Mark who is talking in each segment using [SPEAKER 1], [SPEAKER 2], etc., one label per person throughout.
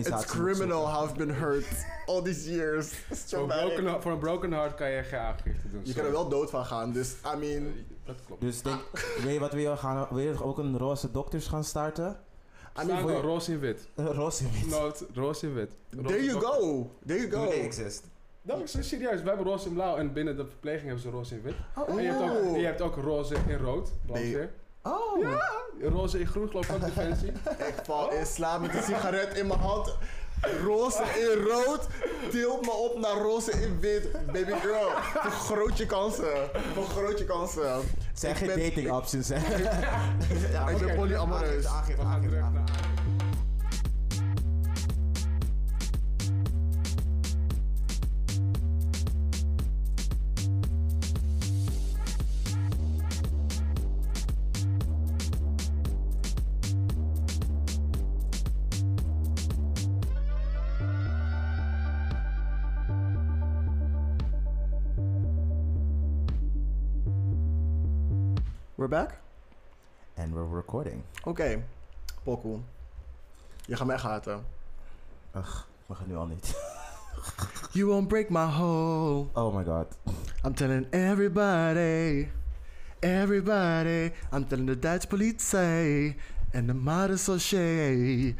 [SPEAKER 1] It's criminal how I've been hurt all these years. It's
[SPEAKER 2] Voor een,
[SPEAKER 1] traumatic.
[SPEAKER 2] broken, hart- voor een broken heart kan je geen aangifte doen.
[SPEAKER 1] Je kan er wel dood van gaan, dus I mean,
[SPEAKER 2] Dat klopt.
[SPEAKER 3] Dus denk, weet je wat wil je gaan? Wil je ook een roze dokters gaan starten?
[SPEAKER 1] I
[SPEAKER 2] Staan
[SPEAKER 1] mean
[SPEAKER 2] we roze in wit.
[SPEAKER 3] Een roze wit.
[SPEAKER 2] Nood, roze in wit. Roze
[SPEAKER 1] there you
[SPEAKER 2] dokter.
[SPEAKER 1] go, there you go.
[SPEAKER 4] Nee, exist.
[SPEAKER 2] Dat is is serieus. Wij hebben roze in blauw en binnen de verpleging hebben ze roze in wit.
[SPEAKER 3] Oh,
[SPEAKER 2] En je hebt ook,
[SPEAKER 1] Oeh.
[SPEAKER 2] je hebt ook roze in rood. brandweer.
[SPEAKER 3] Oh.
[SPEAKER 2] Roze in groen geloof ik ook defensie.
[SPEAKER 1] Ik val in slaap met een sigaret in mijn hand. Roze in rood. Tilt me op naar roze in wit. Baby girl. Vergroot je kansen. Vergroot je kansen.
[SPEAKER 3] Zijn
[SPEAKER 1] Ik
[SPEAKER 3] geen
[SPEAKER 1] ben-
[SPEAKER 3] dating options, hè?
[SPEAKER 1] Ik ben polyamoreus.
[SPEAKER 4] Aangifte, aangifte, aangifte.
[SPEAKER 2] Terug naar
[SPEAKER 4] aangifte.
[SPEAKER 2] aarde.
[SPEAKER 1] We're back?
[SPEAKER 3] And we're recording.
[SPEAKER 1] Oké. Pokoe. Je gaat me echt haten.
[SPEAKER 3] Mag het nu al niet.
[SPEAKER 1] You won't break my hole.
[SPEAKER 3] Oh my god.
[SPEAKER 1] I'm telling everybody, everybody. I'm telling the Dutch politie and the Marseillais.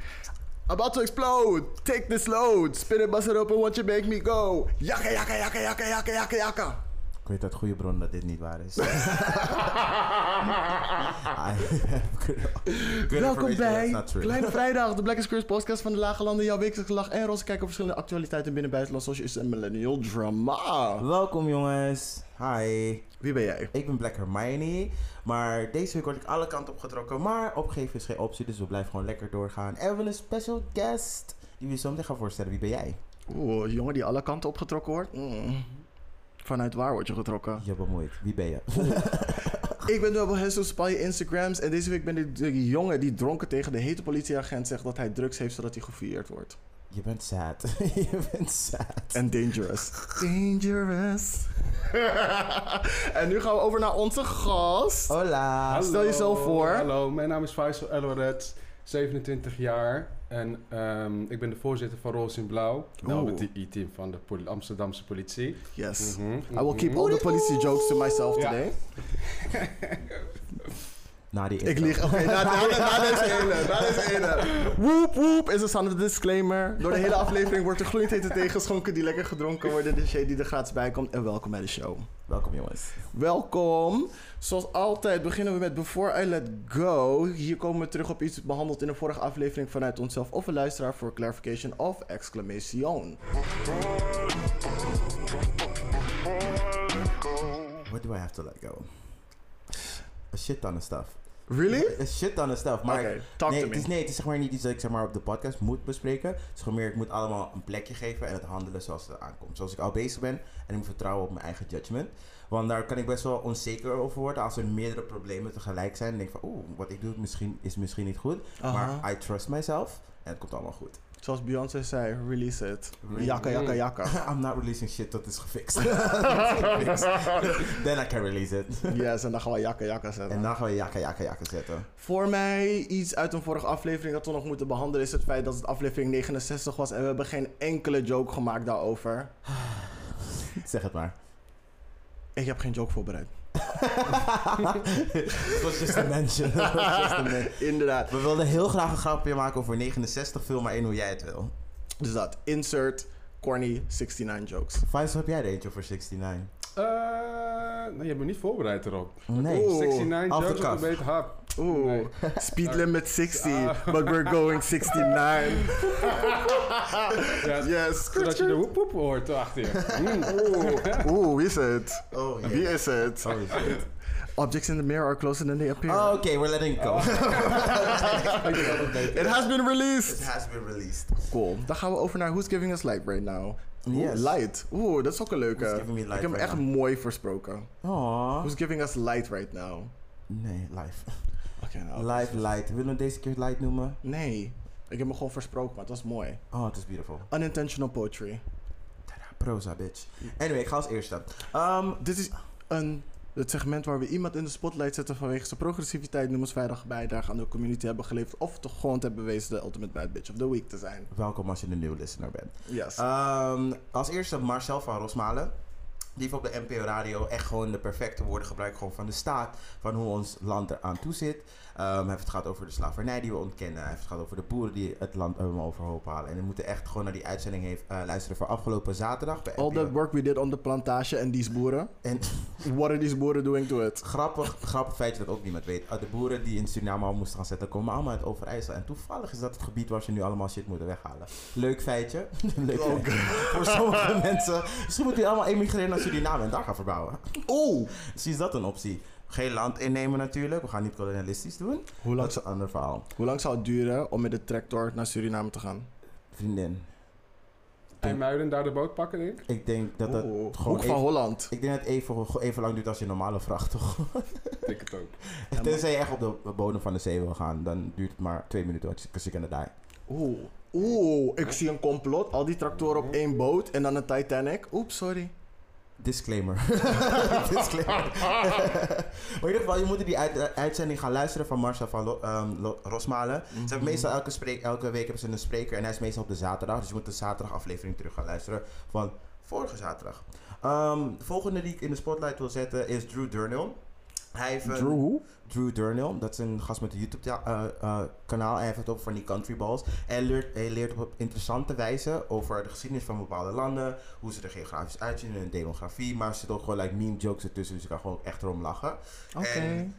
[SPEAKER 1] About to explode. Take this load. Spin it, bust it open, want you make me go. Yakka, yakka, yakka, yakka, yakka, yakka, yakka.
[SPEAKER 3] Ik weet uit goede bron dat dit niet waar is. I have good- good
[SPEAKER 1] Welkom
[SPEAKER 3] information, that's
[SPEAKER 1] bij
[SPEAKER 3] not true.
[SPEAKER 1] Kleine Vrijdag, de Black is Curse podcast van de Lage Landen. Jouw wekelijkse lach en roze kijken op verschillende actualiteiten binnen buitenland, zoals is en millennial drama.
[SPEAKER 3] Welkom jongens. Hi.
[SPEAKER 1] Wie ben jij?
[SPEAKER 3] Ik ben Black Hermione. Maar deze week word ik alle kanten opgetrokken. Maar opgeven is geen optie, dus we blijven gewoon lekker doorgaan. En we hebben een special guest. Die we zo meteen gaan voorstellen. Wie ben jij?
[SPEAKER 1] Oeh, jongen die alle kanten opgetrokken wordt. Mm. Vanuit waar word je getrokken?
[SPEAKER 3] Je bemoeit. Wie ben je?
[SPEAKER 1] Ik ben Double Hessel, spy je Instagrams. En deze week ben ik de jongen die dronken tegen de hete politieagent zegt dat hij drugs heeft zodat hij gefouilleerd wordt.
[SPEAKER 3] Je bent sad. je bent sad.
[SPEAKER 1] En dangerous. Dangerous. en nu gaan we over naar onze
[SPEAKER 2] Oh.
[SPEAKER 1] gast.
[SPEAKER 3] Hola.
[SPEAKER 1] Ah, Stel jezelf voor.
[SPEAKER 2] Hallo, mijn naam is Faisal Elwaret, 27 jaar. En ehm, ik ben de voorzitter van Roos in Blauw. Nou,
[SPEAKER 1] Oeh.
[SPEAKER 2] het I-team van de poli- Amsterdamse politie.
[SPEAKER 1] Yes.
[SPEAKER 2] Mhm,
[SPEAKER 1] I will keep
[SPEAKER 2] mhm.
[SPEAKER 1] all the politie jokes to myself
[SPEAKER 2] Ja.
[SPEAKER 1] today.
[SPEAKER 3] Na die
[SPEAKER 1] Ik
[SPEAKER 3] intro.
[SPEAKER 1] lieg. Oké, na, na, na, na deze ene. Na deze ene. Woep, woep is een standaard disclaimer. Door de hele aflevering wordt er gloeiend hete thee geschonken die lekker gedronken worden. De shade die er gratis bij komt. En welkom bij de show.
[SPEAKER 3] Welkom jongens.
[SPEAKER 1] Welkom. Zoals altijd beginnen we met Before I Let Go. Hier komen we terug op iets behandeld in een vorige aflevering vanuit onszelf of een luisteraar voor clarification of exclamation.
[SPEAKER 3] What do I have to let go? A shit ton of stuff.
[SPEAKER 1] Really?
[SPEAKER 3] A shit ton of stuff. Maar
[SPEAKER 1] Oké, talk
[SPEAKER 3] nee,
[SPEAKER 1] to
[SPEAKER 3] het is,
[SPEAKER 1] me.
[SPEAKER 3] nee, het is zeg maar niet iets dat ik zeg maar, op de podcast moet bespreken. Het is gewoon meer, ik moet allemaal een plekje geven en het handelen zoals het aankomt. Zoals ik al bezig ben en ik moet vertrouwen op mijn eigen judgment. Want daar kan ik best wel onzeker over worden als er meerdere problemen tegelijk zijn. En denk ik van, oeh, wat ik doe misschien, is misschien niet goed.
[SPEAKER 1] Aha.
[SPEAKER 3] Maar I trust myself en het komt allemaal goed.
[SPEAKER 1] Zoals Beyoncé zei, release it.
[SPEAKER 3] Release
[SPEAKER 1] Jakka,
[SPEAKER 2] it.
[SPEAKER 1] jakka, jakka.
[SPEAKER 3] I'm not releasing shit dat is gefixt. Dat is gefixt. Then I can release it.
[SPEAKER 1] Yes, en dan gaan we jakka, jakka
[SPEAKER 3] En
[SPEAKER 1] zetten.
[SPEAKER 3] dan gaan we jakka, jakka, jakka zetten.
[SPEAKER 1] Voor mij iets uit een vorige aflevering dat we nog moeten behandelen is het feit dat het aflevering 69 was en we hebben geen enkele joke gemaakt daarover.
[SPEAKER 3] Zeg het maar.
[SPEAKER 1] Ik heb geen joke voorbereid.
[SPEAKER 3] Het was just a mention. Het was just a mention.
[SPEAKER 1] Inderdaad.
[SPEAKER 3] We wilden heel graag een grapje maken over 69 film, maar in hoe jij het wil.
[SPEAKER 1] Dus dat, insert corny 69 jokes.
[SPEAKER 3] Faisal, heb jij er eentje voor 69?
[SPEAKER 2] Eh, nou, je hebt me niet voorbereid erop.
[SPEAKER 3] Nee.
[SPEAKER 1] Oeh.
[SPEAKER 2] 69
[SPEAKER 3] off the
[SPEAKER 2] jokes op
[SPEAKER 3] cuff.
[SPEAKER 2] een beetje hap.
[SPEAKER 1] Oeh,
[SPEAKER 2] Nee.
[SPEAKER 1] speed limit 60,
[SPEAKER 3] Uh,
[SPEAKER 1] but we're going 69.
[SPEAKER 2] Ja,
[SPEAKER 1] Yes.
[SPEAKER 2] Zodat je de hoep hoep hoort achter je. Mm.
[SPEAKER 1] Oeh, oeh, wie is het?
[SPEAKER 3] Oh, yeah.
[SPEAKER 1] Wie is het?
[SPEAKER 3] Oh, shit.
[SPEAKER 1] Objects in the mirror are closer than they appear.
[SPEAKER 3] Oh, oké, we're letting it go.
[SPEAKER 2] Ik denk dat het beter
[SPEAKER 1] It has been released.
[SPEAKER 3] It has been released.
[SPEAKER 1] Cool. Dan gaan we over naar Who's Giving Us Light right now. Oeh,
[SPEAKER 3] Yes.
[SPEAKER 1] Light. Oeh, dat is ook een leuke.
[SPEAKER 3] Who's Giving Me Light
[SPEAKER 1] Ik heb hem
[SPEAKER 3] Right
[SPEAKER 1] echt mooi voorsproken.
[SPEAKER 3] Oh.
[SPEAKER 1] Who's Giving Us Light right now?
[SPEAKER 3] Nee, live.
[SPEAKER 1] Oké, nou.
[SPEAKER 3] Live, light. Willen we het deze keer light noemen?
[SPEAKER 1] Nee, ik heb hem gewoon versproken, maar het was mooi.
[SPEAKER 3] Oh, het is beautiful.
[SPEAKER 1] Unintentional poetry.
[SPEAKER 3] Proza, bitch. Anyway, ik ga als eerste. Ehm,
[SPEAKER 1] Dit is een Het segment waar we iemand in de spotlight zetten vanwege zijn progressiviteit, noemensvrijdag bijdrage aan de community hebben geleverd. Of toch gewoon te hebben bewezen de ultimate bad bitch of the week te zijn. Eh,
[SPEAKER 3] Welkom als je een nieuwe listener bent.
[SPEAKER 1] Yes.
[SPEAKER 3] Ehm, als eerste Marcel van Rosmalen. Die heeft op de NPO Radio echt gewoon de perfecte woorden gebruikt gewoon van de staat. Van hoe ons land eraan toe zit. Ehm, hij heeft het gehad over de slavernij die we ontkennen. Hij heeft het gehad over de boeren die het land helemaal overhoop halen. En we moeten echt gewoon naar die uitzending heeft, eh, luisteren van afgelopen zaterdag. Bij
[SPEAKER 1] All
[SPEAKER 3] NPO.
[SPEAKER 1] that work we did on the plantage and these boeren.
[SPEAKER 3] En
[SPEAKER 1] What are these boeren doing to it?
[SPEAKER 3] grappig, grappig feitje dat ook niemand weet. Eh, de boeren die in Suriname al moesten gaan zetten komen allemaal uit Overijssel. En toevallig is dat het gebied waar ze nu allemaal shit moeten weghalen. Leuk feitje. Leuk
[SPEAKER 1] Oh,
[SPEAKER 3] feitje. Voor sommige mensen. Misschien moeten die allemaal emigreren naar Suriname en daar gaan verbouwen.
[SPEAKER 1] Oeh!
[SPEAKER 3] Misschien is dat een optie. Geen land innemen natuurlijk. We gaan niet kolonialistisch doen. Dat
[SPEAKER 1] Hoe lang,
[SPEAKER 3] is een ander verhaal.
[SPEAKER 1] hoe lang zou het duren om met de tractor naar Suriname te gaan?
[SPEAKER 3] Vriendin,
[SPEAKER 2] IJmuiden, daar de boot pakken, denk ik.
[SPEAKER 3] ik denk dat dat
[SPEAKER 1] Oeh,
[SPEAKER 3] gewoon
[SPEAKER 1] Hoek van
[SPEAKER 3] even-
[SPEAKER 1] Holland.
[SPEAKER 3] Ik denk dat het even, even lang duurt als je een normale vracht, toch?
[SPEAKER 2] Ik denk het ook.
[SPEAKER 1] maar-
[SPEAKER 3] Tenzij je echt op de bodem van de zee wil gaan, dan duurt het maar twee minuten, want je kan ziek aan de die.
[SPEAKER 1] Oeh. Oeh, ik zie een complot. Al die tractoren op één boot en dan een Titanic. Oeps, sorry.
[SPEAKER 3] Disclaimer. Disclaimer. maar in ieder geval, je moet die uit- uitzending gaan luisteren van Marcel van Lo- ehm, Lo- Rosmalen. Ze hebben meestal elke, spreek, elke week hebben ze een spreker en hij is meestal op de zaterdag. Dus je moet de zaterdagaflevering terug gaan luisteren van vorige zaterdag. Ehm, de volgende die ik in de spotlight wil zetten is Drew Durnell. Hij heeft een-
[SPEAKER 1] Drew hoe?
[SPEAKER 3] Drew Durnell, dat is een gast met een YouTube-kanaal. eh, hij heeft het over van die country balls. Hij leert, hij leert op interessante wijze over de geschiedenis van bepaalde landen. Hoe ze er geografisch uitzien, hun demografie. Maar er zitten ook gewoon like, meme jokes ertussen, dus je kan gewoon echt erom lachen.
[SPEAKER 1] Oké.
[SPEAKER 3] En-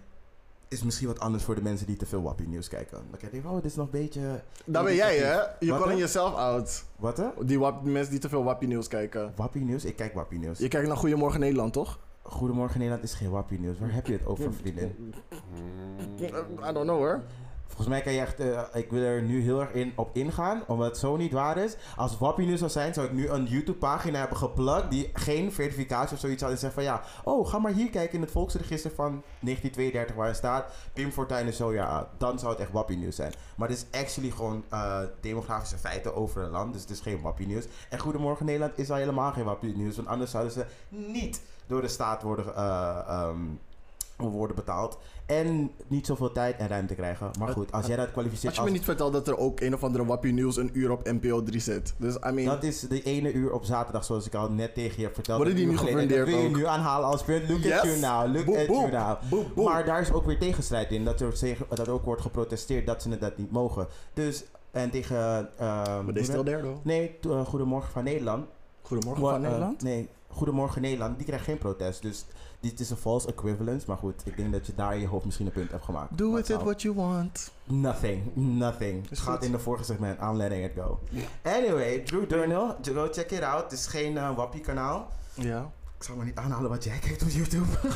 [SPEAKER 3] Is misschien wat anders voor de mensen die te veel Wappie nieuws kijken. Dan denk je, oh, dit is nog een beetje...
[SPEAKER 1] Daar ben jij, hè? Je
[SPEAKER 3] Wat
[SPEAKER 1] calling
[SPEAKER 3] dan?
[SPEAKER 1] jezelf out.
[SPEAKER 3] Wat hè?
[SPEAKER 1] Die wap- mensen die te veel wappie nieuws kijken.
[SPEAKER 3] Wappie nieuws? Ik kijk Wappie nieuws.
[SPEAKER 1] Je kijkt naar Goedemorgen Nederland, toch?
[SPEAKER 3] Goedemorgen Nederland is geen Wappie nieuws. Waar heb je het over, vriendin?
[SPEAKER 2] Hmm.
[SPEAKER 1] Eh, I don't know, hoor.
[SPEAKER 3] Volgens mij kan je echt, eh, ik wil er nu heel erg in, op ingaan, omdat het zo niet waar is. Als Wappie nu zou zijn, zou ik nu een YouTube-pagina hebben geplakt die geen verificatie of zoiets had. En zeggen van ja, oh, ga maar hier kijken in het volksregister van 1932 waar het staat. Pim Fortuyn is zo jaar oud. Dan zou het echt Wappie nieuws zijn. Maar het is actually gewoon eh, demografische feiten over een land, dus het is geen Wappie nieuws. En Goedemorgen Nederland is al helemaal geen Wappie nieuws, want anders zouden ze niet door de staat worden... eh, ehm, worden betaald en niet zoveel tijd en ruimte krijgen. Maar goed, als jij dat kwalificeert
[SPEAKER 1] Als je me
[SPEAKER 3] als-
[SPEAKER 1] niet vertelt dat er ook een of andere wappie nieuws een uur op NPO 3 zit. Dus, I mean...
[SPEAKER 3] Dat is de ene uur op zaterdag, zoals ik al net tegen je heb verteld.
[SPEAKER 1] Worden
[SPEAKER 3] een
[SPEAKER 1] die
[SPEAKER 3] uur
[SPEAKER 1] nu
[SPEAKER 3] geleden. En Dat wil
[SPEAKER 1] gefundeerd
[SPEAKER 3] je nu aanhalen als punt. Look
[SPEAKER 1] Yes.
[SPEAKER 3] at you now, look
[SPEAKER 1] Boep,
[SPEAKER 3] at
[SPEAKER 1] boep.
[SPEAKER 3] you now.
[SPEAKER 1] Boep, boep.
[SPEAKER 3] Maar daar is ook weer tegenstrijd in. Dat er, tegen- dat er ook wordt geprotesteerd dat ze het dat niet mogen. Dus, en tegen... ehm,
[SPEAKER 1] Maar deze stil derde, hoor.
[SPEAKER 3] Nee, to- eh, Goedemorgen van Nederland.
[SPEAKER 1] Goedemorgen
[SPEAKER 3] Wa-
[SPEAKER 1] van
[SPEAKER 3] eh,
[SPEAKER 1] Nederland.
[SPEAKER 3] nee, Goedemorgen Nederland. Die krijgt geen protest. Dus dit is een false equivalence. Maar goed, ik denk dat je daar in je hoofd misschien een punt hebt gemaakt.
[SPEAKER 1] Do
[SPEAKER 3] Maar
[SPEAKER 1] with
[SPEAKER 3] het
[SPEAKER 1] it
[SPEAKER 3] zou-
[SPEAKER 1] what you want.
[SPEAKER 3] Nothing, nothing.
[SPEAKER 1] Is
[SPEAKER 3] Het gaat
[SPEAKER 1] goed.
[SPEAKER 3] in de vorige segment. I'm letting it go. Anyway, Drew Durnell, go check it out. Het is geen eh, wappie kanaal.
[SPEAKER 1] Ja.
[SPEAKER 3] Ik zal maar niet aanhalen wat jij kijkt op YouTube.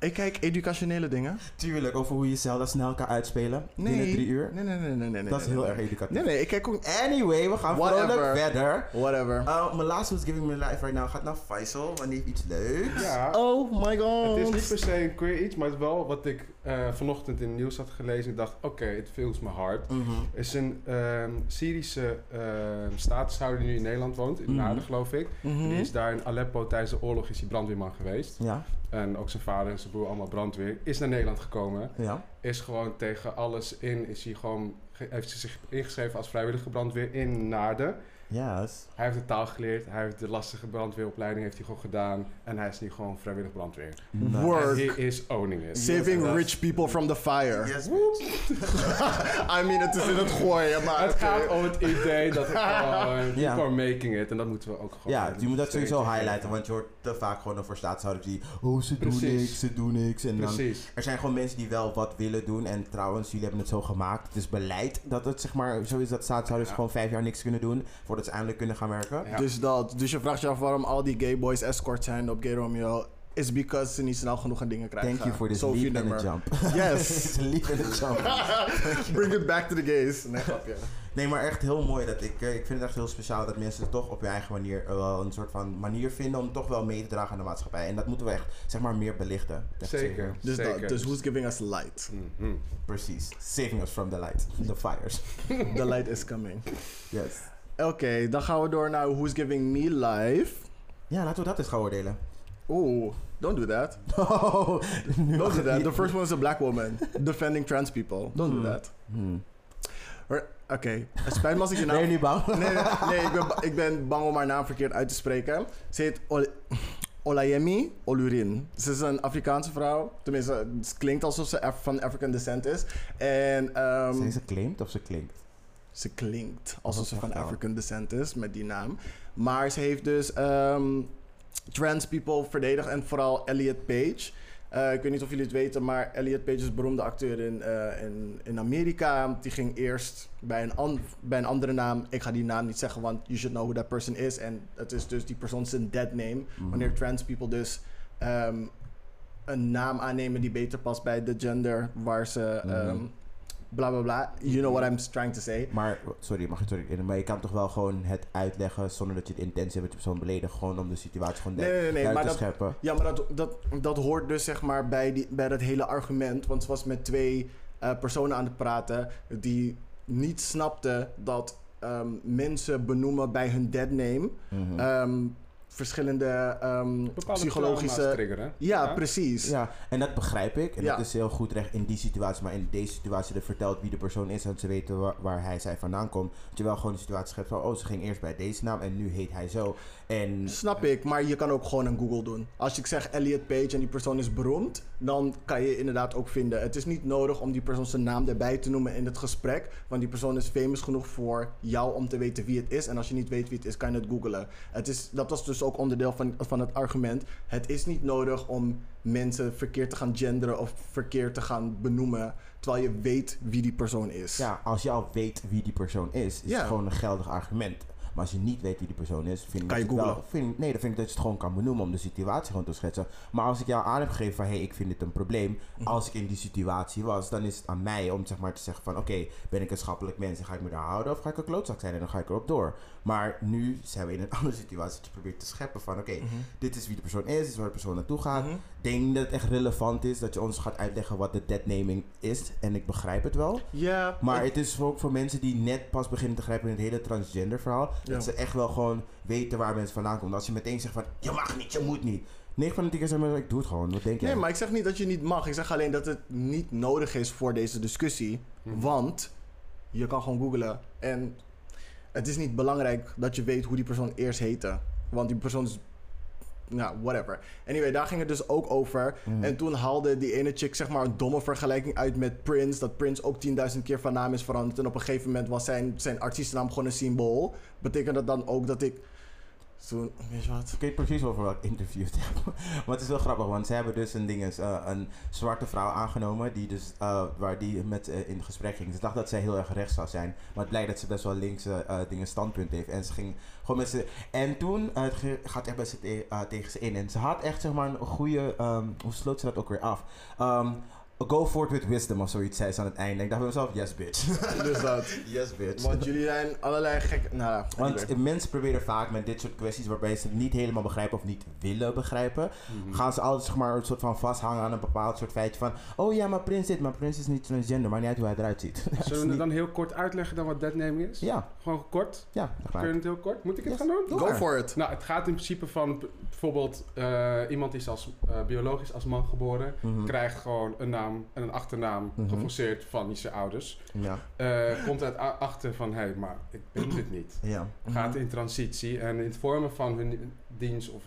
[SPEAKER 1] Ik kijk educationele dingen.
[SPEAKER 3] Tuurlijk, over hoe je Zelda snel kan uitspelen.
[SPEAKER 1] Nee.
[SPEAKER 3] Binnen drie uur.
[SPEAKER 1] Nee, nee, nee, nee, nee.
[SPEAKER 3] dat is
[SPEAKER 1] nee,
[SPEAKER 3] heel
[SPEAKER 1] nee.
[SPEAKER 3] erg educatief.
[SPEAKER 1] Nee, nee, ik kijk ook...
[SPEAKER 3] Anyway, we gaan
[SPEAKER 1] Whatever.
[SPEAKER 3] vrolijk verder.
[SPEAKER 1] Whatever.
[SPEAKER 3] Eh, mijn laatste Who's Giving Me Life right now gaat naar Faisal, want die heeft iets leuks.
[SPEAKER 2] Ja.
[SPEAKER 1] Oh my god.
[SPEAKER 2] Het is niet per se een queer iets, maar het is wel wat ik eh, vanochtend in het nieuws had gelezen. Ik dacht, oké, it feels my heart.
[SPEAKER 3] Mhm.
[SPEAKER 2] is een ehm, Syrische ehm statushouder die nu in Nederland woont, in
[SPEAKER 3] Mhm.
[SPEAKER 2] Naarden geloof ik.
[SPEAKER 1] Mhm.
[SPEAKER 2] Die is daar in Aleppo tijdens de oorlog is hij brandweerman geweest.
[SPEAKER 3] Ja,
[SPEAKER 2] En ook zijn vader en zijn broer allemaal brandweer. Is naar Nederland gekomen.
[SPEAKER 3] ja.
[SPEAKER 2] Is gewoon tegen alles in. Is hij gewoon, ge- heeft hij zich ingeschreven als vrijwillige brandweer in Naarden.
[SPEAKER 3] Yes.
[SPEAKER 2] Hij heeft de taal geleerd. Hij heeft de lastige brandweeropleiding heeft hij gewoon gedaan. En hij is nu gewoon vrijwillig brandweer.
[SPEAKER 3] Nice.
[SPEAKER 1] Word.
[SPEAKER 2] En
[SPEAKER 1] Work.
[SPEAKER 2] he is owning it.
[SPEAKER 1] Saving
[SPEAKER 3] Yes,
[SPEAKER 1] rich people from the fire.
[SPEAKER 3] Yes, bitch.
[SPEAKER 1] I mean, het is in het gooien, maar...
[SPEAKER 2] Het
[SPEAKER 1] oké.
[SPEAKER 2] gaat om het idee dat het gewoon, people
[SPEAKER 3] Ja.
[SPEAKER 2] are making it. En dat moeten we ook gewoon
[SPEAKER 3] Ja, je moet dat
[SPEAKER 2] steeds
[SPEAKER 3] sowieso
[SPEAKER 2] herkennen.
[SPEAKER 3] highlighten, want je hoort te vaak gewoon over staatshouders die... Oh, ze doen
[SPEAKER 2] Precies.
[SPEAKER 3] niks, ze doen niks. En dan
[SPEAKER 2] Precies.
[SPEAKER 3] Er zijn gewoon mensen die wel wat willen doen. En trouwens, jullie hebben het zo gemaakt. Het is beleid dat het zeg maar zo is dat staatshouders
[SPEAKER 2] Ja.
[SPEAKER 3] gewoon vijf jaar niks kunnen doen. Voordat ze eindelijk kunnen gaan werken.
[SPEAKER 2] Ja.
[SPEAKER 1] Dus dat. Dus je vraagt je af waarom al die gay boys escort zijn op Gay Romeo. Is because ze niet snel genoeg aan dingen krijgen.
[SPEAKER 3] Thank you for this
[SPEAKER 1] Zo
[SPEAKER 3] leap
[SPEAKER 1] viel
[SPEAKER 3] and a
[SPEAKER 1] nummer.
[SPEAKER 3] jump.
[SPEAKER 1] Yes.
[SPEAKER 3] leap and a jump.
[SPEAKER 1] Bring it back to the gays. Nee, grapje.
[SPEAKER 3] Nee, maar echt heel mooi. Dat ik, eh, ik vind het echt heel speciaal dat mensen toch op hun eigen manier eh, wel een soort van manier vinden om toch wel mee te dragen aan de maatschappij. En dat moeten we echt zeg maar meer belichten. Echt
[SPEAKER 2] Zeker.
[SPEAKER 1] Dus
[SPEAKER 2] zeker.
[SPEAKER 1] dat. Dus who's giving us light?
[SPEAKER 2] Mhm.
[SPEAKER 3] Precies. Saving us from the light. The fires.
[SPEAKER 1] The light is coming.
[SPEAKER 3] Yes.
[SPEAKER 1] Oké, dan gaan we door naar Who's Giving Me Life.
[SPEAKER 3] Ja, laten we dat eens gaan oordelen.
[SPEAKER 1] Oh, don't do that.
[SPEAKER 3] Oh, nu
[SPEAKER 1] Don't
[SPEAKER 3] mag
[SPEAKER 1] do
[SPEAKER 3] het
[SPEAKER 1] that.
[SPEAKER 3] niet.
[SPEAKER 1] The first one is a black woman defending trans people. Don't do
[SPEAKER 3] Hmm.
[SPEAKER 1] that.
[SPEAKER 3] Hmm.
[SPEAKER 1] Hoor, Oké, het spijt me als ik je naam...
[SPEAKER 3] Ben je nu bang?
[SPEAKER 1] Nee, nee, nee, ik, ben, ba- ik ben bang om haar naam verkeerd uit te spreken. Ze heet Ol Olayemi Olurin. Ze is een Afrikaanse vrouw. Tenminste, het klinkt alsof ze Af- van African descent is. En ehm,
[SPEAKER 3] Zijn ze claimed of ze claimed?
[SPEAKER 1] ze klinkt alsof ze van
[SPEAKER 3] Alsof-
[SPEAKER 1] African descent is met die naam. Maar ze heeft dus ehm, trans people verdedigd en vooral Elliot Page. Eh, ik weet niet of jullie het weten, maar Elliot Page is een beroemde acteur in, eh, in, in Amerika. Die ging eerst bij een, an- bij een andere naam. Ik ga die naam niet zeggen, want you should know who that person is. En het is dus die persoon zijn dead name.
[SPEAKER 3] Mhm.
[SPEAKER 1] Wanneer trans people dus ehm, een naam aannemen die beter past bij de gender waar ze.
[SPEAKER 3] Mhm.
[SPEAKER 1] ehm, bla bla bla. You know what I'm trying to say.
[SPEAKER 3] Maar, sorry, mag je sorry, in- maar je kan toch wel gewoon het uitleggen zonder dat je de intentie hebt dat je persoon beledigt. Gewoon om de situatie gewoon
[SPEAKER 1] Nee,
[SPEAKER 3] duidelijk
[SPEAKER 1] nee, nee. Maar
[SPEAKER 3] te
[SPEAKER 1] dat,
[SPEAKER 3] scheppen.
[SPEAKER 1] ja, maar dat, dat, dat hoort dus zeg maar bij, die, bij dat hele argument. Want ze was met twee eh, personen aan het praten die niet snapten dat ehm, mensen benoemen bij hun dead name.
[SPEAKER 3] Mhm.
[SPEAKER 1] ehm, verschillende ehm,
[SPEAKER 2] Bepaalde trauma's
[SPEAKER 1] psychologische.
[SPEAKER 2] triggeren.
[SPEAKER 1] Ja,
[SPEAKER 2] Ja.
[SPEAKER 1] precies.
[SPEAKER 3] ja, en dat begrijp ik. En
[SPEAKER 1] Ja.
[SPEAKER 3] dat is heel goed recht in die situatie. Maar in deze situatie, er vertelt wie de persoon is en ze weten waar, waar hij, zij vandaan komt. Dat je wel gewoon de situatie schept van, oh, ze ging eerst bij deze naam en nu heet hij zo. En
[SPEAKER 1] Snap ik, maar je kan ook gewoon een Google doen. Als ik zeg Elliot Page en die persoon is beroemd, dan kan je inderdaad ook vinden. Het is niet nodig om die persoon zijn naam erbij te noemen in het gesprek, want die persoon is famous genoeg voor jou om te weten wie het is. En als je niet weet wie het is, kan je het googlen. Het is, dat was dus ook onderdeel van, van het argument. Het is niet nodig om mensen verkeerd te gaan genderen of verkeerd te gaan benoemen, terwijl je weet wie die persoon is.
[SPEAKER 3] ja, als je al weet wie die persoon is, is
[SPEAKER 1] Ja.
[SPEAKER 3] het gewoon een geldig argument. Maar als je niet weet wie die persoon is, vind ik
[SPEAKER 1] Kan
[SPEAKER 3] dat
[SPEAKER 1] je
[SPEAKER 3] het wel,
[SPEAKER 1] googlen.
[SPEAKER 3] vind, Nee, dan vind ik dat je het gewoon kan benoemen om de situatie gewoon te schetsen. Maar als ik jou aan heb gegeven van, hé, hey, ik vind dit een probleem.
[SPEAKER 1] Mhm.
[SPEAKER 3] Als ik in die situatie was, dan is het aan mij om zeg maar te zeggen van, oké, ben ik een schappelijk mens en ga ik me daar houden? Of ga ik een klootzak zijn en dan ga ik erop door? Maar nu zijn we in een andere situatie dat je probeert te scheppen van, oké, dit is wie de persoon is, dit is waar de persoon naartoe gaat.
[SPEAKER 1] Mhm.
[SPEAKER 3] Ik denk dat het echt relevant is dat je ons gaat uitleggen wat de deadnaming is. En ik begrijp het wel.
[SPEAKER 1] Ja,
[SPEAKER 3] Maar het is ook voor mensen die net pas beginnen te grijpen in het hele transgender verhaal.
[SPEAKER 1] Ja.
[SPEAKER 3] Dat ze echt wel gewoon weten waar mensen vandaan komen. Als je meteen zegt van, je mag niet, je moet niet. 9 van de 10 keer zeggen mensen, ik doe het gewoon. Wat denk jij?
[SPEAKER 1] Nee, maar ik zeg niet dat je niet mag. Ik zeg alleen dat het niet nodig is voor deze discussie.
[SPEAKER 2] Mhm.
[SPEAKER 1] Want je kan gewoon googlen. En het is niet belangrijk dat je weet hoe die persoon eerst heette. Want die persoon is. Nou, whatever. Anyway, daar ging het dus ook over.
[SPEAKER 3] Mhm.
[SPEAKER 1] En toen haalde die ene chick zeg maar een domme vergelijking uit met Prince. Dat Prince ook 10.000 keer van naam is veranderd. En op een gegeven moment was zijn, zijn artiestennaam gewoon een symbool. Betekent dat dan ook dat ik... Toen, weet je wat?
[SPEAKER 3] Ik weet precies over welk interview het hebben. Maar het is wel grappig, want ze hebben dus een ding, is, eh, een zwarte vrouw aangenomen. Die dus, eh, waar die met eh, in gesprek ging. Ze dacht dat zij heel erg rechts zou zijn. Maar het blijkt dat ze best wel links eh, eh, dingen standpunt heeft. En ze ging gewoon met ze. En toen eh, het ge- gaat echt best te- eh, tegen ze in. En ze had echt zeg maar een goede. ehm, hoe sloot ze dat ook weer af? Ehm, Go forth with wisdom of zoiets zei ze aan het einde. Ik dacht bij mezelf, yes bitch.
[SPEAKER 1] Dus dat.
[SPEAKER 3] yes bitch.
[SPEAKER 1] Want jullie zijn allerlei gekke... Nou, anyway.
[SPEAKER 3] Want mensen proberen vaak met dit soort kwesties waarbij ze het niet helemaal begrijpen of niet willen begrijpen,
[SPEAKER 2] Mhm.
[SPEAKER 3] gaan ze altijd zeg maar een soort van vasthangen aan een bepaald soort feitje van, oh ja, maar prins dit, maar prins is niet transgender, maar niet uit hoe hij eruit ziet.
[SPEAKER 2] Zullen we het dan heel kort uitleggen dan wat deadname is?
[SPEAKER 3] Ja,
[SPEAKER 2] Gewoon kort.
[SPEAKER 3] ja, dat
[SPEAKER 2] Kun je
[SPEAKER 3] gaat.
[SPEAKER 2] het heel kort? Moet ik het
[SPEAKER 3] Yes.
[SPEAKER 2] gaan doen?
[SPEAKER 3] Doe
[SPEAKER 1] Go
[SPEAKER 3] maar.
[SPEAKER 1] for it.
[SPEAKER 2] Nou, het gaat in principe van b- bijvoorbeeld eh, iemand die is als, eh, biologisch als man geboren,
[SPEAKER 3] Mhm.
[SPEAKER 2] krijgt gewoon een naam en een achternaam
[SPEAKER 3] Mhm.
[SPEAKER 2] geforceerd van zijn ouders.
[SPEAKER 3] Ja,
[SPEAKER 2] Eh, komt uit a- achter van, hé, hey, maar ik ben dit niet.
[SPEAKER 3] ja.
[SPEAKER 2] Gaat in transitie en in het vormen van hun dienst of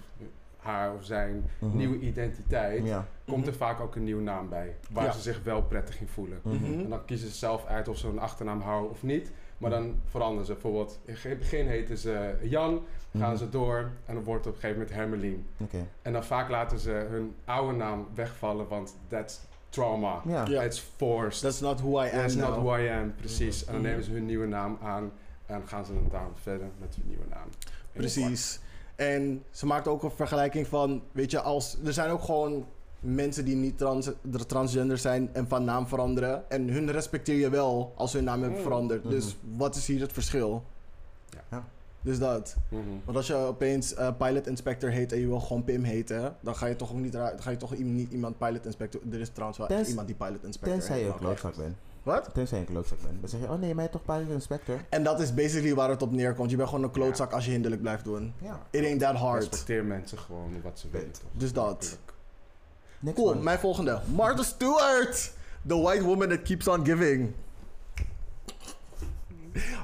[SPEAKER 2] haar of zijn
[SPEAKER 3] Mhm.
[SPEAKER 2] nieuwe identiteit,
[SPEAKER 3] Ja.
[SPEAKER 2] komt er vaak ook een nieuwe naam bij, waar
[SPEAKER 1] Ja.
[SPEAKER 2] ze zich wel prettig in voelen.
[SPEAKER 1] Mhm.
[SPEAKER 2] En dan kiezen ze zelf uit of ze een achternaam houden of niet. Maar
[SPEAKER 3] Mhm.
[SPEAKER 2] dan veranderen ze. Bijvoorbeeld, in het begin heten ze Jan,
[SPEAKER 3] Mhm.
[SPEAKER 2] gaan ze door en dan wordt het op een gegeven moment Hermelien.
[SPEAKER 3] Oké.
[SPEAKER 2] En dan vaak laten ze hun oude naam wegvallen, want that's trauma.
[SPEAKER 3] Ja.
[SPEAKER 1] Ja.
[SPEAKER 2] It's forced.
[SPEAKER 1] That's not who I am
[SPEAKER 2] That's not
[SPEAKER 1] now.
[SPEAKER 2] who I am, precies. En dan
[SPEAKER 1] Mhm.
[SPEAKER 2] nemen ze hun nieuwe naam aan en gaan ze dan daarom verder met hun nieuwe naam.
[SPEAKER 1] Precies. En ze maakt ook een vergelijking van, weet je, als er zijn ook gewoon mensen die niet trans, de transgender zijn en van naam veranderen. En hun respecteer je wel als hun naam hebben
[SPEAKER 2] Mm.
[SPEAKER 1] veranderd. Dus wat is hier het verschil?
[SPEAKER 2] Ja.
[SPEAKER 3] Ja.
[SPEAKER 1] Dus dat.
[SPEAKER 2] Mhm.
[SPEAKER 1] Want als je opeens eh, Pilot Inspector heet en je wil gewoon Pim heten, dan ga je toch ook niet, ra- dan ga je toch i- niet iemand Pilot Inspector. Er is trouwens wel echt
[SPEAKER 3] Tens-
[SPEAKER 1] iemand die Pilot Inspector
[SPEAKER 3] Tenzij je
[SPEAKER 1] heet,
[SPEAKER 3] een
[SPEAKER 1] maar ook
[SPEAKER 3] klootzak bent.
[SPEAKER 1] echt.
[SPEAKER 5] Wat?
[SPEAKER 3] Tenzij je een klootzak bent. Dan zeg je, oh nee, mij toch Pilot Inspector.
[SPEAKER 1] En dat is basically waar het op neerkomt. Je bent gewoon een klootzak als je hinderlijk blijft doen.
[SPEAKER 3] Ja.
[SPEAKER 1] It ain't that hard.
[SPEAKER 2] Respecteer mensen gewoon wat ze willen, toch?
[SPEAKER 1] Dus dat.
[SPEAKER 3] Niks
[SPEAKER 1] Cool,
[SPEAKER 3] man.
[SPEAKER 1] mijn volgende. Martha Stewart! The white woman that keeps on giving.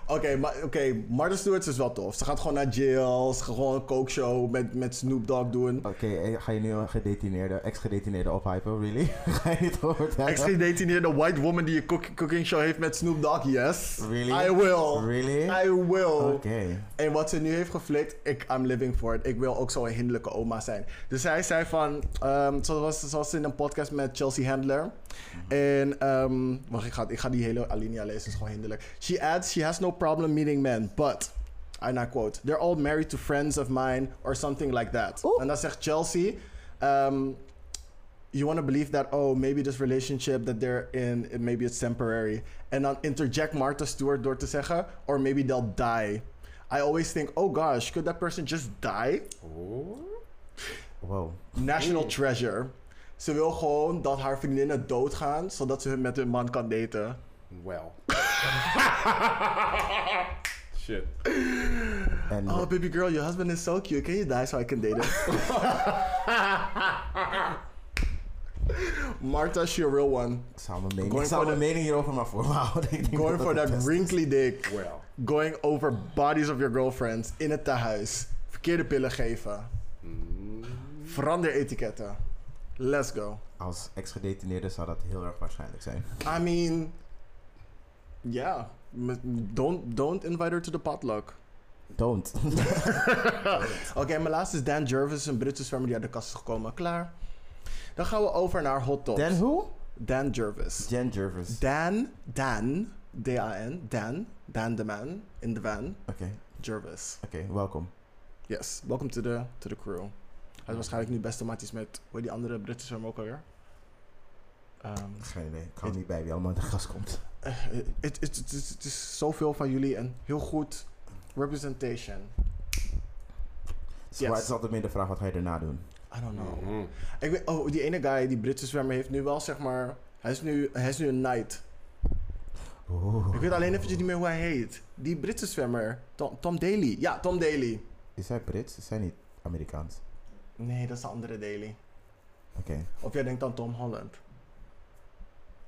[SPEAKER 1] Oké, maar oké, Martha Stewart is wel tof. Ze gaat gewoon naar jail, ze gaat gewoon een coke-show met, met Snoop Dogg doen.
[SPEAKER 3] Oké, eh, ga je nu een gedetineerde, ex-gedetineerde ophypen, really? ga je niet over vertellen?
[SPEAKER 1] Ex-gedetineerde white woman die een cook- cooking show heeft met Snoop Dogg, yes.
[SPEAKER 3] Really?
[SPEAKER 1] I will.
[SPEAKER 3] Really?
[SPEAKER 1] I will.
[SPEAKER 3] Oké.
[SPEAKER 1] En wat ze nu heeft geflikt, ik, I'm living for it. Ik wil ook zo'n hinderlijke oma zijn. Dus zij zei van, ehm zoals, zoals in een podcast met Chelsea Handler. En, ehm wacht, ik ga, ik ga die hele alinea lezen, het is gewoon hinderlijk. She adds, she has no problem meeting men, but, and I quote, they're all married to friends of mine or something like that. En dan zegt Chelsea, ehm, you want to believe that, oh, maybe this relationship that they're in, it- maybe it's temporary. En dan interject Martha Stewart door te zeggen, or maybe they'll die. I always think, oh gosh, could that person just die?
[SPEAKER 2] Oh.
[SPEAKER 3] Wow.
[SPEAKER 1] National treasure. Ze wil gewoon dat haar vriendinnen doodgaan, zodat ze hun- met hun man kan daten.
[SPEAKER 2] Well. Shit.
[SPEAKER 3] En
[SPEAKER 1] Oh, baby girl, your husband is so cute. Can you die so I can date him? Martha, she a real one.
[SPEAKER 3] ik zou mijn mening,
[SPEAKER 1] Going
[SPEAKER 3] ik zou
[SPEAKER 1] for
[SPEAKER 3] mijn mening hierover maar voor me houden. Ik denk
[SPEAKER 1] Going
[SPEAKER 3] dat
[SPEAKER 1] for
[SPEAKER 3] dat
[SPEAKER 1] that
[SPEAKER 3] het beste is.
[SPEAKER 1] wrinkly dick.
[SPEAKER 2] Well.
[SPEAKER 1] Going over bodies of your girlfriends in het tehuis. Verkeerde pillen geven. Verander etiketten. Let's go.
[SPEAKER 3] Als ex-gedetineerde zou dat heel erg waarschijnlijk zijn.
[SPEAKER 1] I mean, yeah. M- Don't, don't invite her to the potluck.
[SPEAKER 3] Don't.
[SPEAKER 1] Oké, mijn laatste is Dan Jervis, een Britse zwemmer die uit de kast is gekomen. Klaar. Dan gaan we over naar hot tops.
[SPEAKER 3] Dan who?
[SPEAKER 1] Dan Jervis.
[SPEAKER 3] Jen Jervis.
[SPEAKER 1] Dan, Dan, D-A-N, Dan, Dan the man in the van,
[SPEAKER 3] Oké,
[SPEAKER 1] Jervis.
[SPEAKER 3] oké, welkom.
[SPEAKER 1] Yes, welcome to the, to the crew. Hij is waarschijnlijk nu best maatjes met, hoe heet die andere Britse zwemmer ook alweer? Ehm,
[SPEAKER 3] Geen idee. Ik hou niet bij wie allemaal in de gas komt.
[SPEAKER 1] eh, Het het- het is- het is zoveel van jullie en heel goed representation.
[SPEAKER 3] Dus
[SPEAKER 1] Yes.
[SPEAKER 3] maar Dus het is altijd meer de vraag, wat ga je daarna doen?
[SPEAKER 1] I don't know.
[SPEAKER 2] Mhm.
[SPEAKER 1] Ik weet, oh, die ene guy, die Britse zwemmer, heeft nu wel zeg maar. Hij is nu, hij is nu een knight.
[SPEAKER 3] Oeh.
[SPEAKER 1] Ik weet alleen eventjes niet meer hoe hij heet. Die Britse zwemmer, Tom, Tom Daly. Ja, Tom Daly.
[SPEAKER 3] Is hij Brits? Is hij niet Amerikaans?
[SPEAKER 1] Nee, dat is de andere Daly.
[SPEAKER 3] Oké,
[SPEAKER 1] Of jij denkt aan Tom Holland.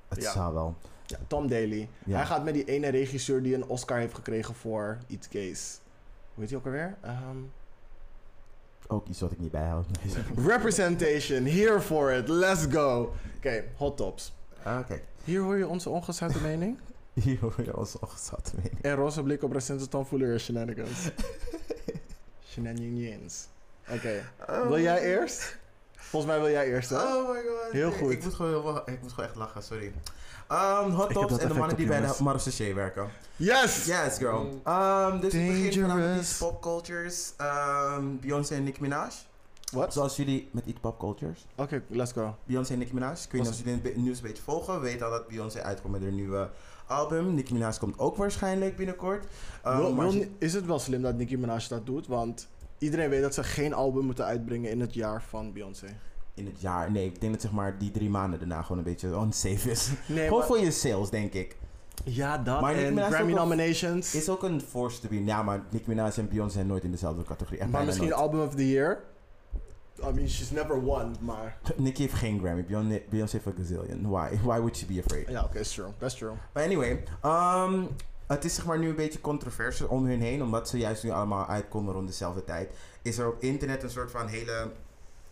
[SPEAKER 3] het
[SPEAKER 1] Ja.
[SPEAKER 3] zou wel.
[SPEAKER 1] Ja, Tom Daly.
[SPEAKER 3] Ja.
[SPEAKER 1] Hij gaat met die ene regisseur die een Oscar heeft gekregen voor Iets Gays. Hoe heet hij ook alweer? Ehm,
[SPEAKER 3] Ook iets wat ik niet bijhoud.
[SPEAKER 1] representation, here for it, let's go. Oké, hot tops.
[SPEAKER 3] ah, kijk.
[SPEAKER 1] Hier hoor je onze ongezouten mening.
[SPEAKER 3] Hier hoor je ons ongezat mee.
[SPEAKER 1] En roze blik op recente Tom Fuller shenanigans. shenanigans. Oké. Oh. Wil jij eerst? Volgens mij wil jij eerst, hè?
[SPEAKER 3] Oh my god.
[SPEAKER 1] Heel
[SPEAKER 3] Ik-
[SPEAKER 1] goed.
[SPEAKER 3] Ik moet gewoon, heel wa- ik moet gewoon echt lachen, sorry. Ehm, hot
[SPEAKER 5] heb
[SPEAKER 3] tops
[SPEAKER 5] dat
[SPEAKER 3] en de
[SPEAKER 5] effect
[SPEAKER 3] mannen
[SPEAKER 5] op,
[SPEAKER 3] die bij
[SPEAKER 5] jongens.
[SPEAKER 3] de Marseille werken.
[SPEAKER 1] Yes!
[SPEAKER 3] Yes, girl. Ehm, dus ik begin vandaag met
[SPEAKER 5] Dangerous.
[SPEAKER 3] iets popcultures. Ehm, Beyoncé en Nicki Minaj.
[SPEAKER 1] Wat?
[SPEAKER 3] Zoals jullie met iets popcultures.
[SPEAKER 1] Oké, let's go.
[SPEAKER 3] Beyoncé en Nicki Minaj. Ik weet niet of jullie het be- nieuws een beetje volgen. We weten al dat Beyoncé uitkomt met haar nieuwe album. Nicki Minaj komt ook waarschijnlijk binnenkort. Ehm,
[SPEAKER 1] Wil-
[SPEAKER 3] maar
[SPEAKER 1] wil-
[SPEAKER 3] ze-
[SPEAKER 1] is het wel slim dat Nicki Minaj dat doet? Want iedereen weet dat ze geen album moeten uitbrengen in het jaar van Beyoncé.
[SPEAKER 3] in het jaar. Nee, ik denk dat zeg maar die drie maanden daarna gewoon een beetje unsafe is.
[SPEAKER 1] Nee,
[SPEAKER 3] gewoon voor je sales, denk ik.
[SPEAKER 1] Ja, dat
[SPEAKER 3] Maar Nicki
[SPEAKER 1] en
[SPEAKER 3] Minaj is
[SPEAKER 1] Grammy
[SPEAKER 3] ook wel-
[SPEAKER 1] nominations.
[SPEAKER 3] Is ook een force to be. Ja, maar Nicki Minaj en Beyoncé zijn nooit in dezelfde categorie. Echt
[SPEAKER 1] maar
[SPEAKER 3] bijna
[SPEAKER 1] misschien
[SPEAKER 3] nooit.
[SPEAKER 1] album of the year. I mean, she's never won, maar...
[SPEAKER 3] Nicki heeft geen Grammy. Beyon- Beyoncé heeft een gazillion. Why? Why would she be afraid?
[SPEAKER 1] Ja, oké, that's true. That's true.
[SPEAKER 3] Maar anyway, ehm, het is zeg maar nu een beetje controverse om hun heen, omdat ze juist nu allemaal uitkomen rond dezelfde tijd. Is er op internet een soort van hele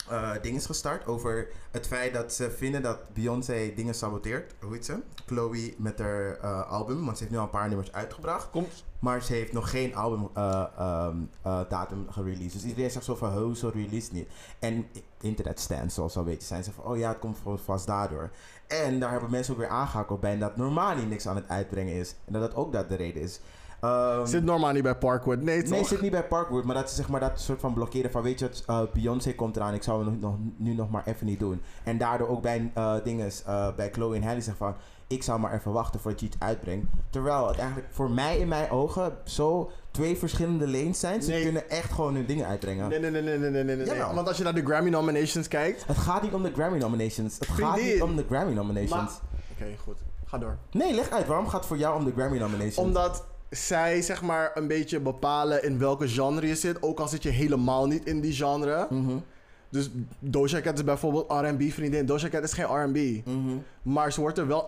[SPEAKER 3] eh ding is gestart over het feit dat ze vinden dat Beyoncé dingen saboteert. Hoe heet ze? Chloe met haar eh, album, want ze heeft nu al een paar nummers uitgebracht.
[SPEAKER 2] Komt.
[SPEAKER 3] Maar ze heeft nog geen album eh, ehm, eh, datum gereleased. Dus iedereen zegt zo van, hoe zo release niet. En internet stands, zoals we al weten, zijn ze van, oh ja, het komt gewoon vast daardoor. En daar hebben mensen ook weer aangehakt op bij dat Normani niks aan het uitbrengen is. En dat dat ook dat de reden is. Ehm,
[SPEAKER 1] Zit normaal niet bij Parkwood. Nee, toch?
[SPEAKER 3] Nee, zit niet bij Parkwood, maar dat ze zeg maar dat soort van blokkeren van weet je, wat, eh, Beyoncé komt eraan, ik zou het nog, nog, nu nog maar even niet doen. En daardoor ook bij eh dinges, eh, bij Chloe en Hailey zeggen van, ik zou maar even wachten voordat je iets uitbrengt. Terwijl het eigenlijk voor mij in mijn ogen zo twee verschillende lanes zijn. Ze
[SPEAKER 1] Nee.
[SPEAKER 3] kunnen echt gewoon hun dingen uitbrengen.
[SPEAKER 1] Nee, nee, nee, nee, nee, nee, nee, nee.
[SPEAKER 3] Jawel.
[SPEAKER 1] Want als je naar de Grammy nominations kijkt.
[SPEAKER 3] Het gaat niet om de Grammy nominations. Het gaat
[SPEAKER 1] Vriendin.
[SPEAKER 3] niet om de Grammy nominations.
[SPEAKER 1] Oké, goed. Ga door.
[SPEAKER 3] Nee, leg uit. Waarom gaat het voor jou om de Grammy nomination?
[SPEAKER 1] Omdat zij zeg maar een beetje bepalen in welke genre je zit. Ook al zit je helemaal niet in die genre.
[SPEAKER 3] Mhm,
[SPEAKER 1] Dus Doja Cat is bijvoorbeeld R&B vriendin. Doja Cat is geen R&B.
[SPEAKER 3] mhm,
[SPEAKER 1] Maar ze wordt er wel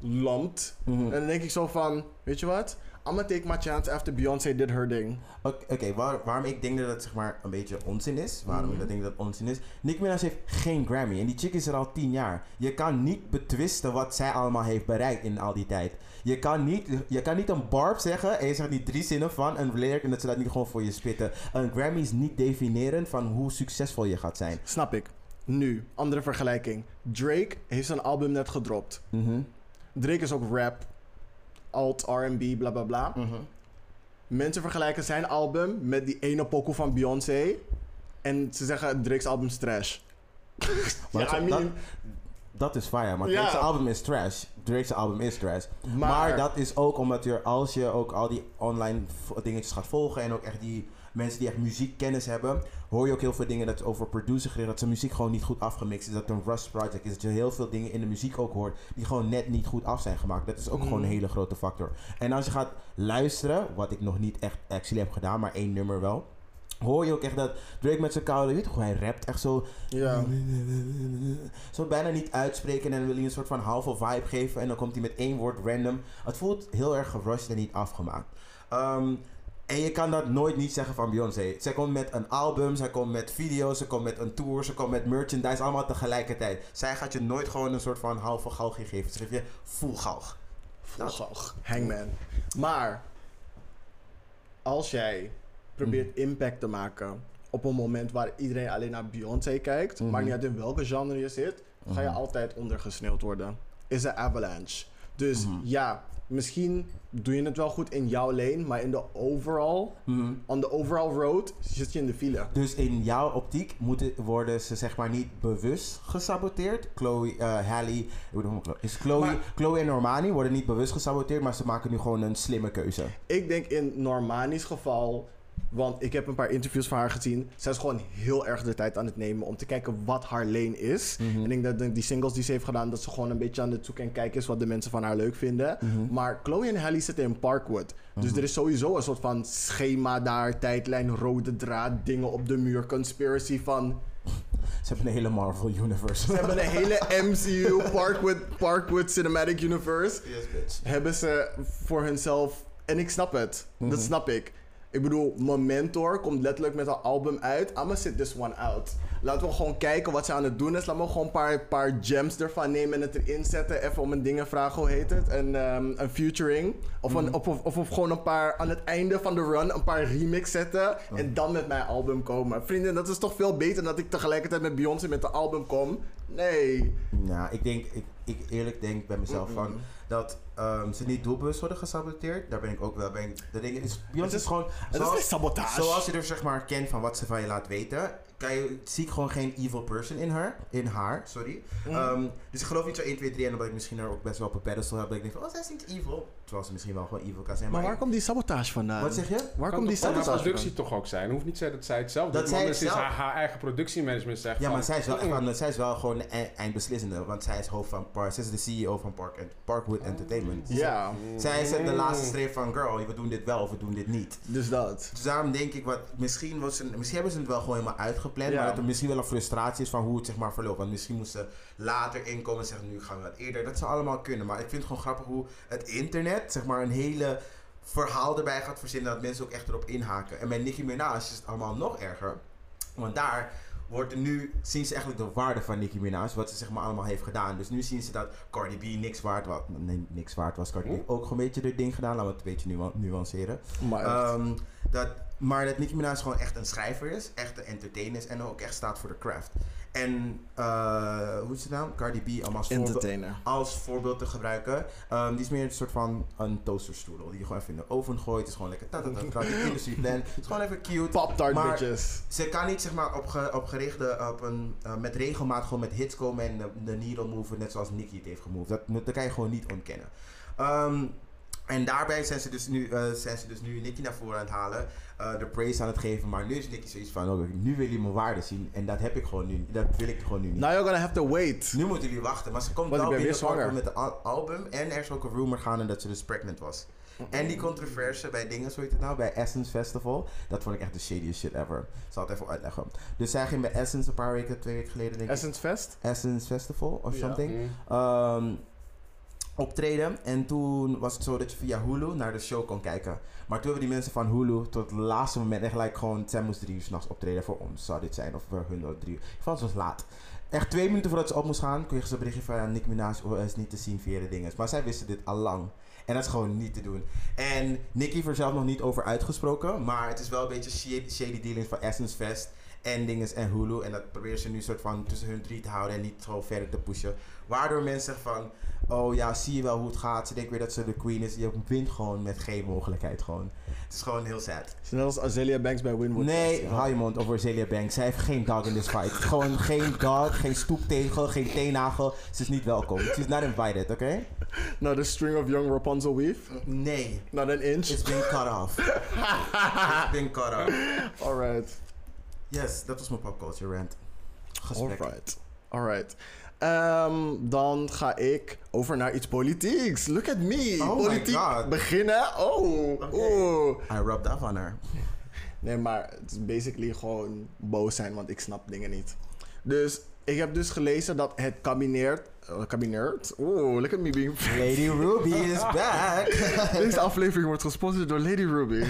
[SPEAKER 1] ingelampt.
[SPEAKER 3] mhm.
[SPEAKER 1] En dan denk ik zo van, weet je wat? I'm gonna take my chance after Beyoncé did her ding.
[SPEAKER 3] Oké, oké, waar- waarom ik denk dat het zeg maar een beetje onzin is. Waarom ik dat denk dat het onzin is. Nicki Minaj heeft geen Grammy en die chick is er al tien jaar. Je kan niet betwisten wat zij allemaal heeft bereikt in al die tijd. Je kan niet, je kan niet een barb zeggen en je zegt die drie zinnen van een lyric en dat ze dat niet gewoon voor je spitten. Een Grammy is niet definiërend van hoe succesvol je gaat zijn.
[SPEAKER 1] Snap ik. Nu, andere vergelijking. Drake heeft zijn album net gedropt.
[SPEAKER 3] Mhm,
[SPEAKER 1] Drake is ook rap, alt, R&B, bla bla bla.
[SPEAKER 3] mhm.
[SPEAKER 1] Mensen vergelijken zijn album met die ene pokoe van Beyoncé. En ze zeggen Drake's album is trash.
[SPEAKER 3] Maar
[SPEAKER 1] Ja,
[SPEAKER 3] dat,
[SPEAKER 1] I mean-
[SPEAKER 3] dat, dat is fire, maar
[SPEAKER 1] Ja.
[SPEAKER 3] Drake's album is trash. Drake's album is trash.
[SPEAKER 1] Maar,
[SPEAKER 3] Maar, dat is ook omdat je, als je ook al die online v- dingetjes gaat volgen en ook echt die mensen die echt muziekkennis hebben, hoor je ook heel veel dingen dat over producer gericht, dat zijn muziek gewoon niet goed afgemixt is, dat het een rust project is, dat je heel veel dingen in de muziek ook hoort die gewoon net niet goed af zijn gemaakt. Dat is ook
[SPEAKER 1] Mm.
[SPEAKER 3] gewoon een hele grote factor. En als je gaat luisteren, wat ik nog niet echt actually heb gedaan, maar één nummer wel, hoor je ook echt dat Drake met zijn koude, weet je toch, hij rapt echt zo
[SPEAKER 1] Ja.
[SPEAKER 3] zo bijna niet uitspreken en wil je een soort van halve vibe geven en dan komt hij met één woord random. Het voelt heel erg gerushed en niet afgemaakt. Ehm, en je kan dat nooit niet zeggen van Beyoncé. Zij komt met een album, zij komt met video's, ze komt met een tour, ze komt met merchandise, allemaal tegelijkertijd. Zij gaat je nooit gewoon een soort van halve galgje geven. Ze geeft je full galg.
[SPEAKER 1] Oh, goh, hangman. Maar, als jij probeert impact te maken op een moment waar iedereen alleen naar Beyoncé kijkt,
[SPEAKER 3] Mhm.
[SPEAKER 1] maakt niet uit in welke genre je zit, ga je
[SPEAKER 3] Mhm.
[SPEAKER 1] altijd ondergesneeuwd worden. Is een avalanche. Dus
[SPEAKER 3] Mhm.
[SPEAKER 1] ja, misschien doe je het wel goed in jouw lane, maar in de overall, on the overall road, zit je in de file.
[SPEAKER 3] Dus in jouw optiek moeten, worden ze zeg maar niet bewust gesaboteerd. Chloe, eh Halle, hoe noem ik dat? is Chloe,
[SPEAKER 2] Maar-
[SPEAKER 3] Chloe en Normani worden niet bewust gesaboteerd, maar ze maken nu gewoon een slimme keuze.
[SPEAKER 1] Ik denk in Normani's geval, want ik heb een paar interviews van haar gezien. Zij is gewoon heel erg de tijd aan het nemen om te kijken wat haar lane is. En ik denk dat de- die singles die ze heeft gedaan, dat ze gewoon een beetje aan het zoeken en kijken is wat de mensen van haar leuk vinden. Maar Chloe en Halle zitten in Parkwood. Dus er is sowieso een soort van schema daar, tijdlijn, rode draad, dingen op de muur, conspiracy van.
[SPEAKER 3] Ze hebben een hele Marvel Universe.
[SPEAKER 1] Ze hebben een hele MCU, Parkwood, Parkwood Cinematic Universe hebben ze voor hunzelf. En ik snap het.
[SPEAKER 3] Mhm.
[SPEAKER 1] Dat snap ik. Ik bedoel, mijn mentor komt letterlijk met haar album uit. I'ma sit this one out. Laten we gewoon kijken wat ze aan het doen is. Laten we gewoon een paar, paar gems ervan nemen en het erin zetten. Even om een dingen vragen, hoe heet het? Een, ehm, een featuring. Of,
[SPEAKER 3] Mhm.
[SPEAKER 1] een, of, of, of- of gewoon een paar, aan het einde van de run, een paar remix zetten.
[SPEAKER 3] Oh.
[SPEAKER 1] En dan met mijn album komen. Vrienden, dat is toch veel beter dan dat ik tegelijkertijd met Beyoncé met de album kom? Nee.
[SPEAKER 3] Nou, ik denk, ik, ik eerlijk denk bij mezelf van dat ehm, ze niet doelbewust worden gesaboteerd. Daar ben ik ook wel. Ben ik, dat ding is, Beyoncé
[SPEAKER 1] Het
[SPEAKER 3] is
[SPEAKER 1] is-
[SPEAKER 3] gewoon.
[SPEAKER 1] Het is
[SPEAKER 3] zoals-
[SPEAKER 1] geen sabotage.
[SPEAKER 3] Zoals je er zeg maar kent van wat ze van je laat weten, kan je, zie ik gewoon geen evil person in haar. In haar sorry.
[SPEAKER 1] Mm.
[SPEAKER 3] Ehm, dus ik geloof niet zo 1, 2, 3 en omdat ik misschien haar ook best wel op een pedestal heb. Dat ik denk van, oh, zij is niet evil. Terwijl ze misschien wel gewoon evil kan zijn.
[SPEAKER 1] Maar
[SPEAKER 3] Maar,
[SPEAKER 1] waar
[SPEAKER 3] ik-
[SPEAKER 1] komt die sabotage vandaan?
[SPEAKER 3] Wat zeg je?
[SPEAKER 1] Waar
[SPEAKER 2] Kan
[SPEAKER 1] komt die
[SPEAKER 2] toch van haar
[SPEAKER 1] sabotage
[SPEAKER 2] productie
[SPEAKER 1] vandaan?
[SPEAKER 2] toch ook zijn? Het hoeft niet te zeggen dat zij het zelf
[SPEAKER 3] Dat
[SPEAKER 2] doet,
[SPEAKER 3] zij
[SPEAKER 2] want
[SPEAKER 3] het
[SPEAKER 2] het is
[SPEAKER 3] zelf-
[SPEAKER 2] haar, haar eigen productiemanagement zegt
[SPEAKER 3] Ja,
[SPEAKER 2] van,
[SPEAKER 3] maar zij
[SPEAKER 1] Mm.
[SPEAKER 3] is wel, echt
[SPEAKER 2] "Mm-mm."
[SPEAKER 3] van, zij is wel gewoon de e- eindbeslissende. Want zij is hoofd van Park. Zij is de CEO van Park, Parkwood Entertainment.
[SPEAKER 1] Ja,
[SPEAKER 2] mm,
[SPEAKER 1] Mm.
[SPEAKER 3] Zij zet de laatste streep van, girl, we doen dit wel of we doen dit niet.
[SPEAKER 1] dus dat.
[SPEAKER 3] Dus daarom denk ik, wat, misschien, was ze, misschien hebben ze het wel gewoon helemaal uitgepland.
[SPEAKER 1] Ja.
[SPEAKER 3] Maar dat er misschien wel een frustratie is van hoe het zeg maar verloopt. Want misschien moesten ze later inkomen en zeggen, nu gaan we dat eerder. Dat zou allemaal kunnen. Maar ik vind het gewoon grappig hoe het internet zeg maar een hele verhaal erbij gaat verzinnen. Dat mensen ook echt erop inhaken. En bij Nicki Minaj is het allemaal nog erger. Want daar wordt er nu, zien ze eigenlijk de waarde van Nicki Minaj. Wat ze zeg maar allemaal heeft gedaan. Dus nu zien ze dat Cardi B niks waard was. Nee, niks waard was. Cardi B ook gewoon een beetje haar ding gedaan. Laten we het een beetje nuan- nuanceren.
[SPEAKER 1] Maar
[SPEAKER 3] Ehm, dat, maar dat Nicki Minaj gewoon echt een schrijver is, echt een entertainer is en ook echt staat voor de craft. En eh, hoe is het nou? Cardi B om als, voorbeeld,
[SPEAKER 1] entertainer.
[SPEAKER 3] als voorbeeld te gebruiken. Ehm, die is meer een soort van een toasterstoedel die je gewoon even in de oven gooit. Het is gewoon lekker tatatata, industrieplan. Het is gewoon even cute.
[SPEAKER 1] Pop tart
[SPEAKER 3] Maar-
[SPEAKER 1] bitches.
[SPEAKER 3] Ze kan niet zeg maar op, ge- op gerichte, op een, eh, met regelmaat gewoon met hits komen en de, de needle moven, net zoals Nicky het heeft gemoved. Dat, moet- dat kan je gewoon niet ontkennen. Ehm, En daarbij zijn ze dus nu, eh, zijn ze dus nu Nicky naar voren aan het halen, eh, de praise aan het geven. Maar nu is Nicky zoiets van, oké, nu wil je mijn waarde zien. En dat heb ik gewoon nu, dat wil ik gewoon nu niet.
[SPEAKER 1] Now you're gonna have to wait.
[SPEAKER 3] nu moeten jullie wachten, maar ze komt
[SPEAKER 1] Want
[SPEAKER 3] wel
[SPEAKER 1] ik ben weer
[SPEAKER 3] binnenkort
[SPEAKER 1] zwanger.
[SPEAKER 3] met een al- album. En er is ook een rumor gaande dat ze dus pregnant was. En die controverse bij dingen, zo heet het nou, bij Essence Festival. Dat vond ik echt de shadiest shit ever. Ik zal het even uitleggen. Dus zij ging bij Essence een paar weken, twee weken geleden denk ik.
[SPEAKER 1] Essence Fest?
[SPEAKER 3] Essence Festival of
[SPEAKER 1] Ja.
[SPEAKER 3] something.
[SPEAKER 2] Mm.
[SPEAKER 3] ehm, optreden. En toen was het zo dat je via Hulu naar de show kon kijken. Maar toen hebben die mensen van Hulu tot het laatste moment echt gelijk gewoon... Zij moest drie uur s'nachts optreden voor ons, zou dit zijn. Of voor hun wel drie uur. In ieder geval, het was laat. Echt twee minuten voordat ze op moest gaan, kreeg ze een berichtje van... ja, Nick Minaj oh, is niet te zien via de dingen. Maar zij wisten dit al lang. En dat is gewoon niet te doen. En Nicky heeft er zelf nog niet over uitgesproken. Maar het is wel een beetje shady, shady dealings van Essence Fest. En dinges en Hulu. En dat proberen ze nu soort van tussen hun drie te houden. En niet gewoon verder te pushen. Waardoor mensen zeggen van... Oh ja, zie je wel hoe het gaat. Ze denken weer dat ze de queen is. Je wint gewoon met geen mogelijkheid gewoon. Het is gewoon heel sad.
[SPEAKER 1] Is Net als Azalea Banks bij Winwood.
[SPEAKER 3] Nee,
[SPEAKER 1] Fest.
[SPEAKER 3] hou je mond over Celia Banks. Zij heeft geen dog in this fight. gewoon geen dog, geen stoeptegel, geen teenagel. Ze is niet welkom. Ze is not invited, oké?
[SPEAKER 1] Nou, de string of young Rapunzel weave.
[SPEAKER 3] Nee.
[SPEAKER 1] Not an inch.
[SPEAKER 3] It's been cut off. It's been cut off.
[SPEAKER 1] Alright.
[SPEAKER 3] Yes, dat was mijn popculture rant. Gesprek.
[SPEAKER 1] Alright. Alright. Ehm, dan ga ik over naar iets politieks. Look at me.
[SPEAKER 3] Oh my
[SPEAKER 1] Politiek
[SPEAKER 3] God.
[SPEAKER 1] beginnen. Oh,
[SPEAKER 3] Oké.
[SPEAKER 1] oh.
[SPEAKER 3] I rubbed off on her.
[SPEAKER 1] Nee, maar het is basically gewoon boos zijn, want ik snap dingen niet. Dus ik heb dus gelezen dat het kabinet... eh, kabinet? Oh, look at me being...
[SPEAKER 3] Lady Ruby is back.
[SPEAKER 1] Deze aflevering wordt gesponsord door Lady Ruby.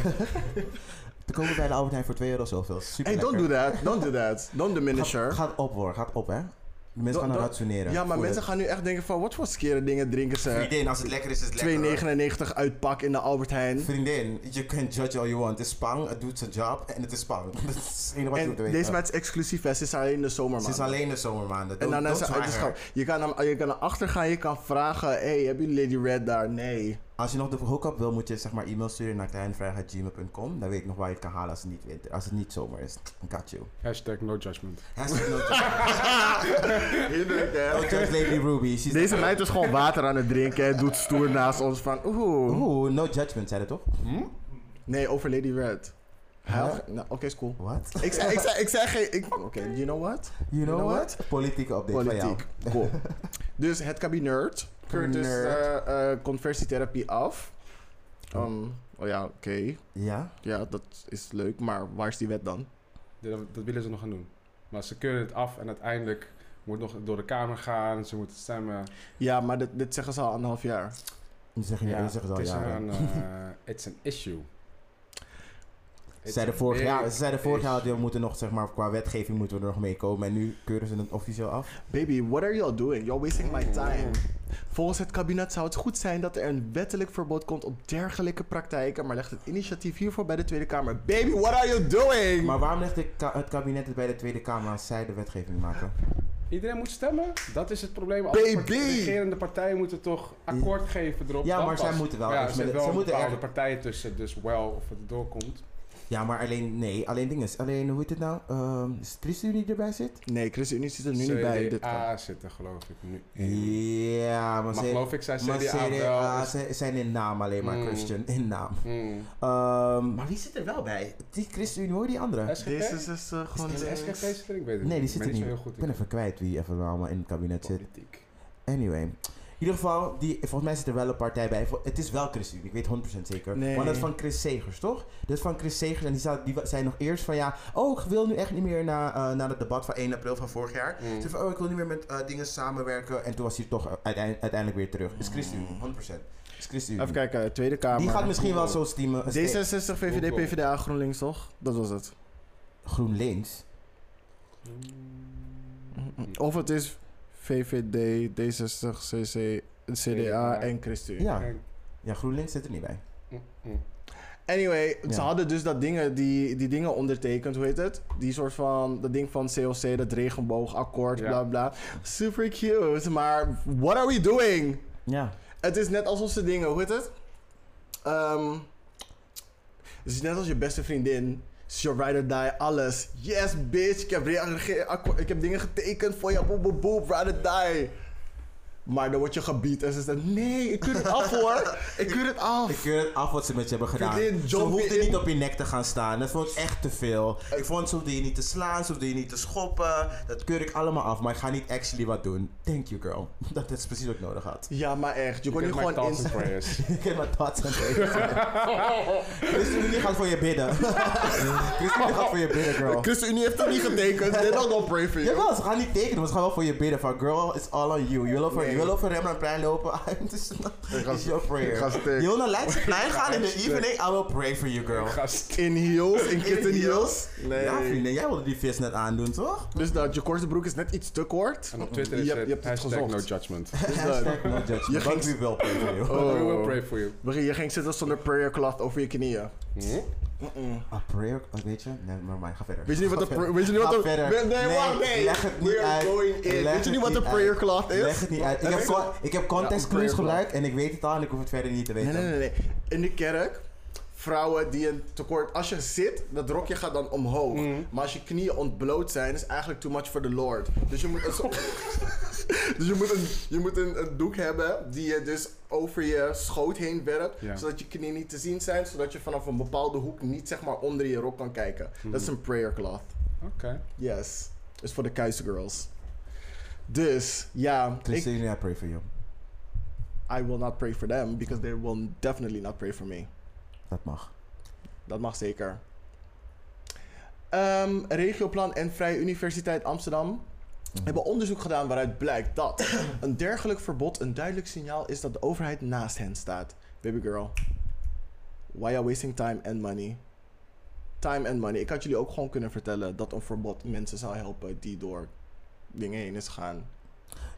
[SPEAKER 3] Te komen bij de Albert Heijn voor 2 euro zoveel. Super
[SPEAKER 1] Hey, don't do that. Don't do that. Don't diminish her.
[SPEAKER 3] Gaat, gaat op hoor, gaat op hè. De mensen gaan
[SPEAKER 1] Dat- dat-
[SPEAKER 3] rationeren.
[SPEAKER 1] Ja, maar
[SPEAKER 3] Voel
[SPEAKER 1] mensen
[SPEAKER 3] het.
[SPEAKER 1] gaan nu echt denken van... Wat voor skere dingen drinken ze?
[SPEAKER 3] Vriendin, als het lekker is, is het lekker. hoor.
[SPEAKER 1] 2,99 uitpak in de Albert Heijn.
[SPEAKER 3] Vriendin, je kunt judge all you want. Het is Spang, het doet zijn job en het is Spang. Dat is het enige wat je
[SPEAKER 1] En
[SPEAKER 3] moet weten.
[SPEAKER 1] deze maat is exclusief, hè. Ze is alleen in de
[SPEAKER 3] Het
[SPEAKER 1] zomermaand.
[SPEAKER 3] is alleen de zomermaanden.
[SPEAKER 1] En
[SPEAKER 3] Don't-
[SPEAKER 1] daarna is
[SPEAKER 3] don't
[SPEAKER 1] ze uit de
[SPEAKER 3] try her.
[SPEAKER 1] schap. Je kan, hem, je kan naar achter gaan, je kan vragen... hey, hebben jullie Lady Red daar? Nee.
[SPEAKER 3] Als je nog de hookup wil, moet je zeg maar e-mail sturen naar kleinvrijheid.gmail.com. Dan weet ik nog waar je het kan halen als het niet winter, als het niet zomer is. Got you.
[SPEAKER 2] Hashtag no judgment.
[SPEAKER 3] Hashtag no judge. Don't judge Lady Ruby. She's
[SPEAKER 1] Deze meid is gewoon water aan het drinken en doet stoer naast ons van... Oeh.
[SPEAKER 3] Oeh, no judgment, zei dat toch?
[SPEAKER 1] Nee, over Lady Red. Huh?
[SPEAKER 3] Huh?
[SPEAKER 1] Nou, Oké, is cool.
[SPEAKER 3] What?
[SPEAKER 1] Ik zei, ik zei, ik zei geen... ik- Oké, you know what?
[SPEAKER 3] You know,
[SPEAKER 1] know
[SPEAKER 3] what? Politieke update van jou.
[SPEAKER 1] Politiek. Cool. Dus het kabinet keurt dus
[SPEAKER 3] Nerd.
[SPEAKER 1] eh, eh, conversietherapie af. Ehm, oh ja, oké.
[SPEAKER 3] Ja?
[SPEAKER 1] Ja, dat is leuk, maar waar is die wet dan?
[SPEAKER 2] Dat, dat willen ze nog gaan doen. Maar ze keuren het af en uiteindelijk moet nog door de Kamer gaan. Ze moeten stemmen.
[SPEAKER 1] Ja, maar dit, dit zeggen ze al anderhalf jaar.
[SPEAKER 3] Je zegt ja, je zegt het al
[SPEAKER 2] het is
[SPEAKER 3] jaren.
[SPEAKER 2] een... eh, it's an issue.
[SPEAKER 3] Ze
[SPEAKER 2] It's
[SPEAKER 3] zeiden
[SPEAKER 2] a
[SPEAKER 3] vorig
[SPEAKER 2] big
[SPEAKER 3] jaar, ze zeiden vorig jaar,
[SPEAKER 2] issue.
[SPEAKER 3] we moeten nog, zeg maar, qua wetgeving moeten we er nog mee komen. En nu keuren ze het officieel af.
[SPEAKER 1] Baby, what are you all doing? You're wasting my time. Volgens het kabinet zou het goed zijn dat er een wettelijk verbod komt op dergelijke praktijken, maar legt het initiatief hiervoor bij de Tweede Kamer. Baby, what are you doing?
[SPEAKER 3] Maar waarom legt de ka- het kabinet het bij de Tweede Kamer als zij de wetgeving maken?
[SPEAKER 2] Iedereen moet stemmen. Dat is het probleem. Alle part-
[SPEAKER 1] Baby!
[SPEAKER 2] de regerende partijen moeten toch akkoord geven erop.
[SPEAKER 3] Ja,
[SPEAKER 2] dan
[SPEAKER 3] maar zij
[SPEAKER 2] pas.
[SPEAKER 3] moeten wel
[SPEAKER 2] Ja,
[SPEAKER 3] iets
[SPEAKER 2] er zit
[SPEAKER 3] met-
[SPEAKER 2] wel
[SPEAKER 3] ze
[SPEAKER 2] een
[SPEAKER 3] moeten
[SPEAKER 2] bepaalde
[SPEAKER 3] echt-
[SPEAKER 2] partijen tussen. Dus wel of het doorkomt.
[SPEAKER 3] Ja, maar alleen, nee, alleen dingen. Alleen, hoe heet het nou? Ehm is het ChristenUnie die erbij zit?
[SPEAKER 1] Nee, ChristenUnie zit er nu niet bij. Dit keer.
[SPEAKER 2] CDA zit er geloof ik nu in.
[SPEAKER 3] Ja, maar,
[SPEAKER 2] Maar
[SPEAKER 3] ze-
[SPEAKER 2] geloof ik, zij
[SPEAKER 3] maar
[SPEAKER 2] CDA,
[SPEAKER 3] CDA
[SPEAKER 2] wel.
[SPEAKER 3] ze- zijn in naam alleen maar,
[SPEAKER 2] Mm.
[SPEAKER 3] Christian, in naam.
[SPEAKER 2] Hmm.
[SPEAKER 3] Ehm, maar wie zit er wel bij? Die ChristenUnie, hoor die andere?
[SPEAKER 2] SGP?
[SPEAKER 1] Deze is dus, eh, gewoon.
[SPEAKER 2] Is de
[SPEAKER 1] links.
[SPEAKER 2] SGP zit er? Ik weet het
[SPEAKER 3] Nee, die
[SPEAKER 2] niet.
[SPEAKER 3] zit er
[SPEAKER 2] Ik
[SPEAKER 3] niet.
[SPEAKER 2] ben niet zo heel
[SPEAKER 3] Ik
[SPEAKER 2] goed
[SPEAKER 3] ben
[SPEAKER 2] in
[SPEAKER 3] even kwijt wie even allemaal in het kabinet zit.
[SPEAKER 2] politiek.
[SPEAKER 3] Anyway. In ieder geval, die, volgens mij zit er wel een partij bij. Vol- Het is wel ChristenUnie, ik weet 100% zeker.
[SPEAKER 1] Nee.
[SPEAKER 3] Maar dat is van Chris Segers, toch? Dat is van Chris Segers en die, zou- die wa- zei nog eerst van ja... Oh, ik wil nu echt niet meer na, eh na het debat van 1 april van vorig jaar.
[SPEAKER 2] Mm.
[SPEAKER 3] Ze van, oh, ik wil niet meer met eh, dingen samenwerken. En toen was hij toch eh, uiteind- uiteindelijk weer terug. Is ChristenUnie, 100%. Is ChristenUnie.
[SPEAKER 1] Mm. Even kijken, eh, Tweede Kamer.
[SPEAKER 3] Die gaat misschien wel zo steamen.
[SPEAKER 1] D66, VVD,
[SPEAKER 2] Google.
[SPEAKER 1] PvdA, GroenLinks, toch? Dat was het.
[SPEAKER 3] GroenLinks.
[SPEAKER 1] Mm,
[SPEAKER 3] Oh,
[SPEAKER 1] Of het is VVD, D60, CC, CDA
[SPEAKER 2] CDA.
[SPEAKER 1] en ChristenUnie.
[SPEAKER 3] Ja.
[SPEAKER 2] Kijk.
[SPEAKER 3] ja, GroenLinks zit er niet bij.
[SPEAKER 2] Mm, mm.
[SPEAKER 1] Anyway, ze
[SPEAKER 3] Ja.
[SPEAKER 1] hadden dus dat dingen, die, die dingen ondertekend, hoe heet het? Die soort van, dat ding van COC, dat regenboogakkoord,
[SPEAKER 2] Ja.
[SPEAKER 1] bla bla. Super cute, maar what are we doing?
[SPEAKER 3] Ja.
[SPEAKER 1] Het is net alsof ze dingen, hoe heet het? Ehm, het is net als je beste vriendin. It's your ride or die, alles. Yes, bitch, ik heb, reage- akko- ik heb dingen getekend voor je, boep, boep, boep, ride or die. Maar dan word je gebied en ze zegt, nee, ik keur het af hoor. Ik keur het af.
[SPEAKER 3] Ik keur het af wat ze met je hebben gedaan.
[SPEAKER 1] Kijk in,
[SPEAKER 3] Ze
[SPEAKER 1] jump
[SPEAKER 3] hoefde
[SPEAKER 1] in.
[SPEAKER 3] niet op je nek te gaan staan. Dat vond ik echt te veel. Ik vond ze hoefde je niet te slaan, ze hoefde je niet te schoppen. Dat keur ik allemaal af, maar ik ga niet actually wat doen. Thank you, girl. Dat is precies wat ik nodig had.
[SPEAKER 1] Ja, maar echt. Je kon
[SPEAKER 2] Ik
[SPEAKER 1] niet
[SPEAKER 2] heb mijn
[SPEAKER 1] gewoon
[SPEAKER 2] thoughts
[SPEAKER 1] in...
[SPEAKER 2] and prayers.
[SPEAKER 3] Ik heb mijn thoughts aan Christine gaat voor je bidden. Christine gaat voor je bidden, girl.
[SPEAKER 1] ChristenUnie heeft het niet getekend. They're not gonna pray for you.
[SPEAKER 3] Jawel, ze gaan niet tekenen, maar ze gaan wel voor je bidden. Van girl, it's all on you. Je wil over, je wil over Rembrandtplein lopen. Het is it's your
[SPEAKER 1] ik ga
[SPEAKER 3] prayer.
[SPEAKER 1] stuk.
[SPEAKER 3] Je wil naar Leidseplein gaan in de
[SPEAKER 1] eh,
[SPEAKER 3] evening. I will pray for you, girl.
[SPEAKER 2] Gast.
[SPEAKER 1] In heels, in kitten heels.
[SPEAKER 3] heels?
[SPEAKER 1] Nee.
[SPEAKER 3] Ja, vrienden, jij wilde die vis net aandoen, toch?
[SPEAKER 1] Dus dat je korte broek is net iets te kort.
[SPEAKER 2] En op Twitter is
[SPEAKER 1] Je hebt- je
[SPEAKER 2] het
[SPEAKER 1] hebt het
[SPEAKER 2] hashtag no
[SPEAKER 1] gezocht.
[SPEAKER 2] judgment.
[SPEAKER 1] Dus dat-
[SPEAKER 3] Hashtag no judgment.
[SPEAKER 1] Je
[SPEAKER 3] Je
[SPEAKER 1] ging-
[SPEAKER 3] ging wel pray for you.
[SPEAKER 2] We
[SPEAKER 1] Oh.
[SPEAKER 2] will pray for you.
[SPEAKER 1] Begin, je ging zitten zonder prayer cloth over je knieën.
[SPEAKER 2] Hm?
[SPEAKER 3] A prayer, oh, weet je? Nee, maar mij, ga verder.
[SPEAKER 1] Weet je niet wat de
[SPEAKER 3] Ga
[SPEAKER 1] pra-
[SPEAKER 3] verder.
[SPEAKER 1] weet je niet wat
[SPEAKER 3] Ga
[SPEAKER 1] de-
[SPEAKER 3] verder.
[SPEAKER 1] Nee, nee, wacht, nee.
[SPEAKER 3] Leg het niet
[SPEAKER 1] We are
[SPEAKER 3] uit.
[SPEAKER 1] going in.
[SPEAKER 3] Leg
[SPEAKER 1] Weet je
[SPEAKER 3] het
[SPEAKER 1] niet wat de
[SPEAKER 3] uit.
[SPEAKER 1] prayer cloth is?
[SPEAKER 3] Leg het niet uit. Ik
[SPEAKER 1] Heb
[SPEAKER 3] heb,
[SPEAKER 1] ik
[SPEAKER 3] con-
[SPEAKER 1] wel-
[SPEAKER 3] ik heb
[SPEAKER 1] Ja,
[SPEAKER 3] context
[SPEAKER 1] een prayer
[SPEAKER 3] clues
[SPEAKER 1] cloth.
[SPEAKER 3] gebruikt en ik weet het al en ik hoef het verder niet te weten.
[SPEAKER 1] Nee, nee, nee, nee. In de kerk, vrouwen die een tekort. Als je zit, dat rokje gaat dan omhoog. Maar als je knieën ontbloot zijn, is eigenlijk too much for the Lord. Dus je moet een, soort- dus je moet een, je moet een, een doek hebben die je dus over je schoot heen werpt.
[SPEAKER 2] Ja.
[SPEAKER 1] Zodat je knieën niet te zien zijn. Zodat je vanaf een bepaalde hoek niet zeg maar onder je rok kan kijken. Dat is een prayer cloth.
[SPEAKER 2] Oké.
[SPEAKER 1] Yes. Is voor de Keizer-girls. Dus ja, ik,
[SPEAKER 3] Christine, I pray for you.
[SPEAKER 1] I will not pray for them because they will definitely not pray for me.
[SPEAKER 3] Dat mag.
[SPEAKER 1] Dat mag zeker. Ehm, Regioplan en Vrije Universiteit Amsterdam
[SPEAKER 3] Mhm.
[SPEAKER 1] hebben onderzoek gedaan waaruit blijkt dat een dergelijk verbod een duidelijk signaal is dat de overheid naast hen staat. Baby girl, why are wasting time and money? Time and money. Ik had jullie ook gewoon kunnen vertellen dat een verbod mensen zou helpen die door dingen heen is gaan.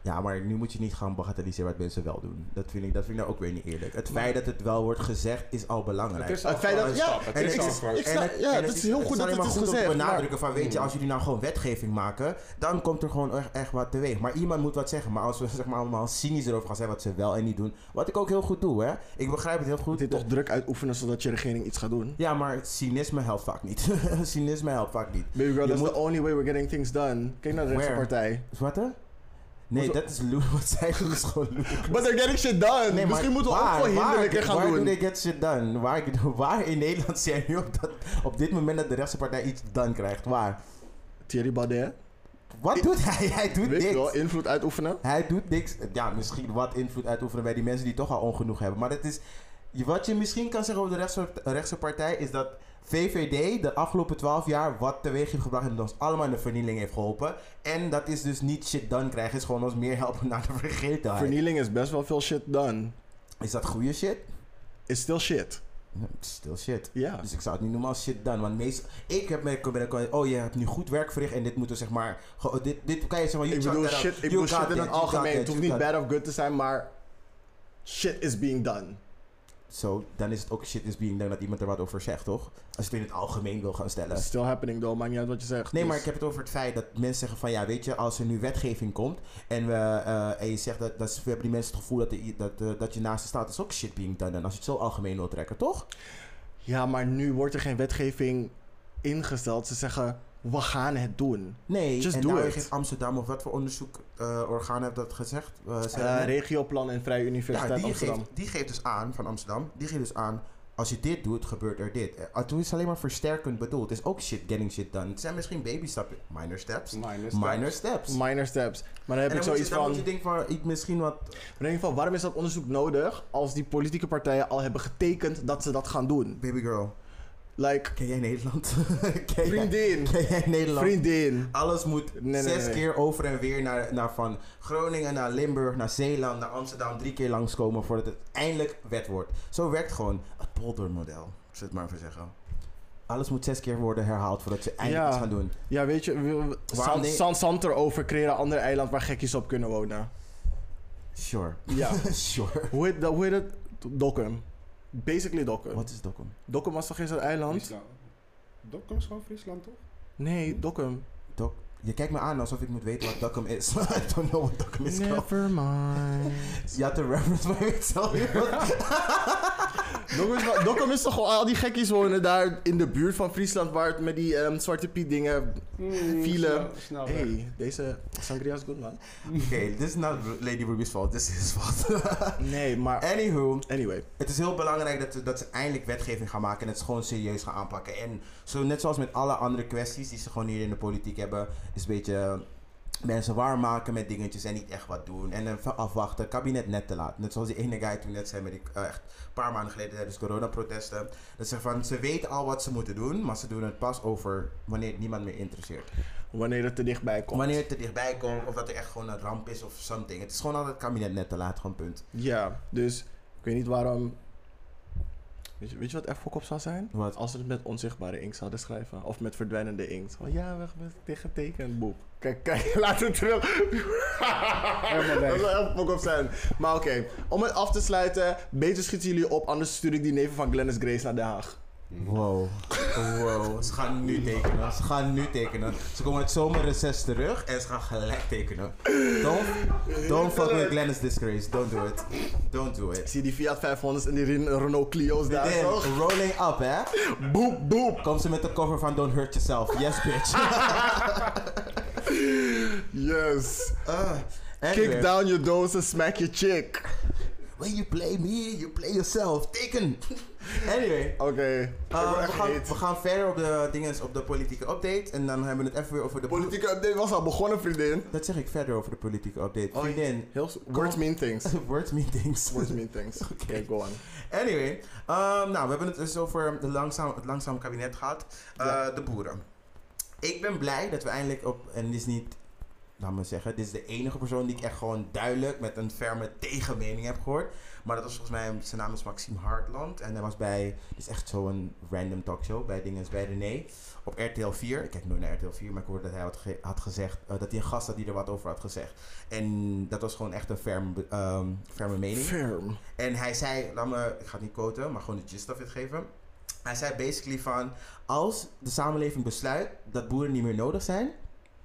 [SPEAKER 3] Ja, maar nu moet je niet gaan bagatelliseren wat mensen wel doen. Dat vind ik, dat vind ik nou ook weer niet eerlijk. Het feit dat het wel wordt gezegd is al belangrijk.
[SPEAKER 2] Het is
[SPEAKER 1] Het
[SPEAKER 2] al
[SPEAKER 1] feit
[SPEAKER 2] gewoon
[SPEAKER 1] dat-
[SPEAKER 2] een
[SPEAKER 1] ja,
[SPEAKER 2] stap. Het
[SPEAKER 3] en
[SPEAKER 2] is
[SPEAKER 3] ik-
[SPEAKER 2] al
[SPEAKER 1] ik-
[SPEAKER 2] gewoon-
[SPEAKER 1] ik- sta- ja, dat is heel goed dat
[SPEAKER 3] alleen
[SPEAKER 1] het
[SPEAKER 3] maar
[SPEAKER 1] is
[SPEAKER 3] goed om
[SPEAKER 1] gezegd,
[SPEAKER 3] te
[SPEAKER 1] maar-
[SPEAKER 3] benadrukken van, weet je, als jullie nou gewoon wetgeving maken, dan komt er gewoon e- echt, echt wat teweeg. Maar iemand moet wat zeggen. Maar als we zeg maar, allemaal cynisch erover gaan zijn wat ze wel en niet doen, wat ik ook heel goed doe, hè. Ik begrijp het heel goed.
[SPEAKER 1] Dit toch druk uitoefenen zodat je regering iets gaat doen?
[SPEAKER 3] Ja, maar cynisme helpt vaak niet. cynisme helpt vaak niet.
[SPEAKER 1] Baby girl,
[SPEAKER 3] Je
[SPEAKER 1] that's
[SPEAKER 3] moet-
[SPEAKER 1] the only way we're getting things done. Kijk naar de
[SPEAKER 3] Where?
[SPEAKER 1] rechtse partij.
[SPEAKER 3] Wat hè? Nee, dat is loe. Wat zij doen is gewoon loe.
[SPEAKER 1] But they're getting shit done.
[SPEAKER 3] Nee, maar
[SPEAKER 1] Misschien moeten we
[SPEAKER 3] waar,
[SPEAKER 1] ook gewoon hinderlijker
[SPEAKER 3] waar,
[SPEAKER 1] gaan
[SPEAKER 3] waar
[SPEAKER 1] doen.
[SPEAKER 3] they get shit done? Waar, waar in Nederland zie jij nu op, dat, op dit moment dat de rechtse partij iets done krijgt? Waar?
[SPEAKER 1] Thierry Baudet.
[SPEAKER 3] Wat doet hij? Hij doet
[SPEAKER 1] Weet je wel,
[SPEAKER 3] niks.
[SPEAKER 1] invloed uitoefenen.
[SPEAKER 3] Hij doet niks. Ja, misschien wat invloed uitoefenen bij die mensen die toch al ongenoeg hebben. Maar het is, je- wat je misschien kan zeggen over de rechtse, rechtse partij is dat VVD de afgelopen 12 jaar wat teweeg heeft gebracht en ons allemaal in de vernieling heeft geholpen. En dat is dus niet shit done krijgen, is gewoon ons meer helpen naar de vergetelheid.
[SPEAKER 1] Vernieling is best wel veel shit done.
[SPEAKER 3] is dat goede shit?
[SPEAKER 1] Is still shit.
[SPEAKER 3] Still shit.
[SPEAKER 1] Ja.
[SPEAKER 3] Dus ik zou het niet noemen als shit done. Want meest, ik heb me gemerkt, oh je hebt nu goed werk verricht en dit moeten zeg maar, ge- dit, dit kan je zeg maar, you
[SPEAKER 1] Ik
[SPEAKER 3] check
[SPEAKER 1] bedoel
[SPEAKER 3] that out.
[SPEAKER 1] shit, ik
[SPEAKER 3] You
[SPEAKER 1] bedoel
[SPEAKER 3] got
[SPEAKER 1] shit in
[SPEAKER 3] that,
[SPEAKER 1] het
[SPEAKER 3] you got
[SPEAKER 1] algemeen.
[SPEAKER 3] that,
[SPEAKER 1] Het hoeft
[SPEAKER 3] you
[SPEAKER 1] niet
[SPEAKER 3] got
[SPEAKER 1] bad of good te zijn, maar shit is being done.
[SPEAKER 3] Zo, dan is het ook shit is being done dat iemand er wat over zegt, toch? Als je het in het algemeen wil gaan stellen.
[SPEAKER 1] It's still happening though, maakt niet uit wat je zegt.
[SPEAKER 3] Nee,
[SPEAKER 1] Dus
[SPEAKER 3] maar ik heb het over het feit dat mensen zeggen van ja, weet je, als er nu wetgeving komt en, we, eh, en je zegt dat, dat ze- hebben die mensen het gevoel dat, de- dat, eh, dat je naast de staat is ook shit being done. En als je het zo algemeen wil trekken, toch?
[SPEAKER 1] Ja, maar nu wordt er geen wetgeving ingesteld. Ze zeggen, we gaan het doen.
[SPEAKER 3] Nee,
[SPEAKER 1] Just
[SPEAKER 3] en
[SPEAKER 1] do
[SPEAKER 3] nou
[SPEAKER 1] it.
[SPEAKER 3] heeft Amsterdam of wat voor onderzoekorgaan heeft dat gezegd? Eh, zei dat
[SPEAKER 1] Eh
[SPEAKER 3] net?
[SPEAKER 1] regioplan en Vrije
[SPEAKER 3] Ja,
[SPEAKER 1] Universiteit
[SPEAKER 3] die
[SPEAKER 1] Amsterdam.
[SPEAKER 3] geeft, die geeft dus aan, van Amsterdam, die geeft dus aan, als je dit doet, gebeurt er dit. Eh, Toen is het alleen maar versterkend bedoeld. Het is ook shit, getting shit done. Het zijn misschien baby stappen, minor steps.
[SPEAKER 2] Minor steps.
[SPEAKER 3] Minor steps.
[SPEAKER 1] Minor steps. Maar dan heb
[SPEAKER 3] en dan
[SPEAKER 1] ik
[SPEAKER 3] moet je,
[SPEAKER 1] zoiets
[SPEAKER 3] dan
[SPEAKER 1] van...
[SPEAKER 3] moet je denken van, ik misschien wat...
[SPEAKER 1] Maar in ieder geval, waarom is dat onderzoek nodig als die politieke partijen al hebben getekend dat ze dat gaan doen?
[SPEAKER 3] Baby girl,
[SPEAKER 1] Like,
[SPEAKER 3] ken jij Nederland? ken Jij,
[SPEAKER 1] vriendin,
[SPEAKER 3] ken jij Nederland?
[SPEAKER 1] vriendin.
[SPEAKER 3] Alles moet
[SPEAKER 1] Nee, nee,
[SPEAKER 3] zes
[SPEAKER 1] nee, nee.
[SPEAKER 3] keer over en weer naar, naar van Groningen, naar Limburg, naar Zeeland, naar Amsterdam. Drie keer langskomen voordat het eindelijk wet wordt. Zo werkt gewoon het poldermodel, zet het maar even zeggen. Alles moet zes keer worden herhaald voordat ze eindelijk
[SPEAKER 1] Ja.
[SPEAKER 3] iets gaan doen.
[SPEAKER 1] Ja, weet je, we- we-
[SPEAKER 3] Waarom
[SPEAKER 1] San,
[SPEAKER 3] nee?
[SPEAKER 1] San Sant erover, creëren een ander eiland waar gekjes op kunnen wonen.
[SPEAKER 3] Sure.
[SPEAKER 1] Ja.
[SPEAKER 3] sure.
[SPEAKER 1] hoe, heet dat, hoe heet het? Dokkum. Basically Dokkum.
[SPEAKER 3] Wat is Dokkum?
[SPEAKER 1] Dokkum was toch eens dat eiland?
[SPEAKER 2] Friesland. Dokkum is nou- gewoon Friesland, toch?
[SPEAKER 1] Nee, Dokkum.
[SPEAKER 3] Dok je kijkt me aan alsof ik moet weten wat Dokkum is. I don't know what Dokkum is. girl.
[SPEAKER 1] Never mind.
[SPEAKER 3] Je had de reference, maar ik weet zelf niet wat-
[SPEAKER 1] Dokkum is, wel- Dokkum is toch gewoon al die gekkies wonen daar in de buurt van Friesland waar het met die ehm, Zwarte Piet dingen.
[SPEAKER 2] Mm,
[SPEAKER 1] File.
[SPEAKER 2] snel- snel weg.
[SPEAKER 1] hey, deze sangria is goed man.
[SPEAKER 3] okay, this is not Lady Ruby's fault, this is his fault.
[SPEAKER 1] Nee, maar
[SPEAKER 3] Anywho,
[SPEAKER 1] anyway.
[SPEAKER 3] het is heel belangrijk dat, ze- dat ze eindelijk wetgeving gaan maken en het gewoon serieus gaan aanpakken. En zo net zoals met alle andere kwesties die ze gewoon hier in de politiek hebben, is een beetje eh, mensen warm maken met dingetjes en niet echt wat doen. En dan afwachten, kabinet net te laat. Net zoals die ene guy toen net zei, met die, eh, echt een paar maanden geleden tijdens coronaprotesten. Dat ze van, ze weten al wat ze moeten doen, maar ze doen het pas over wanneer het niemand meer interesseert.
[SPEAKER 1] Wanneer het er dichtbij komt.
[SPEAKER 3] Wanneer het er dichtbij komt of dat er echt gewoon een ramp is of something. Het is gewoon altijd het kabinet net te laat, gewoon punt.
[SPEAKER 1] Ja, dus ik weet niet waarom. Weet je, weet je wat echt op zou zijn?
[SPEAKER 3] Wat?
[SPEAKER 1] Als ze het met onzichtbare inkt zouden schrijven. Of met verdwijnende inkt. Van ja, we hebben het tegentekend, boep. Kijk, kijk, laat het terug.
[SPEAKER 2] Helemaal weg.
[SPEAKER 1] Dat zou echt fok op zijn. Maar oké, om het af te sluiten. Beter schieten jullie op, anders stuur ik die neven van Glennis Grace naar Den Haag.
[SPEAKER 3] Wow. wow. Ze gaan nu tekenen. Ze gaan nu tekenen. Ze komen uit zomerreces terug en ze gaan gelijk tekenen. Don't, don't fuck with Glennis Disgrace. Don't do it. Don't do
[SPEAKER 1] Ik
[SPEAKER 3] it.
[SPEAKER 1] zie die Fiat 500's en die Ren- Renault Clio's daar.
[SPEAKER 3] Then,
[SPEAKER 1] zo.
[SPEAKER 3] rolling up, hè?
[SPEAKER 1] Boep, boep.
[SPEAKER 3] Komt ze met de cover van Don't Hurt Yourself. Yes, bitch.
[SPEAKER 1] Yes.
[SPEAKER 3] Ah, anyway.
[SPEAKER 1] Kick down your doors and smack your chick.
[SPEAKER 3] When you play me, you play yourself. Teken. anyway.
[SPEAKER 1] Oké.
[SPEAKER 3] eh,
[SPEAKER 1] Ik word
[SPEAKER 3] we,
[SPEAKER 1] echt
[SPEAKER 3] gaan,
[SPEAKER 1] heet.
[SPEAKER 3] we gaan verder op de, dingen, op de politieke update. En dan hebben we het even weer over de...
[SPEAKER 1] Politieke update was al begonnen, vriendin.
[SPEAKER 3] Dat zeg ik verder over de politieke update. Vriendin,
[SPEAKER 1] Heel, s- words mean things.
[SPEAKER 3] words mean things.
[SPEAKER 1] Oh, Words mean things. Oké, go on.
[SPEAKER 3] Anyway, ehm, nou, we hebben het dus over de langzaam, het langzaam kabinet gehad. Eh,
[SPEAKER 1] Ja.
[SPEAKER 3] De boeren. Ik ben blij dat we eindelijk op, en dit is niet, laat me zeggen, dit is de enige persoon die ik echt gewoon duidelijk met een ferme tegenmening heb gehoord. Maar dat was volgens mij, zijn naam is Maxime Hartland. En hij was bij, dit is echt zo'n random talkshow, bij Dingens bij René. Op RTL 4. Ik kijk nooit naar RTL 4, maar ik hoorde dat hij wat ge- had gezegd, eh, dat hij een gast had die er wat over had gezegd. En dat was gewoon echt een ferme, be- ehm, ferme mening.
[SPEAKER 1] Firm.
[SPEAKER 3] En hij zei, laat me, ik ga het niet quoten, maar gewoon de gist of het geven. Hij zei basically van, als de samenleving besluit dat boeren niet meer nodig zijn,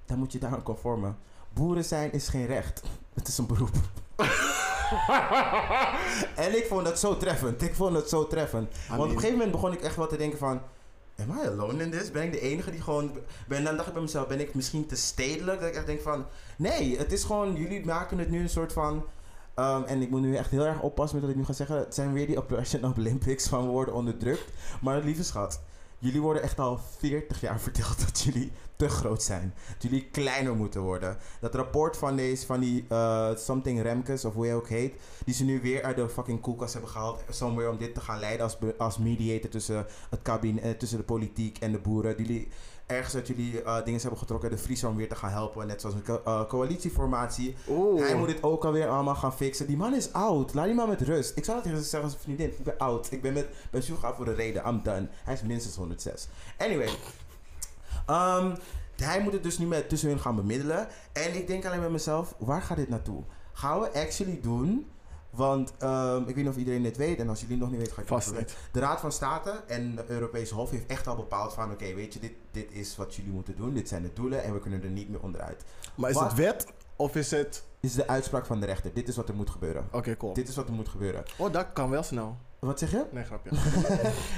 [SPEAKER 3] dan moet je daaraan conformen. Boeren zijn is geen recht. Het is een beroep. en ik vond dat zo treffend. Ik vond het zo treffend. Want op een gegeven moment begon ik echt wel te denken van... Am I alone in this? Ben ik de enige die gewoon... Ben, dan dacht ik bij mezelf, ben ik misschien te stedelijk? Dat ik echt denk van... Nee, het is gewoon... Jullie maken het nu een soort van... ehm, en ik moet nu echt heel erg oppassen met wat ik nu ga zeggen. Het zijn weer die Operation Olympics van worden onderdrukt. Maar lieve schat, jullie worden echt al 40 jaar verteld dat jullie te groot zijn. Dat jullie kleiner moeten worden. Dat rapport van deze, van die eh, Something Remkes of hoe je ook heet. Die ze nu weer uit de fucking koelkast hebben gehaald. Somewhere om dit te gaan leiden als, be- als mediator tussen het kabinet, eh, tussen de politiek en de boeren. Die jullie ergens dat jullie eh, dingen hebben getrokken. De Fries om weer te gaan helpen. Net zoals een co- eh, coalitieformatie.
[SPEAKER 1] Oeh.
[SPEAKER 3] Hij moet dit ook alweer allemaal gaan fixen. Die man is oud. Laat die man met rust. Ik zou dat tegen ze zeggen als een vriendin. Ik ben oud. Ik ben met pensioen gegaan voor de reden. I'm done. Hij is minstens 106. Anyway. Ehm, hij moet het dus nu met tussen hun gaan bemiddelen. En ik denk alleen bij mezelf, waar gaat dit naartoe? Gaan we actually doen? Want ehm, ik weet niet of iedereen dit weet. En als jullie het nog niet weten, ga ik het
[SPEAKER 1] Vast
[SPEAKER 3] even
[SPEAKER 1] niet.
[SPEAKER 3] de Raad van State en de Europese Hof heeft echt al bepaald van... oké, weet je, dit, dit is wat jullie moeten doen. Dit zijn de doelen en we kunnen er niet meer onderuit.
[SPEAKER 1] Maar is
[SPEAKER 3] Wat?
[SPEAKER 1] het wet of is het...
[SPEAKER 3] Dit is de uitspraak van de rechter. Dit is wat er moet gebeuren.
[SPEAKER 1] Oké, cool.
[SPEAKER 3] Dit is wat er moet gebeuren.
[SPEAKER 1] Oh, dat kan wel snel.
[SPEAKER 3] Wat zeg je?
[SPEAKER 1] Nee, grapje.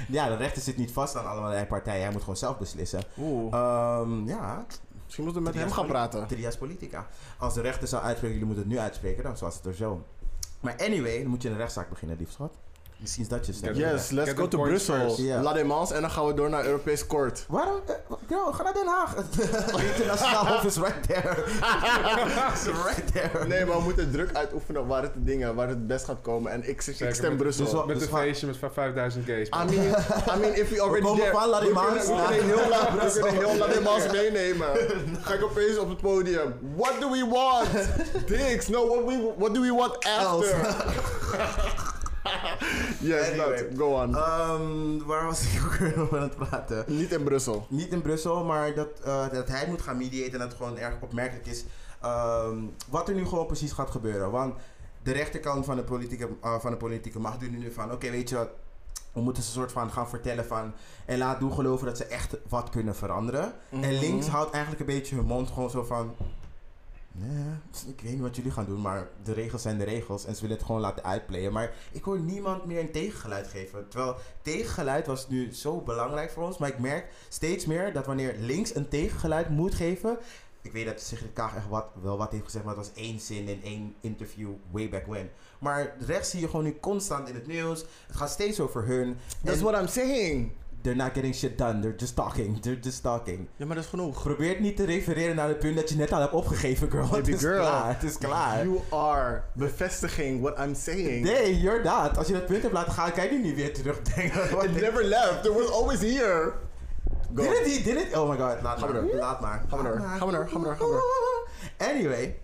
[SPEAKER 3] Ja, de rechter zit niet vast aan allerlei partijen. Hij moet gewoon zelf beslissen.
[SPEAKER 1] Oeh.
[SPEAKER 3] Ehm, ja,
[SPEAKER 1] Ah, Misschien moeten we met
[SPEAKER 3] drie
[SPEAKER 1] hem
[SPEAKER 3] is
[SPEAKER 1] gaan
[SPEAKER 3] wel-
[SPEAKER 1] praten.
[SPEAKER 3] trias politica. Als de rechter zou uitspreken, jullie moeten het nu uitspreken, dan was het er zo. Maar anyway, dan moet je een rechtszaak beginnen, lief schat. Misschien is dat je stem.
[SPEAKER 2] Ja, dat-
[SPEAKER 1] Yes, let's
[SPEAKER 2] Get
[SPEAKER 1] go
[SPEAKER 2] the
[SPEAKER 1] to
[SPEAKER 2] points
[SPEAKER 1] Brussel.
[SPEAKER 2] first.
[SPEAKER 3] Ja.
[SPEAKER 1] La Démence en dan gaan we door naar Europees Court.
[SPEAKER 3] Waarom? eh, yo, ga naar Den Haag. Het internationaal hof is right there. It's right there.
[SPEAKER 1] Nee, maar we moeten druk uitoefenen op waar het de dingen, waar het best gaat komen. En ik, ik
[SPEAKER 2] Zeker,
[SPEAKER 1] stem
[SPEAKER 2] met-
[SPEAKER 1] Brussel.
[SPEAKER 3] dus wat-
[SPEAKER 2] Met
[SPEAKER 3] Dus Ah,
[SPEAKER 2] een
[SPEAKER 3] ga-
[SPEAKER 2] feestje met 5000 gays.
[SPEAKER 1] I mean, I mean, if we
[SPEAKER 3] We
[SPEAKER 1] already
[SPEAKER 3] komen
[SPEAKER 1] there-
[SPEAKER 3] van La
[SPEAKER 1] we kunnen-
[SPEAKER 3] Démence
[SPEAKER 1] We
[SPEAKER 3] naar-
[SPEAKER 1] kunnen heel laat we
[SPEAKER 3] Brussel.
[SPEAKER 1] kunnen heel laat Démence meenemen. Ga ik opeens op het podium. What do we want? Dicks. No, what, we, what do we want after? yes,
[SPEAKER 3] Anyway.
[SPEAKER 1] dat. Go on.
[SPEAKER 3] Ehm, waar was ik ook weer over aan het praten?
[SPEAKER 1] Niet in Brussel.
[SPEAKER 3] Niet in Brussel, maar dat, eh, dat hij moet gaan mediaten en dat het gewoon erg opmerkelijk is ehm, wat er nu gewoon precies gaat gebeuren. Want de rechterkant van de politieke, eh, van de politieke macht doet nu van, oké weet je wat, we moeten ze een soort van gaan vertellen van, en laat doen geloven dat ze echt wat kunnen veranderen. En links houdt eigenlijk een beetje hun mond gewoon zo van, Nee, Dus ik weet niet wat jullie gaan doen, maar de regels zijn de regels. En ze willen het gewoon laten uitplayen. Maar ik hoor niemand meer een tegengeluid geven. Terwijl tegengeluid was nu zo belangrijk voor ons. Maar ik merk steeds meer dat wanneer links een tegengeluid moet geven. Ik weet dat Sigrid Kaag echt wat, wel wat heeft gezegd, maar het was één zin in één interview way back when. Maar rechts zie je gewoon nu constant in het nieuws. Het gaat steeds over hun.
[SPEAKER 1] That's
[SPEAKER 3] En
[SPEAKER 1] what I'm saying.
[SPEAKER 3] They're not getting shit done. They're just talking. They're just talking.
[SPEAKER 1] Ja, maar dat is genoeg.
[SPEAKER 3] Probeer niet te refereren naar het punt dat je net al hebt opgegeven, girl. het
[SPEAKER 1] Baby
[SPEAKER 3] is
[SPEAKER 1] girl.
[SPEAKER 3] klaar. Het is klaar.
[SPEAKER 1] You are bevestiging what I'm saying.
[SPEAKER 3] Nee, you're not. Als je dat punt hebt laten gaan, kan je die niet weer terugdenken. Wat-
[SPEAKER 1] It never left. It was always here. Go.
[SPEAKER 3] Did it, he did it. Oh my god, laat
[SPEAKER 1] Gaan we
[SPEAKER 3] maar.
[SPEAKER 1] door.
[SPEAKER 3] Laat maar.
[SPEAKER 1] Gaan we door.
[SPEAKER 3] Laat maar.
[SPEAKER 1] Gaan we door. Gaan we door. Gaan we door.
[SPEAKER 3] Anyway.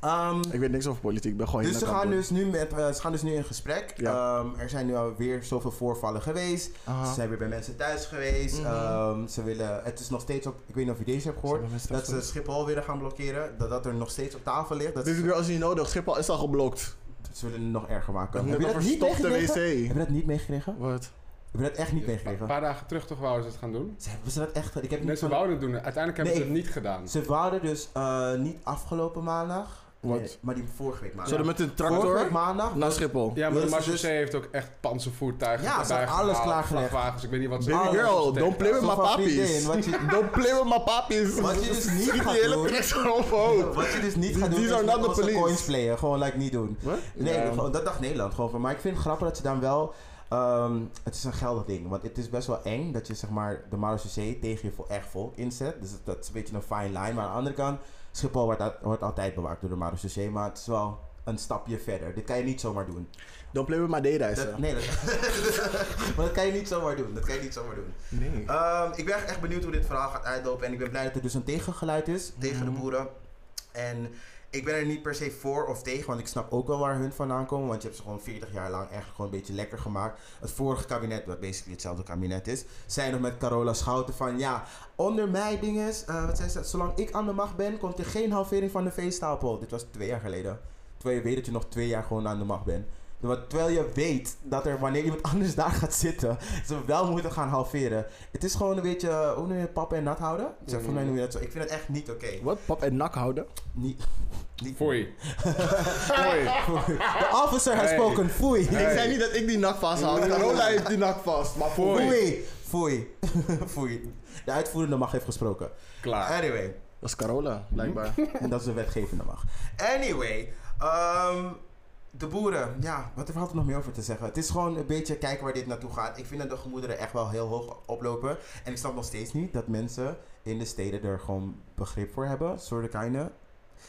[SPEAKER 3] ehm,
[SPEAKER 1] Ik weet niks over politiek. Ik ben gewoon
[SPEAKER 3] dus
[SPEAKER 1] hier
[SPEAKER 3] ze
[SPEAKER 1] naar
[SPEAKER 3] gaan
[SPEAKER 1] het
[SPEAKER 3] dus, nu met, eh, ze gaan dus nu in gesprek.
[SPEAKER 1] Ja.
[SPEAKER 3] Ehm, er zijn nu alweer zoveel voorvallen geweest.
[SPEAKER 1] Aha.
[SPEAKER 3] Ze zijn weer bij mensen thuis geweest.
[SPEAKER 1] Mhm.
[SPEAKER 3] Ehm, ze willen, het is nog steeds op, ik weet niet of je deze hebt gehoord,
[SPEAKER 1] Zijn we met
[SPEAKER 3] dat ze
[SPEAKER 1] straks-
[SPEAKER 3] Schiphol willen gaan blokkeren. Dat dat er nog steeds op tafel ligt. Dat
[SPEAKER 1] doen. Baby
[SPEAKER 3] ze,
[SPEAKER 1] girl is niet nodig. Schiphol is al geblokt.
[SPEAKER 3] ze willen het nog erger maken.
[SPEAKER 1] Met
[SPEAKER 3] Heb je
[SPEAKER 1] een
[SPEAKER 3] dat niet
[SPEAKER 1] verstopte
[SPEAKER 3] meegekregen? Heb
[SPEAKER 1] wc.
[SPEAKER 3] je dat niet meegekregen?
[SPEAKER 1] Wat?
[SPEAKER 3] Heb je dat echt niet
[SPEAKER 2] Een
[SPEAKER 3] meegekregen?
[SPEAKER 2] paar dagen terug toch wouden ze het gaan doen?
[SPEAKER 3] Ze hebben ze dat echt. Ik heb niet
[SPEAKER 2] Mensen
[SPEAKER 3] van-
[SPEAKER 2] wouden het doen. Uiteindelijk hebben
[SPEAKER 3] Nee,
[SPEAKER 2] ze het niet gedaan.
[SPEAKER 3] Ze waren dus eh, niet afgelopen maandag.
[SPEAKER 1] Wat?
[SPEAKER 3] Nee, maar die vorige week maandag.
[SPEAKER 1] Zouden met een
[SPEAKER 3] vorige week
[SPEAKER 1] tractor
[SPEAKER 3] maandag.
[SPEAKER 1] naar Schiphol?
[SPEAKER 2] Ja, maar de
[SPEAKER 3] Dus-
[SPEAKER 2] Marseille
[SPEAKER 3] dus-
[SPEAKER 2] heeft ook echt panzervoertuigen.
[SPEAKER 3] Ja, ze
[SPEAKER 2] erbij
[SPEAKER 3] hebben alles
[SPEAKER 2] gehaald,
[SPEAKER 3] klaargelegd.
[SPEAKER 2] vrachtwagens, ik weet niet wat ze Ah,
[SPEAKER 1] Baby
[SPEAKER 2] alles
[SPEAKER 1] girl,
[SPEAKER 2] wat ze
[SPEAKER 1] don't play with my
[SPEAKER 2] tegen-
[SPEAKER 3] Zo van
[SPEAKER 1] papies.
[SPEAKER 3] vriendin, wat je-
[SPEAKER 1] Don't play with my papies.
[SPEAKER 3] Wat je dus niet
[SPEAKER 1] Schiet
[SPEAKER 3] gaat
[SPEAKER 1] die hele
[SPEAKER 3] doen.
[SPEAKER 1] pers op hoofd.
[SPEAKER 3] Wat je dus niet gaat doen.
[SPEAKER 1] These
[SPEAKER 3] is
[SPEAKER 1] are
[SPEAKER 3] met
[SPEAKER 1] not the
[SPEAKER 3] onze
[SPEAKER 1] police.
[SPEAKER 3] coins playen. Gewoon like niet doen.
[SPEAKER 1] Wat?
[SPEAKER 3] Nee,
[SPEAKER 1] Ehm,
[SPEAKER 2] Ja.
[SPEAKER 3] gewoon- dat dacht Nederland gewoon van. Maar ik vind het grappig dat ze dan wel. ehm, het is een geldig ding. Want het is best wel eng dat je zeg maar de Marseille tegen je vo- echt volk inzet. Dus dat is een beetje een fine line. Maar aan de andere kant, Schiphol wordt, al- wordt altijd bewaakt door de Marseille. Maar het is wel een stapje verder. Dit kan je niet zomaar doen.
[SPEAKER 1] Don't play with my data, is
[SPEAKER 3] Dat,
[SPEAKER 1] er.
[SPEAKER 3] nee, dat, maar dat kan je niet zomaar doen. Dat kan je niet zomaar doen.
[SPEAKER 1] Nee.
[SPEAKER 3] Ehm, ik ben echt benieuwd hoe dit verhaal gaat uitlopen. En ik ben blij dat er dus een tegengeluid is tegen de boeren. En ik ben er niet per se voor of tegen, want ik snap ook wel waar hun vandaan komen. Want je hebt ze gewoon 40 jaar lang echt gewoon een beetje lekker gemaakt. Het vorige kabinet, wat basically hetzelfde kabinet is, zei nog met Carola Schouten van ja, onder mij dinges, eh, wat zei ze, zolang ik aan de macht ben, komt er geen halvering van de veestapel. Dit was twee jaar geleden. Terwijl je weet dat je nog twee jaar gewoon aan de macht bent. Want Terwijl je weet dat er wanneer iemand anders daar gaat zitten, ze wel moeten gaan halveren. Het is gewoon een beetje, eh, hoe noem je het, pap en nat houden? Zeg, voor mij noem je dat zo. Ik vind het echt niet oké.
[SPEAKER 1] Wat? Pap en nak houden?
[SPEAKER 3] Niet, niet
[SPEAKER 2] Voor je.
[SPEAKER 3] De officer has
[SPEAKER 2] Hey.
[SPEAKER 3] spoken. Foei.
[SPEAKER 2] Hey.
[SPEAKER 1] Ik zei niet dat ik die nak vasthoud. Carola heeft die nak vast. Maar voor
[SPEAKER 2] Foei.
[SPEAKER 3] Foei. Foei. Foei. De uitvoerende macht heeft gesproken.
[SPEAKER 2] Klaar.
[SPEAKER 3] Anyway.
[SPEAKER 1] Dat is Carola, blijkbaar.
[SPEAKER 3] En dat is de wetgevende macht. Anyway. ehm, de boeren. Ja, wat valt er nog meer over te zeggen? Het is gewoon een beetje kijken waar dit naartoe gaat. Ik vind dat de gemoederen echt wel heel hoog oplopen. En ik snap nog steeds niet dat mensen in de steden er gewoon begrip voor hebben. Soort kleine.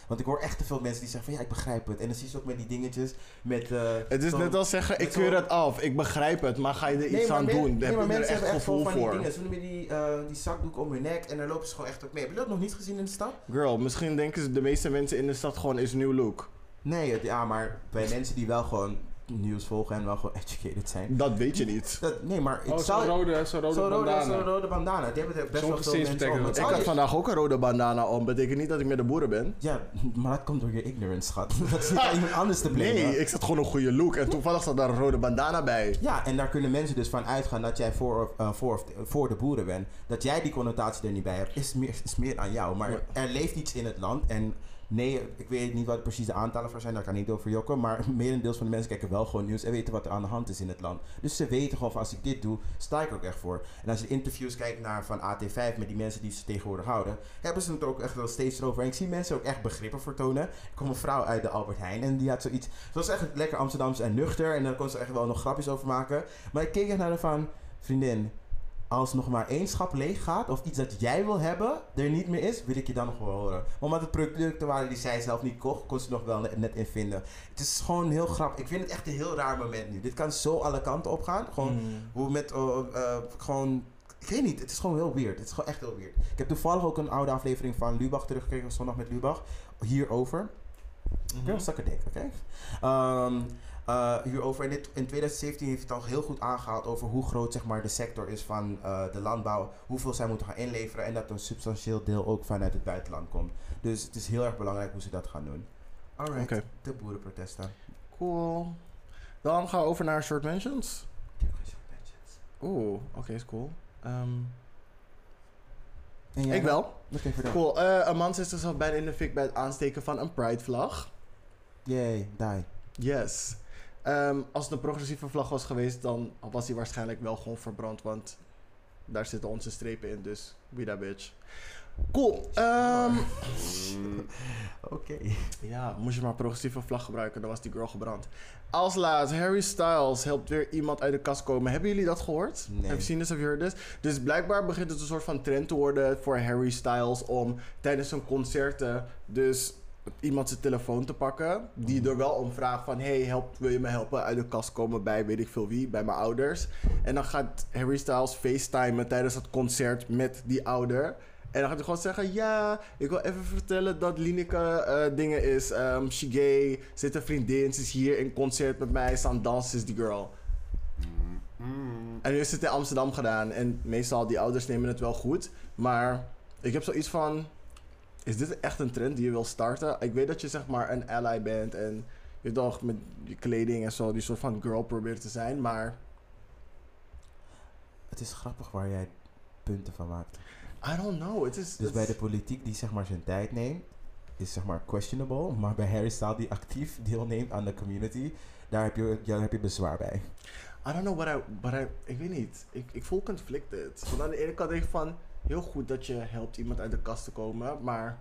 [SPEAKER 3] Want ik hoor echt te veel mensen die zeggen van ja, ik begrijp het. En dan zie je ze ook met die dingetjes met... eh,
[SPEAKER 1] Het is
[SPEAKER 3] zo'n-
[SPEAKER 1] net als zeggen, ik
[SPEAKER 3] met zo'n-
[SPEAKER 1] keur het af. Ik begrijp het, maar ga je er iets
[SPEAKER 3] maar
[SPEAKER 1] aan
[SPEAKER 3] men-
[SPEAKER 1] doen?
[SPEAKER 3] nee,
[SPEAKER 1] Daar
[SPEAKER 3] maar
[SPEAKER 1] heb je er
[SPEAKER 3] mensen
[SPEAKER 1] echt
[SPEAKER 3] hebben echt
[SPEAKER 1] gevoel
[SPEAKER 3] gewoon van die
[SPEAKER 1] voor.
[SPEAKER 3] dingen. Ze noemen die, eh, die zakdoek om hun nek en daar lopen ze gewoon echt ook mee. Heb je dat nog niet gezien in de stad?
[SPEAKER 1] Girl, misschien denken ze de meeste mensen in de stad gewoon is nieuw look.
[SPEAKER 3] Nee, het- ja, maar bij mensen die wel gewoon nieuws volgen en wel gewoon educated zijn.
[SPEAKER 1] Dat weet je niet.
[SPEAKER 3] Dat, nee, maar
[SPEAKER 2] Oh,
[SPEAKER 3] het
[SPEAKER 2] zo'n
[SPEAKER 3] zou...
[SPEAKER 2] rode, zo'n rode
[SPEAKER 3] Zo'n rode, zo'n
[SPEAKER 2] bandana.
[SPEAKER 3] rode bandana. Die hebben er best wel
[SPEAKER 2] Sommige
[SPEAKER 3] veel
[SPEAKER 2] steeds
[SPEAKER 3] mensen
[SPEAKER 2] betekenen
[SPEAKER 3] om. Het Oh,
[SPEAKER 1] Ik
[SPEAKER 2] dat
[SPEAKER 3] zou
[SPEAKER 1] had
[SPEAKER 3] niet-
[SPEAKER 1] vandaag ook een rode bandana om. Betekent niet dat ik met de boeren ben.
[SPEAKER 3] Ja, maar dat komt door je ignorance, schat. Dat is niet aan iemand anders te blamen.
[SPEAKER 1] Nee, ik zat gewoon een goede look. En toevallig zat daar een rode bandana bij.
[SPEAKER 3] Ja, en daar kunnen mensen dus van uitgaan dat jij voor, of- eh, voor, of- voor de boeren bent. Dat jij die connotatie er niet bij hebt, is meer, is meer aan jou. Maar
[SPEAKER 1] Ja.
[SPEAKER 3] er leeft iets in het land. En nee, ik weet niet wat precies de aantallen voor zijn, daar kan ik niet over jokken. Maar merendeels van de mensen kijken wel gewoon nieuws en weten wat er aan de hand is in het land. Dus ze weten gewoon van als ik dit doe, sta ik ook echt voor. En als je interviews kijkt naar van AT5 met die mensen die ze tegenwoordig houden, hebben ze het ook echt wel steeds erover. En ik zie mensen ook echt begrippen voor tonen. Er kwam een vrouw uit de Albert Heijn en die had zoiets. Ze was echt lekker Amsterdams en nuchter. En daar kon ze echt wel nog grapjes over maken. Maar ik keek echt naar haar van, vriendin, als nog maar één schap leeg gaat of iets dat jij wil hebben er niet meer is, wil ik je dan nog wel horen. Maar omdat het producten waren die zij zelf niet kocht, kon ze nog wel net- net in vinden. Het is gewoon heel grappig. Ik vind het echt een heel raar moment nu. Dit kan zo alle kanten opgaan. Gewoon
[SPEAKER 1] Mm.
[SPEAKER 3] hoe met eh, eh, gewoon. Ik weet niet, het is gewoon heel weird. Het is gewoon echt heel weird. Ik heb toevallig ook een oude aflevering van Lubach teruggekeken, zondag met Lubach, hierover. Girl, suck a dick, oké? Ehm, eh, hierover, in, dit, in 2017 heeft hij het al heel goed aangehaald over hoe groot zeg maar, de sector is van eh, de landbouw, hoeveel zij moeten gaan inleveren en dat een substantieel deel ook vanuit het buitenland komt. Dus het is heel erg belangrijk hoe ze dat gaan doen. Alright,
[SPEAKER 1] Oké.
[SPEAKER 3] de boerenprotesten.
[SPEAKER 1] Cool. Dan gaan we over naar short mentions.
[SPEAKER 3] Ik heb geen short mentions.
[SPEAKER 1] Oeh, oké, is cool. Ehm,
[SPEAKER 3] En jij
[SPEAKER 1] Ik
[SPEAKER 3] dan?
[SPEAKER 1] wel.
[SPEAKER 3] Oké, vertel.
[SPEAKER 1] Cool. Eh, een man is al bijna in de fik bij het aansteken van een Pride-vlag.
[SPEAKER 3] Yay, die.
[SPEAKER 1] Yes. Ehm, als het een progressieve vlag was geweest, dan was die waarschijnlijk wel gewoon verbrand. Want daar zitten onze strepen in, dus be that bitch. Cool. Ehm,
[SPEAKER 2] Mm,
[SPEAKER 3] Oké.
[SPEAKER 1] ja, moest je maar progressieve vlag gebruiken, dan was die girl gebrand. Als laatst, Harry Styles helpt weer iemand uit de kast komen. Hebben jullie dat gehoord?
[SPEAKER 3] Nee.
[SPEAKER 1] Have you seen this, have you heard this? Dus blijkbaar begint het een soort van trend te worden voor Harry Styles om tijdens zijn concerten dus iemand zijn telefoon te pakken. Die er wel om vraagt van, hey, help, wil je me helpen uit de kast komen bij weet ik veel wie, bij mijn ouders. En dan gaat Harry Styles facetimen tijdens het concert met die ouder. En dan gaat hij gewoon zeggen, ja, ik wil even vertellen dat Lineke eh, dingen is. ehm she gay, zit een vriendin, ze is hier in concert met mij, ze aan het dansen, is die girl.
[SPEAKER 2] mm, mm.
[SPEAKER 1] En nu is het in Amsterdam gedaan. En meestal, die ouders nemen het wel goed. Maar ik heb zoiets van... Is dit echt een trend die je wil starten? Ik weet dat je zeg maar een ally bent. En je toch met je kleding en zo die soort van girl probeert te zijn. Maar
[SPEAKER 3] Het is grappig waar jij punten van maakt.
[SPEAKER 1] I don't know. Het is...
[SPEAKER 3] Dus
[SPEAKER 1] het
[SPEAKER 3] bij
[SPEAKER 1] is-
[SPEAKER 3] de politiek die zeg maar zijn tijd neemt, is zeg maar questionable. Maar bij Harry Styles die actief deelneemt aan de community, daar heb je, daar heb je bezwaar bij.
[SPEAKER 1] I don't know what I... But I ik weet niet. Ik, ik voel conflicted. Want aan de ene kant denk ik van... Heel goed dat je helpt iemand uit de kast te komen. Maar...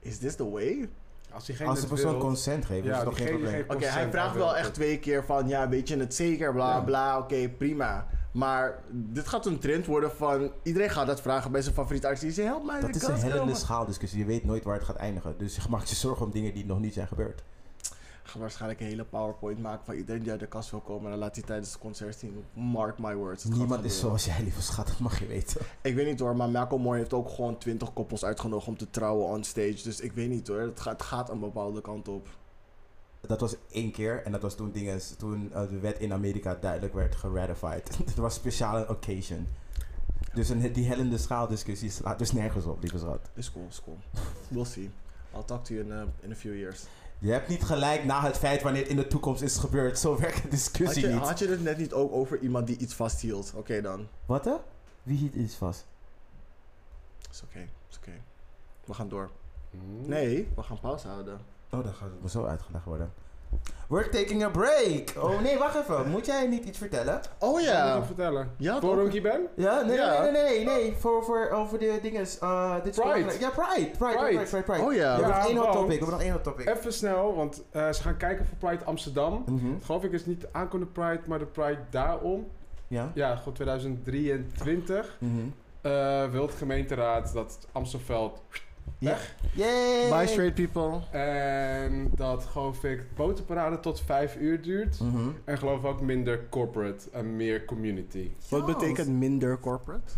[SPEAKER 1] Is this the way?
[SPEAKER 2] Als diegene
[SPEAKER 3] Als de
[SPEAKER 2] het
[SPEAKER 3] persoon
[SPEAKER 2] wil-
[SPEAKER 3] consent geeft, is
[SPEAKER 2] Ja,
[SPEAKER 3] het toch geen
[SPEAKER 2] diegene
[SPEAKER 3] probleem.
[SPEAKER 2] geeft
[SPEAKER 1] Oké, hij
[SPEAKER 2] consent,
[SPEAKER 1] vraagt
[SPEAKER 2] wil
[SPEAKER 1] wel
[SPEAKER 2] het.
[SPEAKER 1] echt twee keer van, ja, weet je het zeker, bla
[SPEAKER 2] Ja.
[SPEAKER 1] bla, oké, prima. Maar dit gaat een trend worden van, iedereen gaat dat vragen bij zijn favoriete artiest. Hij helpt mij,
[SPEAKER 3] Dat
[SPEAKER 1] de
[SPEAKER 3] is een
[SPEAKER 1] kans
[SPEAKER 3] hellende
[SPEAKER 1] komen.
[SPEAKER 3] schaaldiscussie. Je weet nooit waar het gaat eindigen. Dus je maakt je zorgen om dingen die nog niet zijn gebeurd.
[SPEAKER 1] Gaat waarschijnlijk een hele powerpoint maken van iedereen die uit de kast wil komen. En dan laat hij tijdens het concert zien, mark my words. het gaat
[SPEAKER 3] Niemand is
[SPEAKER 1] gebeuren.
[SPEAKER 3] zoals jij, lieve schat. Dat mag je weten.
[SPEAKER 1] Ik weet niet hoor, maar Malcolm Moore heeft ook gewoon twintig koppels uitgenodigd om te trouwen on stage. Dus ik weet niet hoor, het gaat, het gaat een bepaalde kant op.
[SPEAKER 3] Dat was één keer. En dat was toen, dingen, toen eh, de wet in Amerika duidelijk werd geratified. Het was speciaal een occasion. Dus een, die hellende schaaldiscussie slaat dus nergens op, lieve schat.
[SPEAKER 1] Is cool, is cool. We'll see. I'll talk to you in, eh, in a few years.
[SPEAKER 3] Je hebt niet gelijk na het feit wanneer het in de toekomst is gebeurd. Zo werkt de
[SPEAKER 1] Had
[SPEAKER 3] discussie
[SPEAKER 1] je,
[SPEAKER 3] niet.
[SPEAKER 1] had je het net niet ook over iemand die iets vasthield? Oké dan.
[SPEAKER 3] Wat hè? Wie hield iets vast?
[SPEAKER 1] Is oké, is oké. We gaan door.
[SPEAKER 2] Mm.
[SPEAKER 1] Nee, we gaan pauze houden.
[SPEAKER 3] Oh, dan gaat het me zo uitgelegd worden. We're taking a break. Oh nee, wacht even. Moet jij niet iets vertellen?
[SPEAKER 1] Oh
[SPEAKER 2] Ik moet het
[SPEAKER 1] ja.
[SPEAKER 2] vertellen.
[SPEAKER 1] Ja, had
[SPEAKER 2] Waarom
[SPEAKER 1] ook-
[SPEAKER 2] ik hier ben?
[SPEAKER 3] Ja, nee,
[SPEAKER 1] Ja.
[SPEAKER 3] nee, nee, nee, nee. Voor, voor over de dingen. eh dit is
[SPEAKER 2] Pride.
[SPEAKER 3] belangrijk. Ja, Pride. Pride, Pride,
[SPEAKER 2] Pride.
[SPEAKER 3] Pride, Pride. Pride.
[SPEAKER 1] Oh
[SPEAKER 3] We
[SPEAKER 1] ja.
[SPEAKER 2] Ja.
[SPEAKER 3] hebben nog één hot
[SPEAKER 2] want-
[SPEAKER 3] topic. We hebben nog één hot topic.
[SPEAKER 2] Even snel, want eh, ze gaan kijken voor Pride Amsterdam.
[SPEAKER 3] Mhm.
[SPEAKER 2] Geloof ik is niet de aankomende Pride, maar de Pride daarom.
[SPEAKER 3] Ja.
[SPEAKER 2] Ja, gewoon 2023.
[SPEAKER 3] Mhm.
[SPEAKER 2] Eh wil het gemeenteraad dat Amstelveld
[SPEAKER 3] Yay.
[SPEAKER 1] Bye straight people.
[SPEAKER 2] en dat geloof ik de botenparade tot 5 uur duurt.
[SPEAKER 3] Mhm.
[SPEAKER 2] En geloof ook minder corporate en meer community.
[SPEAKER 1] Wat
[SPEAKER 3] Yes.
[SPEAKER 1] betekent minder corporate?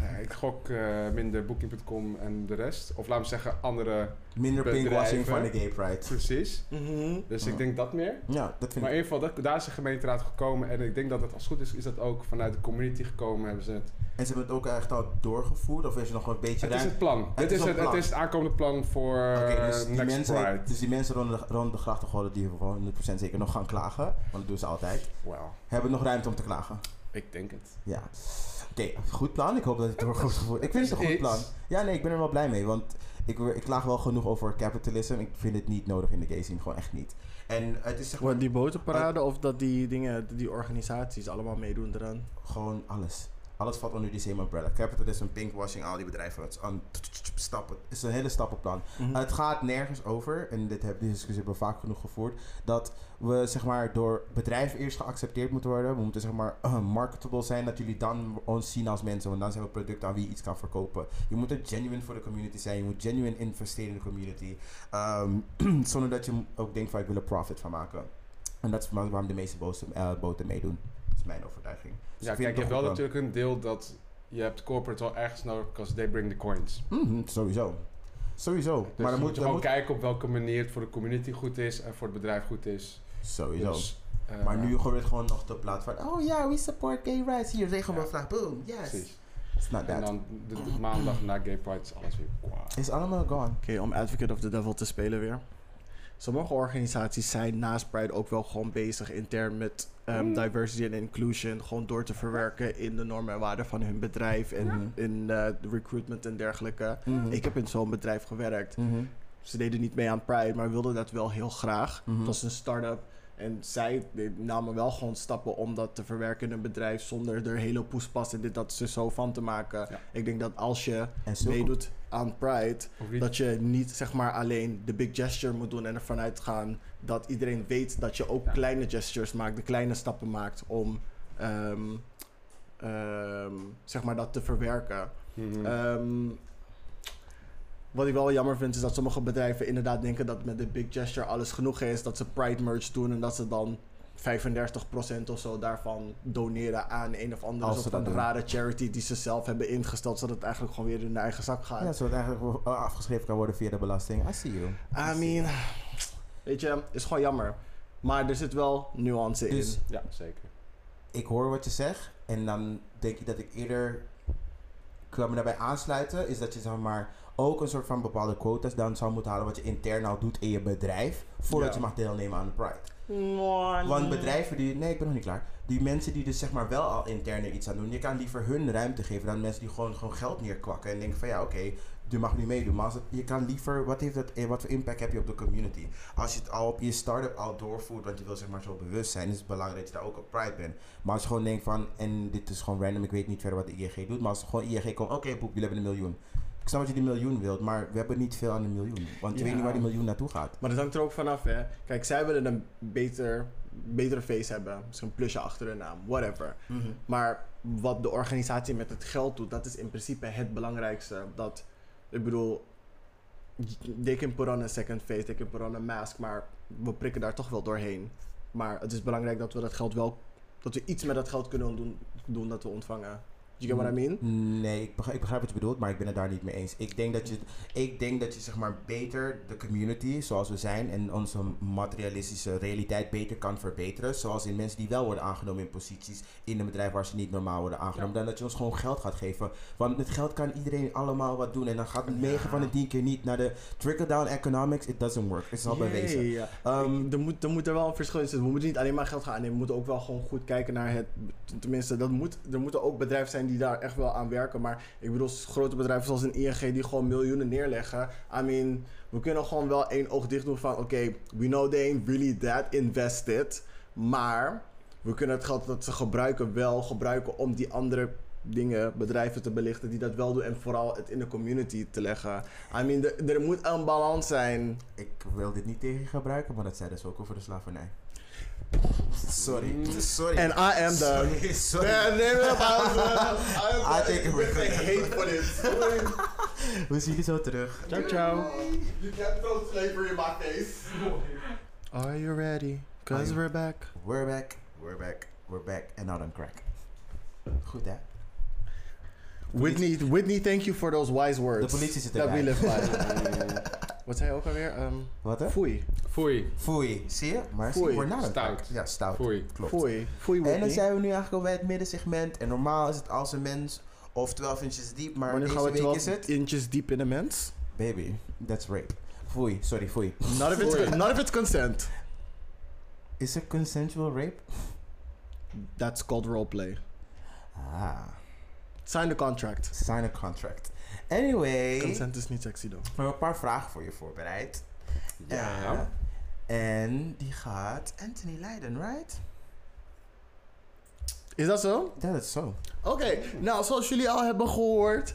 [SPEAKER 2] Nee, ik gok eh, minder Booking.com en de rest. Of laat me zeggen, andere.
[SPEAKER 3] Minder
[SPEAKER 2] Bedrijven.
[SPEAKER 3] pinkwashing van de gay pride.
[SPEAKER 2] Precies.
[SPEAKER 1] Mhm.
[SPEAKER 2] Dus
[SPEAKER 3] Ja.
[SPEAKER 2] ik denk dat meer.
[SPEAKER 3] Ja, dat vind
[SPEAKER 2] Maar in
[SPEAKER 3] ik.
[SPEAKER 2] ieder geval, dat, daar is de gemeenteraad gekomen. En ik denk dat het als het goed is, is dat ook vanuit de community gekomen. Hebben ze het.
[SPEAKER 3] En ze hebben het ook echt al doorgevoerd? Of is er nog een beetje
[SPEAKER 2] Het is
[SPEAKER 3] ruimte?
[SPEAKER 2] het plan. Dit
[SPEAKER 3] is
[SPEAKER 2] is
[SPEAKER 3] een
[SPEAKER 2] het, het
[SPEAKER 3] plan.
[SPEAKER 2] is het aankomende plan voor
[SPEAKER 3] Oké, dus,
[SPEAKER 2] eh,
[SPEAKER 3] die
[SPEAKER 2] Next Pride.
[SPEAKER 3] mensen, dus die mensen rond de, rond de grachtengordel die gewoon 100% zeker nog gaan klagen, want dat doen ze altijd,
[SPEAKER 2] Wauw,
[SPEAKER 3] hebben nog ruimte om te klagen.
[SPEAKER 2] ik denk het.
[SPEAKER 3] Ja. Oké, goed plan. Ik hoop dat het door wordt gevoerd. Ik vind het een goed
[SPEAKER 2] Iets.
[SPEAKER 3] plan. Ja, nee, ik ben er wel blij mee, want ik, ik klaag wel genoeg over capitalism. Ik vind het niet nodig in de gay scene, gewoon echt niet. En het is zeg maar
[SPEAKER 1] Wat, die botenparade of dat die dingen, die organisaties allemaal meedoen eraan?
[SPEAKER 3] gewoon alles. Alles valt onder die same umbrella. Capitalism, pinkwashing, al die bedrijven. Het is een stappen. Het is een hele stappenplan.
[SPEAKER 1] Mhm.
[SPEAKER 3] Het gaat nergens over, en dit heb, deze discussie hebben we vaak genoeg gevoerd, dat we zeg maar door bedrijven eerst geaccepteerd moeten worden. We moeten zeg maar eh, marketable zijn, dat jullie dan ons zien als mensen, want dan zijn we producten aan wie je iets kan verkopen. Je moet er genuine voor de community zijn, je moet genuine investeren in de community, ehm, zonder dat je ook denkt van ik wil er profit van maken. En dat is waar- waarom de meeste boten, boten meedoen. Dat is mijn overtuiging. Dus
[SPEAKER 2] Ja,
[SPEAKER 3] ik vind
[SPEAKER 2] kijk, je
[SPEAKER 3] het toch
[SPEAKER 2] hebt wel
[SPEAKER 3] goed
[SPEAKER 2] natuurlijk een deel dat je hebt corporate wel ergens nodig, because they bring the coins.
[SPEAKER 3] plan. Mhm, sowieso. Sowieso.
[SPEAKER 2] Dus
[SPEAKER 3] maar
[SPEAKER 2] je
[SPEAKER 3] dan
[SPEAKER 2] moet
[SPEAKER 3] moet, dan
[SPEAKER 2] je gewoon
[SPEAKER 3] moet,
[SPEAKER 2] kijken op welke manier het voor de community goed is en voor het bedrijf goed is.
[SPEAKER 3] sowieso.
[SPEAKER 2] Dus, eh,
[SPEAKER 3] Maar nu gebeurt gewoon nog de plaats van... Oh ja, we support gay rights. Hier, regenboogvlag. Boom. Yes.
[SPEAKER 2] Precies.
[SPEAKER 3] It's not
[SPEAKER 2] En
[SPEAKER 3] bad.
[SPEAKER 2] dan de, de maandag na Gay Pride is alles weer. Wow.
[SPEAKER 3] Is allemaal gone.
[SPEAKER 1] Oké, om advocate of the devil te spelen weer. Sommige organisaties zijn naast Pride ook wel gewoon bezig intern met ehm, diversity en inclusion. Gewoon door te verwerken in de normen en waarden van hun bedrijf en in eh, de recruitment en dergelijke.
[SPEAKER 3] Mhm.
[SPEAKER 1] Ik heb in zo'n bedrijf gewerkt.
[SPEAKER 3] Mhm.
[SPEAKER 1] Ze deden niet mee aan Pride, maar wilden dat wel heel graag.
[SPEAKER 3] Mhm.
[SPEAKER 1] Het was een start-up. En zij namen wel gewoon stappen om dat te verwerken in een bedrijf zonder er hele poespas en dit dat ze zo van te maken.
[SPEAKER 2] Ja.
[SPEAKER 1] Ik denk dat als je
[SPEAKER 3] En zulke-
[SPEAKER 1] meedoet aan Pride,
[SPEAKER 2] Of niet?
[SPEAKER 1] dat je niet zeg maar alleen de big gesture moet doen en ervan uitgaan dat iedereen weet dat je ook
[SPEAKER 2] Ja.
[SPEAKER 1] kleine gestures maakt, de kleine stappen maakt om ehm, ehm, zeg maar dat te verwerken.
[SPEAKER 2] Mhm.
[SPEAKER 1] Ehm, wat ik wel jammer vind is dat sommige bedrijven inderdaad denken dat met de big gesture alles genoeg is, dat ze Pride merch doen en dat ze dan 35% of zo daarvan doneren aan een of andere
[SPEAKER 3] Als
[SPEAKER 1] soort
[SPEAKER 3] ze dat
[SPEAKER 1] van
[SPEAKER 3] doen.
[SPEAKER 1] rare charity die ze zelf hebben ingesteld, zodat het eigenlijk gewoon weer in hun eigen zak gaat.
[SPEAKER 3] Ja, zodat het eigenlijk wel afgeschreven kan worden via de belasting. I see you.
[SPEAKER 1] I mean, weet je, is gewoon jammer. Maar er zit wel nuance
[SPEAKER 3] Dus
[SPEAKER 1] in.
[SPEAKER 2] Ja, zeker.
[SPEAKER 3] ik hoor wat je zegt en dan denk ik dat ik eerder kan me daarbij aansluiten is dat je zeg maar ook een soort van bepaalde quotas dan zou moeten halen wat je intern al doet in je bedrijf voordat
[SPEAKER 1] Ja.
[SPEAKER 3] je mag deelnemen aan de Pride. Want bedrijven die nee ik ben nog niet klaar die mensen die dus zeg maar wel al intern er iets aan doen je kan liever hun ruimte geven dan mensen die gewoon gewoon geld neerkwakken en denken van ja oké je mag nu meedoen maar als het- je kan liever wat heeft dat eh, wat voor impact heb je op de community als je het al op je start-up al doorvoert, want je wil zeg maar zo bewust zijn, is het belangrijk dat je daar ook op pride bent. Maar als je gewoon denkt van, en dit is gewoon random, ik weet niet verder wat de ING doet, maar als gewoon ING komt, oké boep, jullie hebben een miljoen. Ik snap dat je die miljoen wilt, maar we hebben niet veel aan de miljoen. Want je
[SPEAKER 1] Ja.
[SPEAKER 3] weet niet waar die miljoen naartoe gaat.
[SPEAKER 1] Maar dat hangt er ook vanaf, hè. Kijk, zij willen een beter, betere face hebben. Misschien een plusje achter hun naam, whatever. Maar wat de organisatie met het geld doet, dat is in principe het belangrijkste. Dat, ik bedoel, they can put on a second face, they can put on a mask, maar we prikken daar toch wel doorheen. Maar het is belangrijk dat we dat geld wel, dat we iets met dat geld kunnen doen, doen dat we ontvangen. You get what I mean?
[SPEAKER 3] Nee, ik begrijp, ik begrijp wat je bedoelt, maar ik ben het daar niet mee eens. Ik denk dat je, ik denk dat je zeg maar beter de community zoals we zijn en onze materialistische realiteit beter kan verbeteren. Zoals in mensen die wel worden aangenomen in posities in een bedrijf waar ze niet normaal worden aangenomen. Dan dat je ons gewoon geld gaat geven. Want met geld kan iedereen allemaal wat doen. En dan gaat het 9 van de 10 keer niet naar de trickle-down economics. It doesn't work. Het is al bewezen.
[SPEAKER 1] Yeah, yeah.
[SPEAKER 3] Ehm,
[SPEAKER 1] Ik- er, moet, er moet er wel een verschil in zitten. We moeten niet alleen maar geld gaan aannemen. We moeten ook wel gewoon goed kijken naar het. Tenminste, dat moet, er moeten ook bedrijven zijn die daar echt wel aan werken. Maar ik bedoel, s- grote bedrijven zoals een ING die gewoon miljoenen neerleggen. I mean, we kunnen gewoon wel één oog dicht doen van: oké, we know they ain't really that invested. Maar we kunnen het geld dat ze gebruiken wel gebruiken om die andere dingen, bedrijven te belichten die dat wel doen. En vooral het in de community te leggen. I mean, er- er moet een balans zijn.
[SPEAKER 3] Ik wil dit niet tegen je gebruiken, maar dat zei dus ook over de slavernij. Sorry. Sorry.
[SPEAKER 1] Mm. En I am the.
[SPEAKER 3] Sorry, sorry.
[SPEAKER 1] neem het
[SPEAKER 3] I take it with me.
[SPEAKER 1] for this.
[SPEAKER 3] We zien jullie zo terug.
[SPEAKER 1] Ciao, ciao.
[SPEAKER 5] You can't throw slavery in my face.
[SPEAKER 1] Are you ready?
[SPEAKER 3] Are
[SPEAKER 1] Cause
[SPEAKER 3] you-
[SPEAKER 1] we're back.
[SPEAKER 3] We're back, we're back, we're back. En nou dan crack. Goed hè?
[SPEAKER 1] Whitney, Whitney, thank you for those wise words.
[SPEAKER 3] De politie zit
[SPEAKER 1] That we
[SPEAKER 3] erbij.
[SPEAKER 1] live by. Wat zei je ook alweer? Ehm
[SPEAKER 3] Wat hè?
[SPEAKER 1] foei.
[SPEAKER 2] Foei.
[SPEAKER 3] Foei. Zie je? Maar
[SPEAKER 1] Foei.
[SPEAKER 3] Foei. Naar
[SPEAKER 2] Stout.
[SPEAKER 3] Ja, stout.
[SPEAKER 2] Foei.
[SPEAKER 3] Klopt.
[SPEAKER 1] Foei. Foei,
[SPEAKER 3] En dan
[SPEAKER 1] Whitney.
[SPEAKER 3] zijn we nu eigenlijk al bij het middensegment. En normaal is het als een mens of 12 inches diep, maar,
[SPEAKER 1] maar nu
[SPEAKER 3] deze
[SPEAKER 1] gaan we
[SPEAKER 3] week is
[SPEAKER 1] 12
[SPEAKER 3] het...
[SPEAKER 1] inches diep in de mens.
[SPEAKER 3] Baby, that's rape. Foei, sorry, foei.
[SPEAKER 1] Not if it's,
[SPEAKER 2] Foei.
[SPEAKER 1] not if it's consent.
[SPEAKER 3] Is er consensual rape?
[SPEAKER 1] That's called roleplay.
[SPEAKER 3] Ah,
[SPEAKER 1] Sign the contract.
[SPEAKER 3] sign a contract. Anyway,
[SPEAKER 1] Consent is niet sexy, though.
[SPEAKER 3] we hebben een paar vragen voor je voorbereid.
[SPEAKER 2] Ja.
[SPEAKER 3] Eh, en die gaat Anthony Leiden, right?
[SPEAKER 1] Is dat zo?
[SPEAKER 3] Dat is zo.
[SPEAKER 1] Oké, nou zoals jullie al hebben gehoord,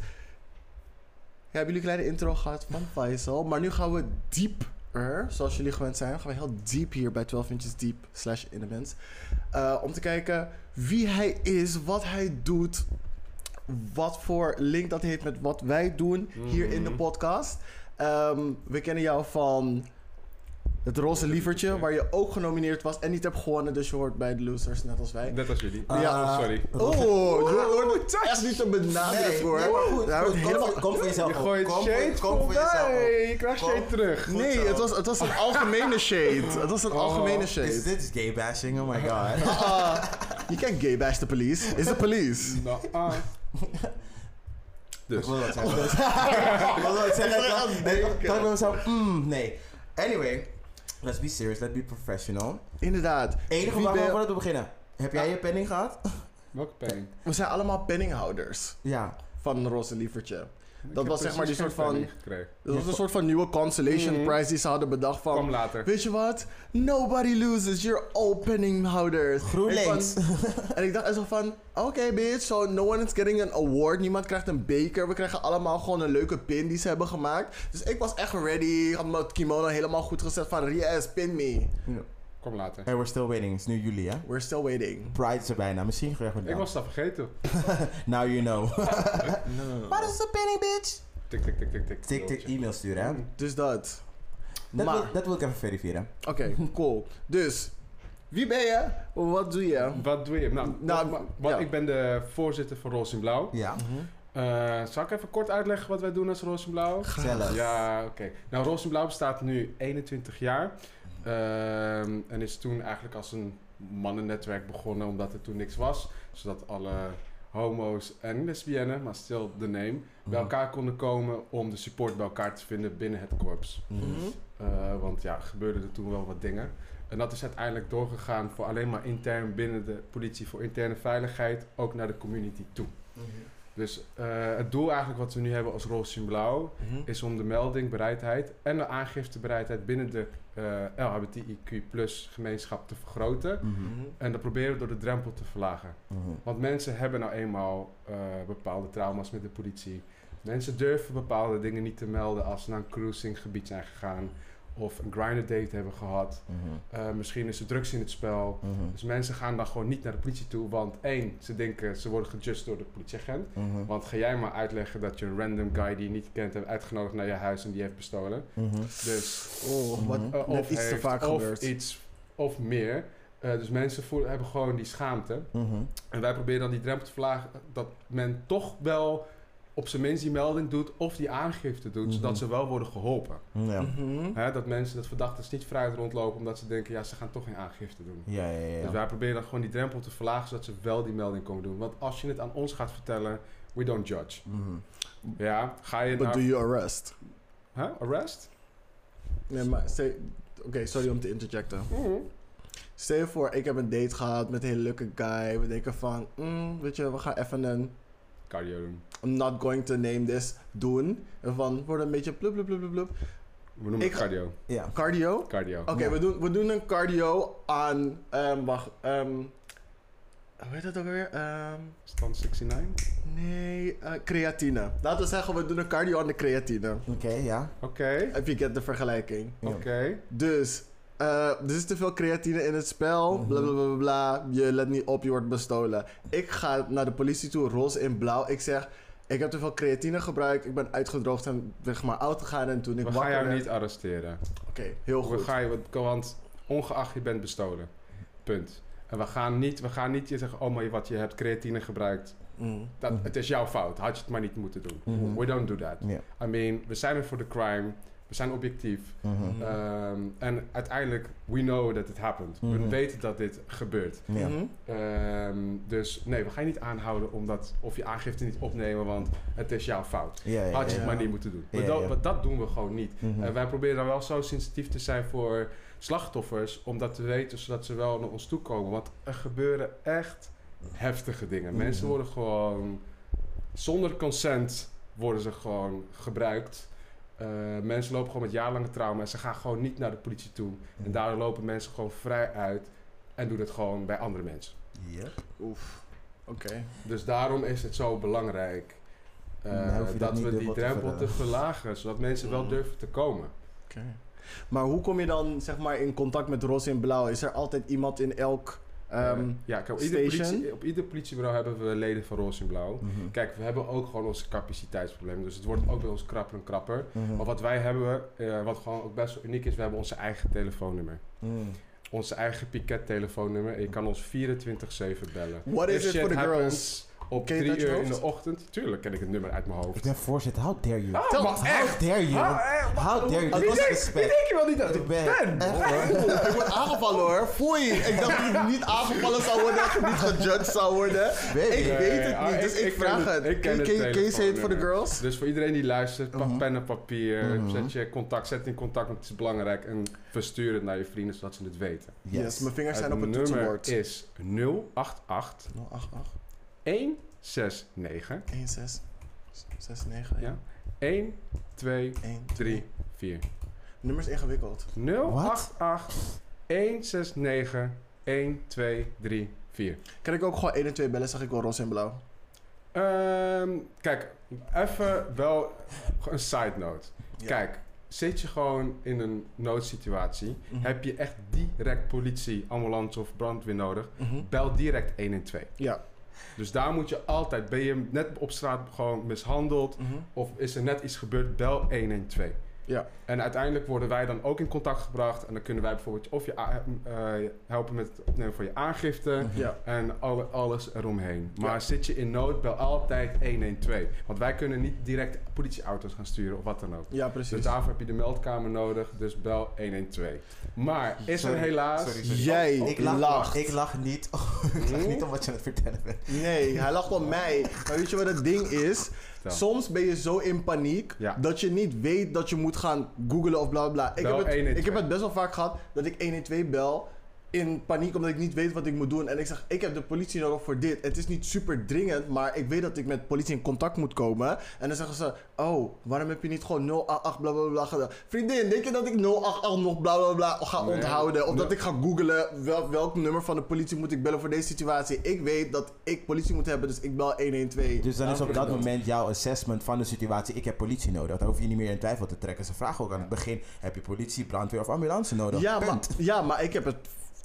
[SPEAKER 1] hebben jullie een kleine intro gehad van Faisal. Maar nu gaan we dieper, zoals jullie gewend zijn, gaan we heel diep hier bij 12 inches diep slash in de mens. eh, om te kijken wie hij is, wat hij doet, wat voor link dat heeft met wat wij doen hier in de
[SPEAKER 2] Mhm.
[SPEAKER 1] podcast. Ehm, we kennen jou van het roze lievertje, waar je ook genomineerd was en niet hebt gewonnen. Dus je hoort bij de losers, net als wij.
[SPEAKER 2] Net als jullie.
[SPEAKER 3] Ah.
[SPEAKER 2] ja, sorry.
[SPEAKER 1] Oh, je
[SPEAKER 3] Wow,
[SPEAKER 1] wordt echt niet te benaderen
[SPEAKER 3] Nee,
[SPEAKER 1] hoor.
[SPEAKER 3] nee, maar goed,
[SPEAKER 1] Daar
[SPEAKER 3] goed,
[SPEAKER 1] wordt
[SPEAKER 3] kom
[SPEAKER 1] helemaal...
[SPEAKER 3] voor- kom voor jezelf
[SPEAKER 2] Je
[SPEAKER 3] op,
[SPEAKER 2] gooit
[SPEAKER 3] kom voor-
[SPEAKER 2] shade
[SPEAKER 3] kom voor
[SPEAKER 2] voorbij.
[SPEAKER 3] jezelf op.
[SPEAKER 2] Je krijgt
[SPEAKER 3] Kom.
[SPEAKER 2] shade terug.
[SPEAKER 3] Goed
[SPEAKER 1] Nee,
[SPEAKER 3] zo.
[SPEAKER 1] het was, het was een algemene shade. Het was een
[SPEAKER 2] Oh.
[SPEAKER 1] algemene
[SPEAKER 3] Is
[SPEAKER 1] shade.
[SPEAKER 3] dit is gay bashing? Oh my god.
[SPEAKER 1] Ah, je kijkt gay bash the police. Is the police.
[SPEAKER 2] Nou, ah.
[SPEAKER 3] Ik
[SPEAKER 2] Dus.
[SPEAKER 3] wil dat zeggen. Ik wil dat zeggen. Ik dacht bij mezelf, mm, nee. Anyway, Let's be serious, let's be professional.
[SPEAKER 1] Inderdaad.
[SPEAKER 3] Enige
[SPEAKER 1] Wie
[SPEAKER 3] vraag
[SPEAKER 1] ben-
[SPEAKER 3] voordat we beginnen. Heb jij je penning gehad?
[SPEAKER 2] Welke penning?
[SPEAKER 1] We zijn allemaal penninghouders
[SPEAKER 3] ja.
[SPEAKER 1] van Roze Lievertje.
[SPEAKER 2] Ik
[SPEAKER 1] was
[SPEAKER 2] heb
[SPEAKER 1] zeg maar
[SPEAKER 2] precies
[SPEAKER 1] die soort
[SPEAKER 2] geen
[SPEAKER 1] van-
[SPEAKER 2] penning gekregen.
[SPEAKER 1] Dat was een soort van nieuwe consolation
[SPEAKER 2] Mhm.
[SPEAKER 1] prize die ze hadden bedacht van...
[SPEAKER 2] Kwam later.
[SPEAKER 1] Weet je wat? Nobody loses. You're all penninghouders.
[SPEAKER 3] GroenLinks.
[SPEAKER 1] En ik van- En ik dacht echt zo van... Oké, bitch. So no one is getting an award. Niemand krijgt een beker. We krijgen allemaal gewoon een leuke pin die ze hebben gemaakt. Dus ik was echt ready. Ik had mijn kimono helemaal goed gezet van... Yes, pin me.
[SPEAKER 2] Kom later.
[SPEAKER 3] En we're still waiting. Het is nu juli, hè?
[SPEAKER 1] We're still waiting.
[SPEAKER 3] Pride is er bijna. Misschien graag
[SPEAKER 2] Ik was dat vergeten.
[SPEAKER 3] Now you know.
[SPEAKER 1] No.
[SPEAKER 3] Wat is een penning, bitch?
[SPEAKER 2] Tik, tik, tik, tik, tik.
[SPEAKER 3] Tik tik e-mail sturen, hè?
[SPEAKER 1] Dus dat.
[SPEAKER 3] Dat,
[SPEAKER 1] Maar...
[SPEAKER 3] wil, dat wil ik even verifiëren.
[SPEAKER 1] Oké, cool. Dus... Wie ben je? Wat doe je?
[SPEAKER 2] Wat doe je? Nou,
[SPEAKER 1] Nou,
[SPEAKER 2] wat- wat-
[SPEAKER 1] ja.
[SPEAKER 2] ik ben de voorzitter van Roos in Blauw.
[SPEAKER 3] Ja.
[SPEAKER 2] Eh, zal ik even kort uitleggen wat wij doen als Roos in Blauw?
[SPEAKER 3] Zelf.
[SPEAKER 2] Ja, oké. Nou, Roos in Blauw bestaat nu 21 jaar. Ehm, en is toen eigenlijk als een mannennetwerk begonnen, omdat er toen niks was. Zodat alle homo's en lesbiennes, maar still the name,
[SPEAKER 3] Mhm.
[SPEAKER 2] bij elkaar konden komen om de support bij elkaar te vinden binnen het korps.
[SPEAKER 1] Mhm.
[SPEAKER 2] Eh, want ja, gebeurden er toen wel wat dingen. En dat is uiteindelijk doorgegaan voor alleen maar intern binnen de politie voor interne veiligheid, ook naar de community toe. Dus eh, het doel eigenlijk wat we nu hebben als Roosje in Blauw
[SPEAKER 1] Mhm.
[SPEAKER 2] is om de melding, bereidheid en de aangiftebereidheid binnen de eh LHBTIQ gemeenschap te vergroten.
[SPEAKER 3] Mhm.
[SPEAKER 1] Mhm.
[SPEAKER 2] En dat proberen we door de drempel te verlagen.
[SPEAKER 3] Mhm.
[SPEAKER 2] Want mensen hebben nou eenmaal eh, bepaalde trauma's met de politie. Mensen durven bepaalde dingen niet te melden als ze naar een cruisinggebied zijn gegaan. Of een grinder date hebben gehad.
[SPEAKER 3] Mhm.
[SPEAKER 2] Eh, misschien is er drugs in het spel.
[SPEAKER 3] Mhm.
[SPEAKER 2] Dus mensen gaan dan gewoon niet naar de politie toe. Want één, ze denken ze worden gejust door de politieagent.
[SPEAKER 3] Mhm.
[SPEAKER 2] Want ga jij maar uitleggen dat je een random guy die je niet kent hebt uitgenodigd naar je huis en die heeft bestolen.
[SPEAKER 3] Mhm.
[SPEAKER 2] Dus
[SPEAKER 1] Oh, wat
[SPEAKER 3] Mhm.
[SPEAKER 2] eh,
[SPEAKER 1] net
[SPEAKER 2] of
[SPEAKER 1] iets te
[SPEAKER 2] heeft,
[SPEAKER 1] vaak
[SPEAKER 2] of
[SPEAKER 1] gebeurd.
[SPEAKER 2] iets of meer. Eh, dus mensen voelen, hebben gewoon die schaamte.
[SPEAKER 3] Mhm.
[SPEAKER 2] En wij proberen dan die drempel te verlagen dat men toch wel op zijn minst die melding doet of die aangifte doet,
[SPEAKER 3] Mhm.
[SPEAKER 2] zodat ze wel worden geholpen.
[SPEAKER 3] Ja.
[SPEAKER 1] Mhm.
[SPEAKER 2] Hè, dat mensen, dat verdachten dus niet vrijheid rondlopen omdat ze denken, ja, ze gaan toch geen aangifte doen.
[SPEAKER 3] Ja, ja, ja.
[SPEAKER 2] Dus wij proberen dan gewoon die drempel te verlagen zodat ze wel die melding komen doen. Want als je het aan ons gaat vertellen, we don't judge.
[SPEAKER 3] Mhm.
[SPEAKER 2] Ja, ga je
[SPEAKER 1] But
[SPEAKER 2] naar...
[SPEAKER 1] do you arrest?
[SPEAKER 2] Huh? Arrest?
[SPEAKER 1] Nee, maar stel- Oké, sorry om te interjecten. Stel je voor, ik heb een date gehad met een hele leuke guy. We denken van, mm, weet je, we gaan even een
[SPEAKER 2] Cardio doen.
[SPEAKER 1] I'm not going to name this doen. En van, wordt een beetje blub blub blub blub, blub.
[SPEAKER 2] We noemen
[SPEAKER 1] Ik
[SPEAKER 2] het
[SPEAKER 1] ga-
[SPEAKER 2] cardio.
[SPEAKER 3] Ja.
[SPEAKER 1] Cardio. Oké,
[SPEAKER 2] Cardio.
[SPEAKER 3] Ja.
[SPEAKER 1] we, doen, we doen een cardio aan, ehm, wacht, ehm, hoe heet dat ook weer? Ehm,
[SPEAKER 2] Stand 69?
[SPEAKER 1] nee, eh, creatine. Laten we zeggen, we doen een cardio aan de creatine.
[SPEAKER 3] Oké, ja.
[SPEAKER 2] Oké.
[SPEAKER 1] If you get de vergelijking.
[SPEAKER 3] Ja.
[SPEAKER 2] Oké.
[SPEAKER 1] Dus, eh, er is te veel creatine in het spel.
[SPEAKER 3] Mhm.
[SPEAKER 1] Bla bla bla bla, bla. Je let niet op, je wordt bestolen. Ik ga naar de politie toe, roze en blauw. Ik zeg: Ik heb te veel creatine gebruikt. Ik ben uitgedroogd en zeg maar oud gegaan. En toen ik
[SPEAKER 2] We gaan
[SPEAKER 1] wakker
[SPEAKER 2] jou
[SPEAKER 1] werd-
[SPEAKER 2] niet arresteren.
[SPEAKER 1] Oké, heel
[SPEAKER 2] We
[SPEAKER 1] goed.
[SPEAKER 2] gaan je, want ongeacht je bent bestolen. Punt. En we gaan niet, we gaan niet je zeggen, oh maar wat, je hebt creatine gebruikt.
[SPEAKER 1] Mm.
[SPEAKER 2] Dat,
[SPEAKER 3] Mhm.
[SPEAKER 2] Het is jouw fout. Had je het maar niet moeten doen.
[SPEAKER 3] Mhm.
[SPEAKER 2] We don't do that.
[SPEAKER 3] Ja.
[SPEAKER 2] I mean, we zijn er voor de crime. We zijn objectief.
[SPEAKER 3] Mhm.
[SPEAKER 2] Ehm, en uiteindelijk, we know that it happened. We
[SPEAKER 3] Mhm.
[SPEAKER 2] weten dat dit gebeurt.
[SPEAKER 3] Ja.
[SPEAKER 1] Mhm.
[SPEAKER 2] Ehm, dus nee, we gaan je niet aanhouden omdat, of je aangifte niet opnemen, want het is jouw fout.
[SPEAKER 3] Ja, ja,
[SPEAKER 2] Had je
[SPEAKER 3] ja.
[SPEAKER 2] het maar niet moeten doen. Maar,
[SPEAKER 3] Ja,
[SPEAKER 2] dat,
[SPEAKER 3] ja.
[SPEAKER 2] maar dat doen we gewoon niet.
[SPEAKER 3] Mhm.
[SPEAKER 2] En wij proberen dan wel zo sensitief te zijn voor slachtoffers, om dat te weten, zodat ze wel naar ons toe komen. Want er gebeuren echt heftige dingen. Mensen
[SPEAKER 3] Mhm.
[SPEAKER 2] worden gewoon, zonder consent worden ze gewoon gebruikt. Eh, mensen lopen gewoon met jarenlange trauma en ze gaan gewoon niet naar de politie toe.
[SPEAKER 3] Hm.
[SPEAKER 2] En daardoor lopen mensen gewoon vrij uit en doen het gewoon bij andere mensen.
[SPEAKER 3] Ja.
[SPEAKER 1] Oef. Oké.
[SPEAKER 2] Dus daarom is het zo belangrijk eh,
[SPEAKER 3] Dan hoef je dat
[SPEAKER 2] dat,
[SPEAKER 3] niet
[SPEAKER 2] we die
[SPEAKER 3] dubbel te
[SPEAKER 2] drempel te
[SPEAKER 3] verlagen.
[SPEAKER 2] verlagen, zodat mensen wel
[SPEAKER 1] Mm.
[SPEAKER 2] durven te komen.
[SPEAKER 1] Oké. Maar hoe kom je dan zeg maar in contact met roze en blauw? Is er altijd iemand in elk. ehm,
[SPEAKER 2] Eh, ja, kijk, op, ieder
[SPEAKER 1] station?
[SPEAKER 2] politie, op ieder politiebureau hebben we leden van Roos en Blauw.
[SPEAKER 3] Mhm.
[SPEAKER 2] Kijk, we hebben ook gewoon onze capaciteitsproblemen, dus het wordt ook bij ons krapper en krapper.
[SPEAKER 3] Mhm.
[SPEAKER 2] Maar wat wij hebben, eh, wat gewoon ook best wel uniek is, we hebben onze eigen telefoonnummer.
[SPEAKER 3] Mhm.
[SPEAKER 2] Onze eigen piket telefoonnummer. En je kan ons 24-7 bellen.
[SPEAKER 1] What is
[SPEAKER 2] If
[SPEAKER 1] it
[SPEAKER 2] shit
[SPEAKER 1] for the
[SPEAKER 2] happens,
[SPEAKER 1] girls?
[SPEAKER 2] Op
[SPEAKER 1] Ken je het
[SPEAKER 2] drie
[SPEAKER 1] uit je
[SPEAKER 2] uur in
[SPEAKER 1] hoofd?
[SPEAKER 2] de ochtend. Tuurlijk ken ik het nummer uit mijn
[SPEAKER 3] Ik
[SPEAKER 2] hoofd.
[SPEAKER 3] ben voorzitter, how dare you?
[SPEAKER 2] Ah, maar echt!
[SPEAKER 3] How dare you?
[SPEAKER 2] Ah, eh, maar-
[SPEAKER 3] How dare you?
[SPEAKER 2] Wie
[SPEAKER 3] Dat was
[SPEAKER 2] denk- Wie
[SPEAKER 3] respect.
[SPEAKER 2] denk je wel niet dat
[SPEAKER 3] Ik ben
[SPEAKER 2] Ben!
[SPEAKER 3] echt hoor.
[SPEAKER 1] Ik word aangevallen hoor. Foei. Ik dacht dat ik niet aangevallen zou worden. Dat ik niet gejudged zou worden.
[SPEAKER 3] Weet
[SPEAKER 1] Ik
[SPEAKER 3] je.
[SPEAKER 1] weet het niet. Dus ik,
[SPEAKER 2] ken
[SPEAKER 1] vraag het.
[SPEAKER 2] Ik ken
[SPEAKER 1] Ken-
[SPEAKER 2] het
[SPEAKER 1] ken- Kees heet voor de
[SPEAKER 2] telefoonnummer.
[SPEAKER 1] girls.
[SPEAKER 2] Dus voor iedereen die luistert,
[SPEAKER 1] Mhm.
[SPEAKER 2] pak pen en papier. Zet je contact, zet in contact, want het is belangrijk. En verstuur het naar je vrienden, zodat ze het weten.
[SPEAKER 1] Yes.
[SPEAKER 3] Yes.
[SPEAKER 1] mijn vingers zijn op het
[SPEAKER 2] nummer
[SPEAKER 1] toetsenbord.
[SPEAKER 2] is 088
[SPEAKER 1] 088
[SPEAKER 2] 169
[SPEAKER 1] 16 69
[SPEAKER 2] ja. 1, 2,
[SPEAKER 1] 1
[SPEAKER 2] 3, 4.
[SPEAKER 1] Nummer is ingewikkeld.
[SPEAKER 2] 088 169 1, 2, 3, 4.
[SPEAKER 1] Kan ik ook gewoon 1 en 2 bellen? Zeg ik wel roze en blauw.
[SPEAKER 2] Ehm, kijk, even wel een side note.
[SPEAKER 1] Ja.
[SPEAKER 2] Kijk, zit je gewoon in een noodsituatie,
[SPEAKER 1] Mhm.
[SPEAKER 2] heb je echt direct politie, ambulance of brandweer nodig,
[SPEAKER 1] Mhm.
[SPEAKER 2] bel direct 112.
[SPEAKER 1] Ja.
[SPEAKER 2] Dus daar moet je altijd, ben je net op straat gewoon mishandeld
[SPEAKER 1] Mhm.
[SPEAKER 2] of is er net iets gebeurd, bel 112.
[SPEAKER 1] Ja.
[SPEAKER 2] En uiteindelijk worden wij dan ook in contact gebracht en dan kunnen wij bijvoorbeeld of je a- eh, helpen met het opnemen van je aangifte.
[SPEAKER 1] Ja.
[SPEAKER 2] En alle, alles eromheen. Maar
[SPEAKER 1] Mhm. Ja.
[SPEAKER 2] zit je in nood, bel altijd 112. Want wij kunnen niet direct politieauto's gaan sturen of wat dan ook.
[SPEAKER 1] Ja, precies.
[SPEAKER 2] Dus daarvoor heb je de meldkamer nodig, dus bel 112. Maar is er
[SPEAKER 3] Sorry,
[SPEAKER 2] helaas...
[SPEAKER 3] sorry, sorry.
[SPEAKER 1] Jij
[SPEAKER 2] Oh,
[SPEAKER 3] Ik lach,
[SPEAKER 1] lacht.
[SPEAKER 3] ik lach niet. ik lach niet omdat je aan het vertellen bent.
[SPEAKER 1] Nee, hij lacht om mij. Maar weet je wat het ding is?
[SPEAKER 2] Vertel.
[SPEAKER 1] Soms ben je zo in paniek
[SPEAKER 2] Ja. dat
[SPEAKER 1] dat je niet weet dat je moet gaan googlen of bla bla. Ik,
[SPEAKER 2] Bel
[SPEAKER 1] heb het,
[SPEAKER 2] 112.
[SPEAKER 1] ik heb het best wel vaak gehad dat ik 112 bel in paniek omdat ik niet weet wat ik moet doen. En ik zeg, ik heb de politie nodig voor dit. Het is niet super dringend, maar ik weet dat ik met politie in contact moet komen. En dan zeggen ze, oh, waarom heb je niet gewoon 088 bla bla bla gedaan? Vriendin, denk je dat ik 088 nog bla bla bla ga
[SPEAKER 2] Nee.
[SPEAKER 1] onthouden? Of dat
[SPEAKER 2] Nee.
[SPEAKER 1] ik ga googlen wel, welk nummer van de politie moet ik bellen voor deze situatie? Ik weet dat ik politie moet hebben, dus ik bel 112.
[SPEAKER 3] Dus dan is op dat
[SPEAKER 2] Aanvulling.
[SPEAKER 3] moment jouw assessment van de situatie: ik heb politie nodig. Dan hoef je niet meer in twijfel te trekken. Ze vragen ook aan het begin: heb je politie, brandweer of ambulance nodig?
[SPEAKER 1] Ja, maar,
[SPEAKER 3] Punt.
[SPEAKER 1] ja, maar ik heb het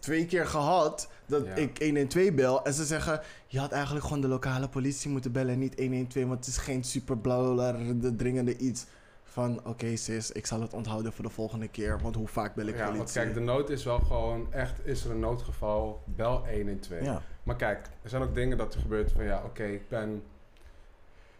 [SPEAKER 1] twee keer gehad dat
[SPEAKER 2] Ja.
[SPEAKER 1] ik 112 bel en ze zeggen: Je had eigenlijk gewoon de lokale politie moeten bellen en niet 112, want het is geen super bla bla bla de dringende iets. Van oké, sis, ik zal het onthouden voor de volgende keer, want hoe vaak bel ik
[SPEAKER 2] Ja, want
[SPEAKER 1] politie?
[SPEAKER 2] kijk, de nood is wel gewoon echt, is er een noodgeval, bel 112.
[SPEAKER 3] Ja.
[SPEAKER 2] Maar kijk, er zijn ook dingen dat er gebeurt van ja, oké, ik ben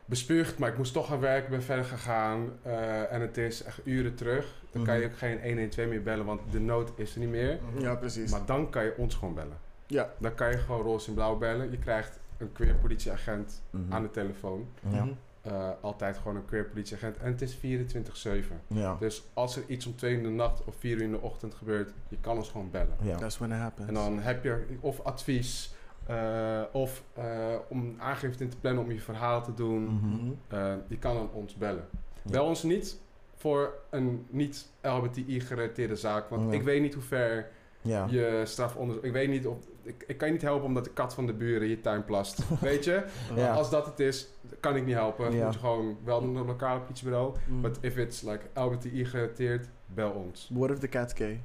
[SPEAKER 2] bespuugd, maar ik moest toch gaan werken, ben verder gegaan eh, en het is echt uren terug. Dan
[SPEAKER 3] Mhm.
[SPEAKER 2] kan je ook geen 112 meer bellen, want de nood is er niet meer.
[SPEAKER 1] Ja, precies.
[SPEAKER 2] Maar dan kan je ons gewoon bellen.
[SPEAKER 1] Ja.
[SPEAKER 2] Dan kan je gewoon roze en blauw bellen. Je krijgt een queer politieagent
[SPEAKER 3] Mhm.
[SPEAKER 2] aan de telefoon.
[SPEAKER 3] ja.
[SPEAKER 1] Mhm.
[SPEAKER 2] Eh, altijd gewoon een queer politieagent. En het is 24-7.
[SPEAKER 3] Ja.
[SPEAKER 2] Dus als er iets om 2 uur in de nacht of 4 uur in de ochtend gebeurt, je kan ons gewoon bellen.
[SPEAKER 3] Ja.
[SPEAKER 1] That's when it happens.
[SPEAKER 2] En dan heb je of advies, eh, of eh, om aangifte in te plannen om je verhaal te doen.
[SPEAKER 3] Mhm.
[SPEAKER 1] Mhm.
[SPEAKER 2] Eh, je kan dan ons bellen.
[SPEAKER 3] Ja.
[SPEAKER 2] Bel ons niet voor een niet-LBTI-gerelateerde zaak. Want
[SPEAKER 3] Ja.
[SPEAKER 2] ik weet niet hoe ver
[SPEAKER 3] Ja.
[SPEAKER 2] je strafonderzoek... Ik weet niet of... Ik, ik kan je niet helpen omdat de kat van de buren je tuin plast. weet je?
[SPEAKER 3] Ja.
[SPEAKER 2] Als dat het is, kan ik niet helpen.
[SPEAKER 3] Ja.
[SPEAKER 2] Moet je gewoon wel naar het lokale politiebureau.
[SPEAKER 1] Mhm.
[SPEAKER 2] But if it's like LBTI gerelateerd, bel ons.
[SPEAKER 1] What if the cat's gay?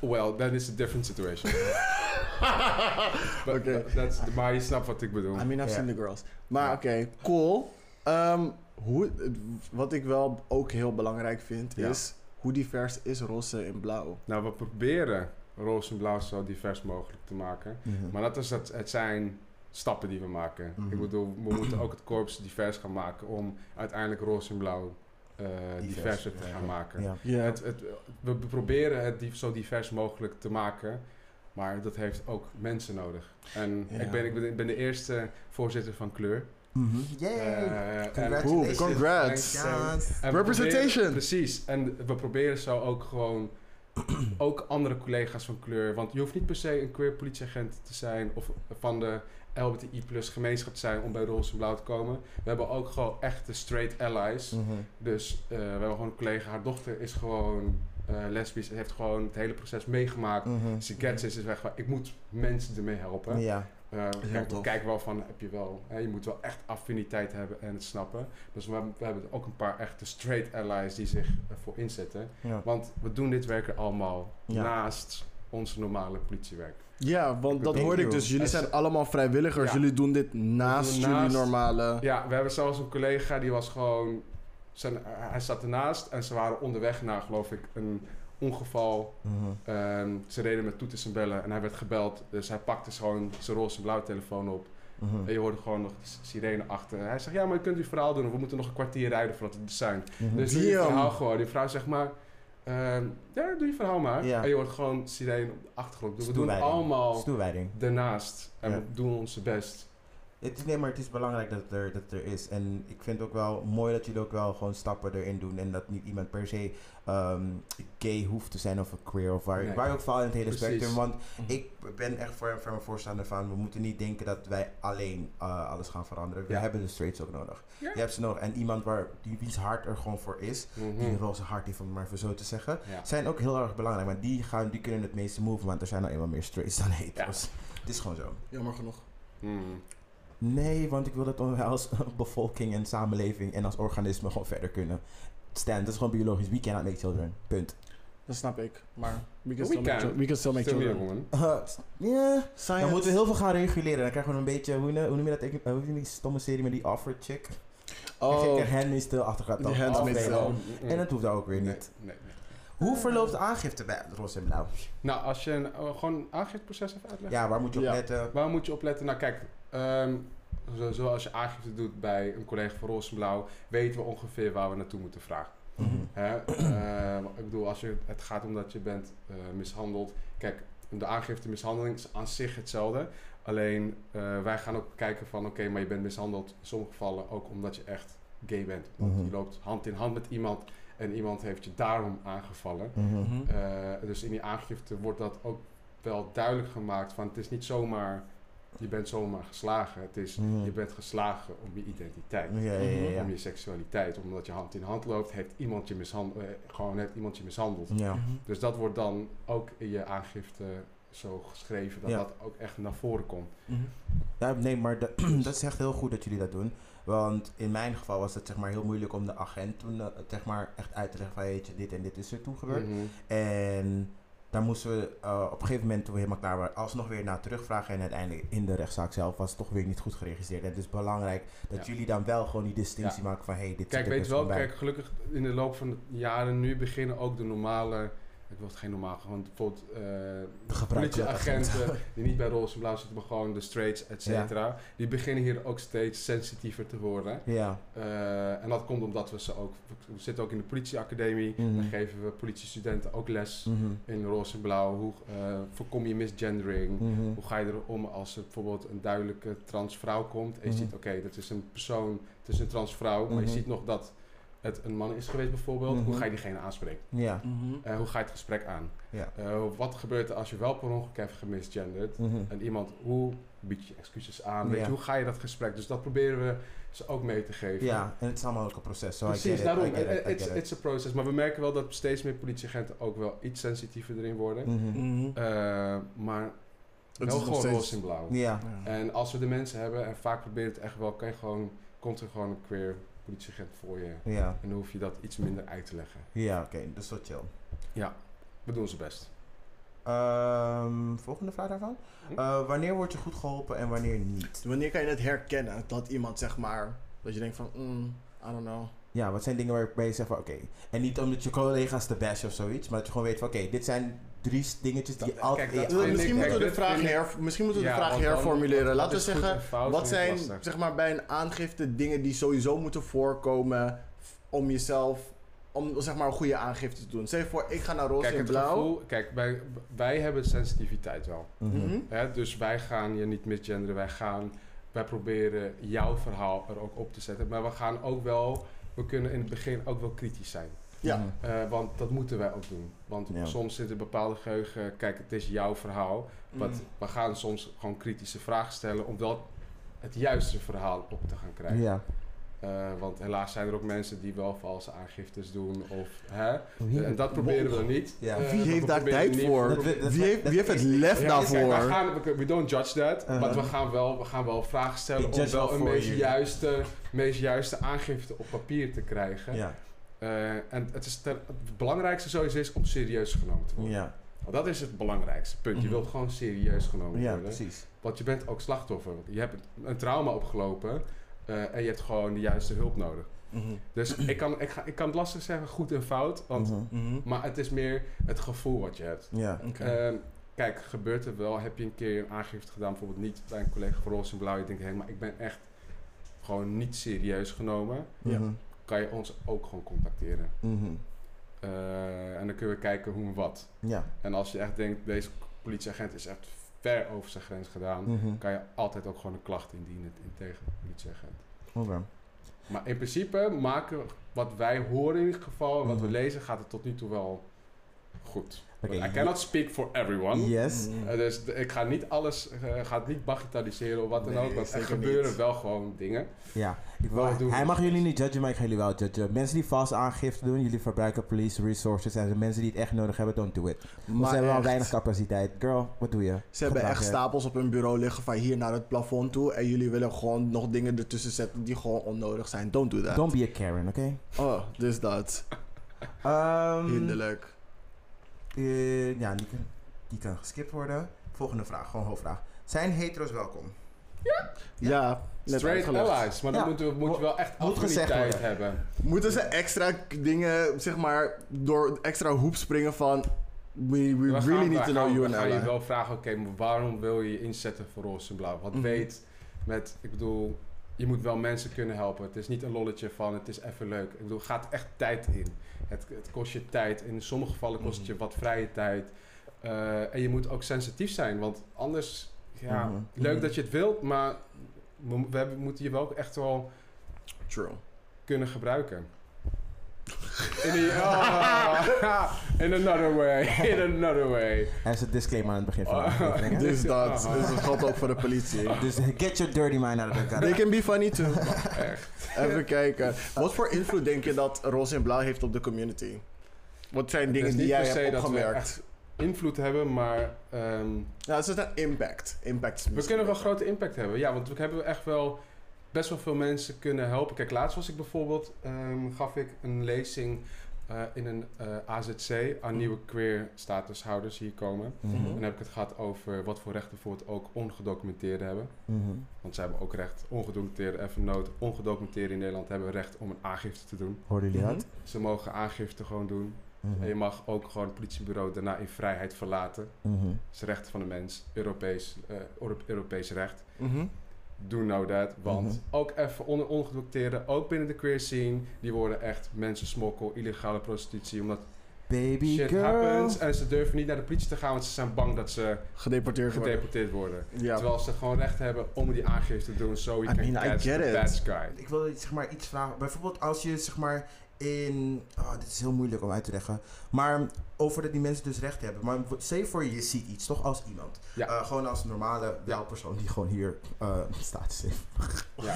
[SPEAKER 2] Well, that is a different situation. But
[SPEAKER 1] Oké.
[SPEAKER 2] that- that's- maar je snapt wat ik bedoel.
[SPEAKER 1] I mean,
[SPEAKER 3] Ja.
[SPEAKER 1] I've seen the girls. Maar oké, cool. Ehm, hoe, wat ik wel ook heel belangrijk vind
[SPEAKER 2] Ja.
[SPEAKER 1] is hoe divers is roze en blauw.
[SPEAKER 2] Nou, we proberen roze en blauw zo divers mogelijk te maken.
[SPEAKER 3] Mhm.
[SPEAKER 2] Maar dat is dat, het zijn stappen die we maken.
[SPEAKER 3] Mhm.
[SPEAKER 2] Ik bedoel, we moeten ook het korps divers gaan maken om uiteindelijk roze en blauw eh,
[SPEAKER 3] Divers.
[SPEAKER 2] diverser te gaan maken.
[SPEAKER 3] Ja.
[SPEAKER 1] Ja,
[SPEAKER 2] Het, het, we proberen het dief- zo divers mogelijk te maken, maar dat heeft ook mensen nodig. En
[SPEAKER 1] Ja.
[SPEAKER 2] ik, ben, ik, ben, ik ben de eerste voorzitter van kleur.
[SPEAKER 3] Mhm. Yay!
[SPEAKER 2] Eh, en-
[SPEAKER 3] Congratulations.
[SPEAKER 1] Oeh,
[SPEAKER 3] Thanks,
[SPEAKER 1] congrats.
[SPEAKER 3] Jan.
[SPEAKER 2] en we
[SPEAKER 1] Representation.
[SPEAKER 2] proberen- precies. En we proberen zo ook gewoon ook andere collega's van kleur. Want je hoeft niet per se een queer politieagent te zijn of van de LBTI plus gemeenschap te zijn om bij Roze en Blauw te komen. We hebben ook gewoon echte straight allies.
[SPEAKER 1] Mm.
[SPEAKER 3] Mhm.
[SPEAKER 2] Dus eh, we hebben gewoon een collega, haar dochter is gewoon eh, lesbisch en heeft gewoon het hele proces meegemaakt.
[SPEAKER 3] Mhm.
[SPEAKER 2] Ze gets is, is weg. van, Ik moet mensen ermee helpen.
[SPEAKER 3] Ja.
[SPEAKER 2] Eh, kijk,
[SPEAKER 1] tof.
[SPEAKER 2] kijk wel van, heb je wel... Hè, je moet wel echt affiniteit hebben en het snappen. Dus we, hebben- we hebben ook een paar echte straight allies die zich ervoor inzetten.
[SPEAKER 3] Ja.
[SPEAKER 2] Want we doen dit werk er allemaal
[SPEAKER 3] Ja.
[SPEAKER 2] naast ons normale politiewerk.
[SPEAKER 1] ja want dat
[SPEAKER 3] Thank
[SPEAKER 1] hoorde ik
[SPEAKER 3] you.
[SPEAKER 1] dus. Jullie
[SPEAKER 2] Het-
[SPEAKER 1] zijn allemaal vrijwilligers.
[SPEAKER 2] Ja.
[SPEAKER 1] Jullie doen dit naast
[SPEAKER 2] doen
[SPEAKER 1] jullie
[SPEAKER 2] naast-
[SPEAKER 1] normale...
[SPEAKER 2] Ja, we hebben zelfs een collega die was gewoon... Zijn, hij zat ernaast en ze waren onderweg naar, geloof ik, een ongeval.
[SPEAKER 3] Mhm.
[SPEAKER 2] Ehm, ze reden met toeters en bellen en hij werd gebeld. Dus hij pakte gewoon zijn roze en blauw telefoon op.
[SPEAKER 3] Mhm.
[SPEAKER 2] En je hoorde gewoon nog de s- sirene achter. En hij zegt, ja, maar je kunt uw verhaal doen. of We moeten nog een kwartier rijden voordat het er zijn.
[SPEAKER 3] Mhm.
[SPEAKER 2] Dus doe je
[SPEAKER 1] Damn.
[SPEAKER 2] verhaal gewoon. Die vrouw zegt maar, ehm, ja, doe je verhaal maar.
[SPEAKER 3] Ja.
[SPEAKER 2] En je hoort gewoon sirene op de achtergrond. Dus we doen
[SPEAKER 3] Stoelwijding.
[SPEAKER 2] allemaal
[SPEAKER 3] Stoelwijding.
[SPEAKER 2] daarnaast. En
[SPEAKER 3] Ja.
[SPEAKER 2] we doen onze best.
[SPEAKER 3] Het is, nee, maar het is belangrijk dat het er, dat het er is. En ik vind het ook wel mooi dat jullie ook wel gewoon stappen erin doen. En dat niet iemand per se ehm, gay hoeft te zijn of een queer of waar,
[SPEAKER 2] Nee.
[SPEAKER 3] waar ook valt in het hele
[SPEAKER 2] Precies. Mhm.
[SPEAKER 3] spectrum. Want ik ben echt voor, voor een voorstander van, we moeten niet denken dat wij alleen eh, alles gaan veranderen. We
[SPEAKER 2] Ja.
[SPEAKER 3] hebben de straights ook nodig.
[SPEAKER 2] Ja.
[SPEAKER 3] Je hebt ze nodig. En iemand waar, die, wie's hart er gewoon voor is, die een
[SPEAKER 2] Mhm.
[SPEAKER 3] roze hart heeft, om het maar voor zo te zeggen,
[SPEAKER 2] Ja.
[SPEAKER 3] zijn ook heel erg belangrijk. Maar die, gaan, die kunnen het meeste move, want er zijn nou eenmaal meer straights dan hetero's. Het is gewoon zo.
[SPEAKER 1] Jammer genoeg.
[SPEAKER 2] Mm.
[SPEAKER 3] Nee, want ik wil dat we als bevolking en samenleving en als organisme gewoon verder kunnen. Stan, dat is gewoon biologisch. We cannot make children. Punt.
[SPEAKER 1] Dat snap ik. Maar we
[SPEAKER 2] We
[SPEAKER 1] can still make,
[SPEAKER 2] can.
[SPEAKER 1] chil- we can still make
[SPEAKER 2] Stem hier,
[SPEAKER 1] children.
[SPEAKER 2] jongen.
[SPEAKER 3] Eh, ja,
[SPEAKER 1] Science.
[SPEAKER 3] Dan moeten we heel veel gaan reguleren. Dan krijgen we een beetje, hoe, ne- hoe noem je dat? Ik, eh, hoe noem je die stomme serie met die offer chick?
[SPEAKER 1] Oh,
[SPEAKER 3] Ik hand is stil achter gaat
[SPEAKER 1] Die Handmaid's
[SPEAKER 3] afleveren.
[SPEAKER 1] Tale.
[SPEAKER 2] Mm.
[SPEAKER 3] En dat hoeft ook weer
[SPEAKER 2] Nee,
[SPEAKER 3] niet.
[SPEAKER 2] nee, nee.
[SPEAKER 3] Hoe verloopt de aangifte bij Ros en Blauw?
[SPEAKER 2] Nou, als je een, eh, gewoon een aangifteproces even uitlegt.
[SPEAKER 3] Ja, waar moet je op
[SPEAKER 1] Ja.
[SPEAKER 3] letten?
[SPEAKER 2] Waar moet je op letten? Nou, kijk, ehm, zo, zoals je aangifte doet bij een collega van Rozenblauw, weten we ongeveer waar we naartoe moeten vragen.
[SPEAKER 3] Mhm.
[SPEAKER 2] Hè? Ehm, ik bedoel, als je, het gaat om dat je bent eh, mishandeld. Kijk, de aangifte mishandeling is aan zich hetzelfde. Alleen eh, wij gaan ook kijken van oké, maar je bent mishandeld in sommige gevallen ook omdat je echt gay bent. Want
[SPEAKER 3] Mhm.
[SPEAKER 2] je loopt hand in hand met iemand en iemand heeft je daarom aangevallen.
[SPEAKER 3] Mhm.
[SPEAKER 1] Mhm.
[SPEAKER 2] Eh, dus in die aangifte wordt dat ook wel duidelijk gemaakt. Van het is niet zomaar, je bent zomaar geslagen. Het is,
[SPEAKER 3] Mhm.
[SPEAKER 2] je bent geslagen om je identiteit.
[SPEAKER 3] Ja, ja, ja. Mm, ja.
[SPEAKER 2] Om je seksualiteit. Omdat je hand in hand loopt, heeft iemand je mishandeld. gewoon heeft iemand je mishandeld.
[SPEAKER 3] ja.
[SPEAKER 2] Dus dat wordt dan ook in je aangifte zo geschreven. Dat
[SPEAKER 3] Ja.
[SPEAKER 2] dat ook echt naar voren komt.
[SPEAKER 3] Ja, nee, maar dat, dat is echt heel goed dat jullie dat doen. Want in mijn geval was het zeg maar heel moeilijk om de agent toen eh, zeg maar echt uit te leggen van weet je, dit en dit is er toen gebeurd.
[SPEAKER 2] Mhm.
[SPEAKER 3] En daar moesten we eh, op een gegeven moment, toen we helemaal klaar waren, alsnog weer naar terugvragen. En uiteindelijk in de rechtszaak zelf was het toch weer niet goed geregistreerd. En het is belangrijk dat
[SPEAKER 2] Ja.
[SPEAKER 3] jullie dan wel gewoon die distinctie
[SPEAKER 2] Ja.
[SPEAKER 3] maken van hey, dit
[SPEAKER 2] Kijk,
[SPEAKER 3] zit er
[SPEAKER 2] weet je
[SPEAKER 3] best
[SPEAKER 2] wel,
[SPEAKER 3] gewoon bij.
[SPEAKER 2] kijk, gelukkig in de loop van de jaren nu beginnen ook de normale. Ik wil het geen normaal, want bijvoorbeeld eh,
[SPEAKER 3] De gebruikelijke
[SPEAKER 2] politieagenten die niet bij roze en blauw zitten, maar gewoon de straights, et cetera. Die beginnen hier ook steeds sensitiever te worden.
[SPEAKER 3] Ja.
[SPEAKER 2] Eh, en dat komt omdat we ze ook, we zitten ook in de politieacademie.
[SPEAKER 3] Mhm.
[SPEAKER 2] Dan geven we politiestudenten ook les
[SPEAKER 3] Mhm.
[SPEAKER 2] in roze en blauw. Hoe eh, voorkom je misgendering?
[SPEAKER 3] Mhm.
[SPEAKER 2] Hoe ga je erom als er bijvoorbeeld een duidelijke transvrouw komt en je
[SPEAKER 3] Mhm.
[SPEAKER 2] ziet, oké, dat is een persoon, het is een transvrouw, maar je
[SPEAKER 3] Mhm.
[SPEAKER 2] ziet nog dat het een man is geweest bijvoorbeeld. Hoe
[SPEAKER 3] Mhm.
[SPEAKER 2] ga je diegene aanspreken?
[SPEAKER 3] Ja.
[SPEAKER 1] Mhm.
[SPEAKER 2] Eh, hoe ga je het gesprek aan?
[SPEAKER 3] Ja.
[SPEAKER 2] Eh, wat gebeurt er als je wel per ongeluk hebt gemisgenderd?
[SPEAKER 3] Mhm.
[SPEAKER 2] En iemand, hoe bied je excuses aan? Weet
[SPEAKER 3] Ja.
[SPEAKER 2] je, hoe ga je dat gesprek? Dus dat proberen we ze ook mee te geven.
[SPEAKER 3] Ja, en het is allemaal ook een proces. So I get
[SPEAKER 2] Precies,
[SPEAKER 3] it,
[SPEAKER 2] daarom.
[SPEAKER 3] I get it, I
[SPEAKER 2] Eh, It's,
[SPEAKER 3] get it.
[SPEAKER 2] it's a process. Maar we merken wel dat steeds meer politieagenten ook wel iets sensitiever erin worden.
[SPEAKER 3] Mhm.
[SPEAKER 1] Mhm.
[SPEAKER 2] Eh, maar
[SPEAKER 1] Het
[SPEAKER 2] wel
[SPEAKER 1] is nog
[SPEAKER 2] gewoon
[SPEAKER 1] steeds-
[SPEAKER 2] roze en blauw.
[SPEAKER 3] Ja.
[SPEAKER 1] Ja.
[SPEAKER 2] En als we de mensen hebben, en vaak probeert het echt wel, kan je gewoon, komt er gewoon een queer politieagent voor je.
[SPEAKER 3] Ja.
[SPEAKER 2] En dan hoef je dat iets minder uit te leggen.
[SPEAKER 3] Ja, oké. Dat is wel chill.
[SPEAKER 2] We doen ons best.
[SPEAKER 3] Ehm, volgende vraag daarvan.
[SPEAKER 2] Hm?
[SPEAKER 3] Eh, wanneer word je goed geholpen en wanneer niet?
[SPEAKER 1] Wanneer kan je het herkennen dat iemand zeg maar dat je denkt van, mm, I don't know.
[SPEAKER 3] Ja, wat zijn dingen waarbij je zegt van oké. En niet omdat je collega's te bashen of zoiets, maar dat je gewoon weet van oké, dit zijn drie s- dingetjes die
[SPEAKER 2] Dat-
[SPEAKER 3] altijd.
[SPEAKER 2] kijk,
[SPEAKER 3] in
[SPEAKER 2] dat-
[SPEAKER 3] je
[SPEAKER 2] vind
[SPEAKER 1] misschien,
[SPEAKER 2] ik-
[SPEAKER 1] moeten we
[SPEAKER 2] kijk,
[SPEAKER 1] de
[SPEAKER 2] dat
[SPEAKER 1] vraag
[SPEAKER 2] vind ik-
[SPEAKER 1] her, misschien moeten we de
[SPEAKER 2] Ja,
[SPEAKER 1] vraag
[SPEAKER 2] want dan-
[SPEAKER 1] herformuleren.
[SPEAKER 2] want
[SPEAKER 1] Laten we
[SPEAKER 2] dat is goed
[SPEAKER 1] zeggen,
[SPEAKER 2] en fout
[SPEAKER 1] wat
[SPEAKER 2] vind ik
[SPEAKER 1] zijn
[SPEAKER 2] lastig.
[SPEAKER 1] zeg maar, bij een aangifte dingen die sowieso moeten voorkomen f- om jezelf, om zeg maar een goede aangifte te doen? Zeg je voor, ik ga naar roze
[SPEAKER 2] Kijk,
[SPEAKER 1] en
[SPEAKER 2] het
[SPEAKER 1] blauw.
[SPEAKER 2] gevoel, kijk wij, wij hebben sensitiviteit wel.
[SPEAKER 3] Mhm.
[SPEAKER 1] Mhm.
[SPEAKER 2] Hè? Dus wij gaan je niet misgenderen, wij gaan, wij proberen jouw verhaal er ook op te zetten. Maar we gaan ook wel, we kunnen in het begin ook wel kritisch zijn.
[SPEAKER 1] Ja.
[SPEAKER 3] Mhm.
[SPEAKER 2] Eh, want dat moeten wij ook doen. Want
[SPEAKER 3] Ja.
[SPEAKER 2] soms zit er bepaalde geheugen, kijk, het is jouw verhaal. Maar
[SPEAKER 1] Mm.
[SPEAKER 2] we gaan soms gewoon kritische vragen stellen om wel het juiste verhaal op te gaan krijgen.
[SPEAKER 3] Ja.
[SPEAKER 2] Eh, want helaas zijn er ook mensen die wel valse aangiftes doen. Of, hè?
[SPEAKER 3] Wie-
[SPEAKER 2] En dat proberen we niet.
[SPEAKER 3] Ja.
[SPEAKER 2] Eh,
[SPEAKER 1] Wie
[SPEAKER 2] we
[SPEAKER 1] heeft daar
[SPEAKER 2] proberen
[SPEAKER 1] tijd
[SPEAKER 2] niet-
[SPEAKER 1] voor?
[SPEAKER 3] Dat- dat- dat-
[SPEAKER 1] Wie heeft,
[SPEAKER 3] dat-
[SPEAKER 1] wie heeft het lef
[SPEAKER 2] Ja, dus kijk,
[SPEAKER 1] daarvoor?
[SPEAKER 2] wij gaan, we, we don't judge that.
[SPEAKER 3] Uh-huh.
[SPEAKER 2] Maar we gaan, wel, we gaan wel vragen stellen
[SPEAKER 3] Ik
[SPEAKER 2] om
[SPEAKER 3] judge wel
[SPEAKER 2] wel een
[SPEAKER 3] voor
[SPEAKER 2] meest
[SPEAKER 3] jullie.
[SPEAKER 2] juiste, meest juiste aangifte op papier te krijgen.
[SPEAKER 3] Ja.
[SPEAKER 2] Eh, en het, is ter- het belangrijkste sowieso is om serieus genomen te worden.
[SPEAKER 3] Ja.
[SPEAKER 2] Want dat is het belangrijkste punt. Je
[SPEAKER 3] Mhm.
[SPEAKER 2] wilt gewoon serieus genomen
[SPEAKER 3] Ja,
[SPEAKER 2] worden.
[SPEAKER 3] precies.
[SPEAKER 2] Want je bent ook slachtoffer. Je hebt een trauma opgelopen eh, en je hebt gewoon de juiste hulp nodig.
[SPEAKER 1] Mhm.
[SPEAKER 2] Dus ik kan, ik, ga, ik kan het lastig zeggen goed en fout, want,
[SPEAKER 3] Mhm.
[SPEAKER 1] Mhm.
[SPEAKER 2] maar het is meer het gevoel wat je hebt.
[SPEAKER 3] Ja.
[SPEAKER 1] Oké.
[SPEAKER 2] Ehm, Kijk, gebeurt er wel. Heb je een keer een aangifte gedaan, bijvoorbeeld niet bij een collega van Roze en Blauw. Je denkt, hé, maar ik ben echt gewoon niet serieus genomen.
[SPEAKER 5] Ja.
[SPEAKER 1] Mhm.
[SPEAKER 2] Kan je ons ook gewoon contacteren.
[SPEAKER 3] Mhm.
[SPEAKER 2] Eh, en dan kunnen we kijken hoe en wat.
[SPEAKER 3] Ja.
[SPEAKER 2] En als je echt denkt, deze politieagent is echt ver over zijn grens gedaan.
[SPEAKER 3] Mhm.
[SPEAKER 2] Kan je altijd ook gewoon een klacht indienen in- tegen de politieagent.
[SPEAKER 3] Oké.
[SPEAKER 2] Maar in principe maken we- wat wij horen in ieder geval, en wat we
[SPEAKER 3] Mhm.
[SPEAKER 2] lezen, gaat het tot nu toe wel goed.
[SPEAKER 3] Oké,
[SPEAKER 2] Want I cannot speak for everyone.
[SPEAKER 3] Yes.
[SPEAKER 1] Mhm.
[SPEAKER 2] Eh, dus de- ik ga niet alles, eh, ga het niet bagatelliseren of wat dan
[SPEAKER 1] Nee,
[SPEAKER 2] ook. Want er
[SPEAKER 1] zeker
[SPEAKER 2] gebeuren
[SPEAKER 1] niet.
[SPEAKER 2] wel gewoon dingen.
[SPEAKER 3] Ja. Ik
[SPEAKER 2] Wel
[SPEAKER 3] wil-
[SPEAKER 2] doen.
[SPEAKER 3] hij mag jullie niet judgen, maar ik ga jullie wel judgen. Mensen die vals aangifte doen, jullie verbruiken police resources. En de mensen die het echt nodig hebben, don't do it. Want
[SPEAKER 1] Maar
[SPEAKER 3] ze hebben wel
[SPEAKER 1] echt,
[SPEAKER 3] weinig capaciteit. Girl, wat doe je?
[SPEAKER 1] Ze hebben
[SPEAKER 3] Gedrag
[SPEAKER 1] echt
[SPEAKER 3] je.
[SPEAKER 1] stapels op hun bureau liggen van hier naar het plafond toe. En jullie willen gewoon nog dingen ertussen zetten die gewoon onnodig zijn. Don't do that.
[SPEAKER 3] Don't be a Karen, oké?
[SPEAKER 1] Oh, dus dat.
[SPEAKER 3] Ehm,
[SPEAKER 1] Hinderlijk.
[SPEAKER 3] eh, ja, die kan, die kan geskipt worden. Volgende vraag, gewoon hoofdvraag. Zijn hetero's welkom?
[SPEAKER 1] Ja, net
[SPEAKER 2] Straight
[SPEAKER 1] uitgelegd.
[SPEAKER 2] allies. Maar
[SPEAKER 3] Ja.
[SPEAKER 2] dan moeten we, moet je wel echt
[SPEAKER 3] Moet gezegd
[SPEAKER 2] affiniteit
[SPEAKER 3] worden.
[SPEAKER 2] hebben.
[SPEAKER 1] Moeten ze extra k- dingen, zeg maar, door extra hoep springen van... We, we
[SPEAKER 2] Dan gaan
[SPEAKER 1] really
[SPEAKER 2] we-
[SPEAKER 1] need to
[SPEAKER 2] gaan
[SPEAKER 1] know
[SPEAKER 2] we-
[SPEAKER 1] you
[SPEAKER 2] dan
[SPEAKER 1] and
[SPEAKER 2] ga je
[SPEAKER 1] Ella.
[SPEAKER 2] wel vragen, oké, maar waarom wil je je inzetten voor roze en blauw? Wat
[SPEAKER 1] Mhm.
[SPEAKER 2] weet met, ik bedoel, je moet wel mensen kunnen helpen. Het is niet een lolletje van, het is even leuk. Ik bedoel, er gaat echt tijd in. Het, het kost je tijd. In sommige gevallen kost
[SPEAKER 1] Mhm.
[SPEAKER 2] het je wat vrije tijd. Eh, en je moet ook sensitief zijn, want anders, ja,
[SPEAKER 3] Mhm.
[SPEAKER 2] leuk dat je het wilt, maar we, we hebben- moeten je wel echt wel
[SPEAKER 1] True.
[SPEAKER 2] kunnen gebruiken. In die- oh, in another way, in another way.
[SPEAKER 3] Er is een disclaimer aan het begin van de
[SPEAKER 2] Oh.
[SPEAKER 3] aflevering. hè?
[SPEAKER 1] Dus dat.
[SPEAKER 2] Aha.
[SPEAKER 1] Dus dat geldt ook voor de politie.
[SPEAKER 3] Dus get your dirty mind out of the car.
[SPEAKER 1] They can be funny too. Even kijken. Wat voor invloed denk je dat Roze en Blauw heeft op de community? Wat zijn
[SPEAKER 2] Het is
[SPEAKER 1] dingen die
[SPEAKER 2] niet
[SPEAKER 1] jij
[SPEAKER 2] per se
[SPEAKER 1] hebt
[SPEAKER 2] dat we
[SPEAKER 1] opgemerkt?
[SPEAKER 2] echt invloed hebben, maar ehm,
[SPEAKER 1] Ja, het is een impact. Impact is
[SPEAKER 2] we
[SPEAKER 1] misschien
[SPEAKER 2] kunnen wel
[SPEAKER 1] beter.
[SPEAKER 2] grote impact hebben. Ja, want we hebben echt wel best wel veel mensen kunnen helpen. Kijk, laatst was ik bijvoorbeeld, ehm, gaf ik een lezing eh, in een eh, AZC aan nieuwe queer statushouders hier komen.
[SPEAKER 3] Mhm,
[SPEAKER 2] En dan heb ik het gehad over wat voor rechten voor het ook ongedocumenteerden hebben.
[SPEAKER 3] mhm.
[SPEAKER 2] Want zij hebben ook recht, ongedocumenteerde even nood, ongedocumenteerden in Nederland hebben recht om een aangifte te doen.
[SPEAKER 3] Hoorden jullie dat?
[SPEAKER 2] Ze mogen aangifte gewoon doen.
[SPEAKER 3] Mhm,
[SPEAKER 2] En je mag ook gewoon het politiebureau daarna in vrijheid verlaten.
[SPEAKER 3] mhm.
[SPEAKER 2] Dat is recht van de mens, Europees, eh, Euro- Europees recht.
[SPEAKER 1] Mhm.
[SPEAKER 2] Do know that, want
[SPEAKER 3] Mhm.
[SPEAKER 2] ook even onder ongedocumenteerden, ook binnen de queer scene, die worden echt mensen smokkel, illegale prostitutie, omdat
[SPEAKER 3] Baby
[SPEAKER 2] shit
[SPEAKER 3] girl.
[SPEAKER 2] happens en ze durven niet naar de politie te gaan, want ze zijn bang dat ze
[SPEAKER 1] Gedeporteerd worden.
[SPEAKER 2] gedeporteerd worden.
[SPEAKER 1] Ja.
[SPEAKER 2] Terwijl ze gewoon recht hebben om die aangifte te doen, so we
[SPEAKER 1] I
[SPEAKER 2] can
[SPEAKER 1] mean, I
[SPEAKER 2] catch
[SPEAKER 1] get
[SPEAKER 2] the
[SPEAKER 1] it.
[SPEAKER 2] bad guy.
[SPEAKER 3] Ik wil zeg maar iets vragen. Bijvoorbeeld als je zeg maar in... Oh, dit is heel moeilijk om uit te leggen. Maar over dat die mensen dus recht hebben. Maar w- stel je voor je ziet iets, toch? Als iemand.
[SPEAKER 2] Ja.
[SPEAKER 3] Eh, gewoon als een normale welpersoon die gewoon hier eh, staat.
[SPEAKER 2] Ja.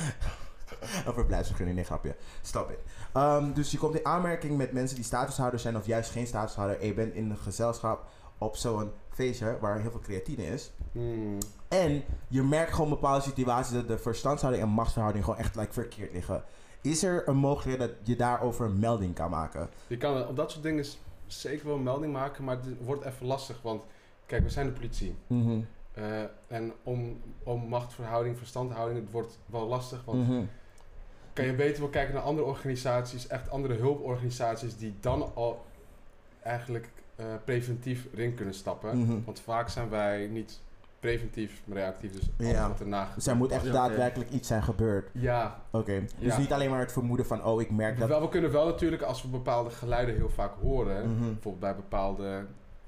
[SPEAKER 3] Een verblijfsvergunning, nee grapje. Stap in. Ehm, dus je komt in aanmerking met mensen die statushouder zijn of juist geen statushouder. En je bent in een gezelschap op zo'n feestje waar heel veel creatine is.
[SPEAKER 2] Hmm.
[SPEAKER 3] En je merkt gewoon bepaalde situaties dat de verstandshouding en machtsverhouding gewoon echt like, verkeerd liggen. Is er een mogelijkheid dat je daarover een melding kan maken?
[SPEAKER 2] Je kan op dat soort dingen s- zeker wel een melding maken, maar het wordt even lastig, want kijk, we zijn de politie.
[SPEAKER 3] Mhm.
[SPEAKER 2] Eh, en om, om machtverhouding, verstandhouding, het wordt wel lastig. Want
[SPEAKER 3] Mhm.
[SPEAKER 2] kan je beter wel kijken naar andere organisaties, echt andere hulporganisaties, die dan al eigenlijk eh, preventief erin kunnen stappen.
[SPEAKER 3] Mhm.
[SPEAKER 2] Want vaak zijn wij niet preventief, maar reactief. Dus alles
[SPEAKER 3] Ja.
[SPEAKER 2] wat erna
[SPEAKER 3] Dus er moet echt
[SPEAKER 1] Ja, oké.
[SPEAKER 3] daadwerkelijk iets zijn gebeurd.
[SPEAKER 2] Ja,
[SPEAKER 3] Oké. Dus
[SPEAKER 2] Ja.
[SPEAKER 3] niet alleen maar het vermoeden van, oh, ik merk dat.
[SPEAKER 2] wel, we kunnen wel natuurlijk als we bepaalde geluiden heel vaak horen,
[SPEAKER 3] Mhm.
[SPEAKER 2] bijvoorbeeld bij bepaalde,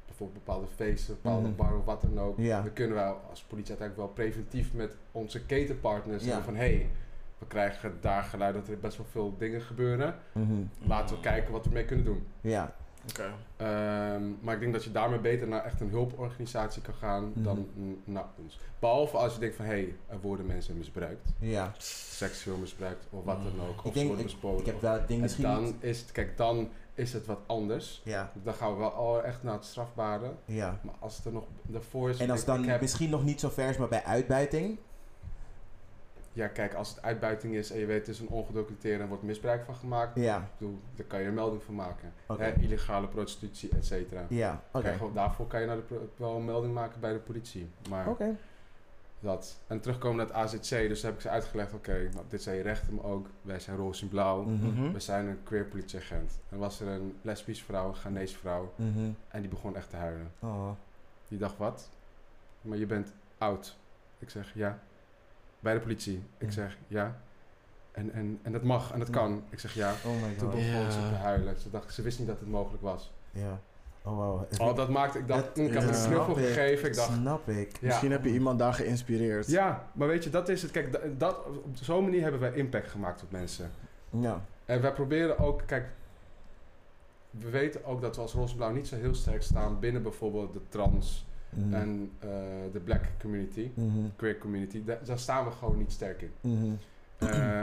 [SPEAKER 2] bijvoorbeeld bepaalde feesten, bepaalde
[SPEAKER 3] Mhm.
[SPEAKER 2] bar of wat dan ook,
[SPEAKER 3] Ja.
[SPEAKER 2] dan kunnen wij als politie uiteindelijk wel preventief met onze ketenpartners
[SPEAKER 3] Ja.
[SPEAKER 2] zeggen van hé, hey, we krijgen daar geluid dat er best wel veel dingen gebeuren.
[SPEAKER 3] Mhm.
[SPEAKER 2] Laten we kijken wat we mee kunnen doen.
[SPEAKER 3] Ja.
[SPEAKER 1] Oké.
[SPEAKER 2] Ehm, maar ik denk dat je daarmee beter naar echt een hulporganisatie kan gaan dan mm, naar ons. Behalve als je denkt van hé, hey, er worden mensen misbruikt,
[SPEAKER 3] Ja.
[SPEAKER 2] seksueel misbruikt of wat dan ook.
[SPEAKER 3] Ik
[SPEAKER 2] Of ze
[SPEAKER 3] denk-
[SPEAKER 2] worden bespoten.
[SPEAKER 3] Ik heb wel het ding
[SPEAKER 2] En
[SPEAKER 3] misschien niet-
[SPEAKER 2] dan is het, kijk, dan is het wat anders.
[SPEAKER 3] Ja.
[SPEAKER 2] Dan gaan we wel al echt naar het strafbare.
[SPEAKER 3] Ja.
[SPEAKER 2] Maar als het er nog daarvoor is.
[SPEAKER 3] En als
[SPEAKER 2] Dus ik-
[SPEAKER 3] dan
[SPEAKER 2] ik heb-
[SPEAKER 3] misschien nog niet zo ver is, maar bij uitbuiting.
[SPEAKER 2] ja, kijk, als het uitbuiting is en je weet het is een ongedocumenteerde en wordt misbruik van gemaakt.
[SPEAKER 3] Ja.
[SPEAKER 2] Ik bedoel, daar kan je een melding van maken.
[SPEAKER 3] Oké.
[SPEAKER 2] Hè, illegale prostitutie, et cetera.
[SPEAKER 3] Ja. Oké.
[SPEAKER 2] Kijk, gewoon daarvoor kan je naar de pro- wel een melding maken bij de politie. Maar
[SPEAKER 3] Oké.
[SPEAKER 2] dat. En terugkomen naar het AZC, dus heb ik ze uitgelegd: oké, nou, dit zijn je rechten, maar ook wij zijn roze en blauw.
[SPEAKER 3] Mhm.
[SPEAKER 2] We zijn een queer politieagent. En was er een lesbische vrouw, een Ghanese vrouw,
[SPEAKER 3] Mhm.
[SPEAKER 2] en die begon echt te huilen.
[SPEAKER 3] Oh.
[SPEAKER 2] Die dacht, wat? Maar je bent oud. Ik zeg, ja. Bij de politie. Ik
[SPEAKER 3] Ja.
[SPEAKER 2] zeg, ja. En, en, en dat mag en dat kan. Ik zeg, ja.
[SPEAKER 3] Oh my
[SPEAKER 2] Toen
[SPEAKER 3] god.
[SPEAKER 2] begon ze
[SPEAKER 5] Ja.
[SPEAKER 2] te huilen. Ze, dacht, ze wist niet dat het mogelijk was.
[SPEAKER 3] Ja. Oh wow.
[SPEAKER 2] Oh, dat maakte... Ik dacht, mm, ik heb
[SPEAKER 1] ja.
[SPEAKER 2] hem een knuffel
[SPEAKER 3] Snap ik.
[SPEAKER 2] gegeven. Ik dacht,
[SPEAKER 3] Snap ik.
[SPEAKER 2] ja.
[SPEAKER 1] Misschien heb je iemand daar geïnspireerd.
[SPEAKER 2] Ja, maar weet je, dat is het. Kijk, da- dat, op zo'n manier hebben wij impact gemaakt op mensen.
[SPEAKER 3] Ja.
[SPEAKER 2] En wij proberen ook, kijk, we weten ook dat we als Rozenblauw niet zo heel sterk staan binnen bijvoorbeeld de trans
[SPEAKER 3] Mhm.
[SPEAKER 2] en eh, de black community,
[SPEAKER 3] Mhm.
[SPEAKER 2] queer community. Daar, daar staan we gewoon niet sterk in.
[SPEAKER 3] Mhm.
[SPEAKER 2] Eh,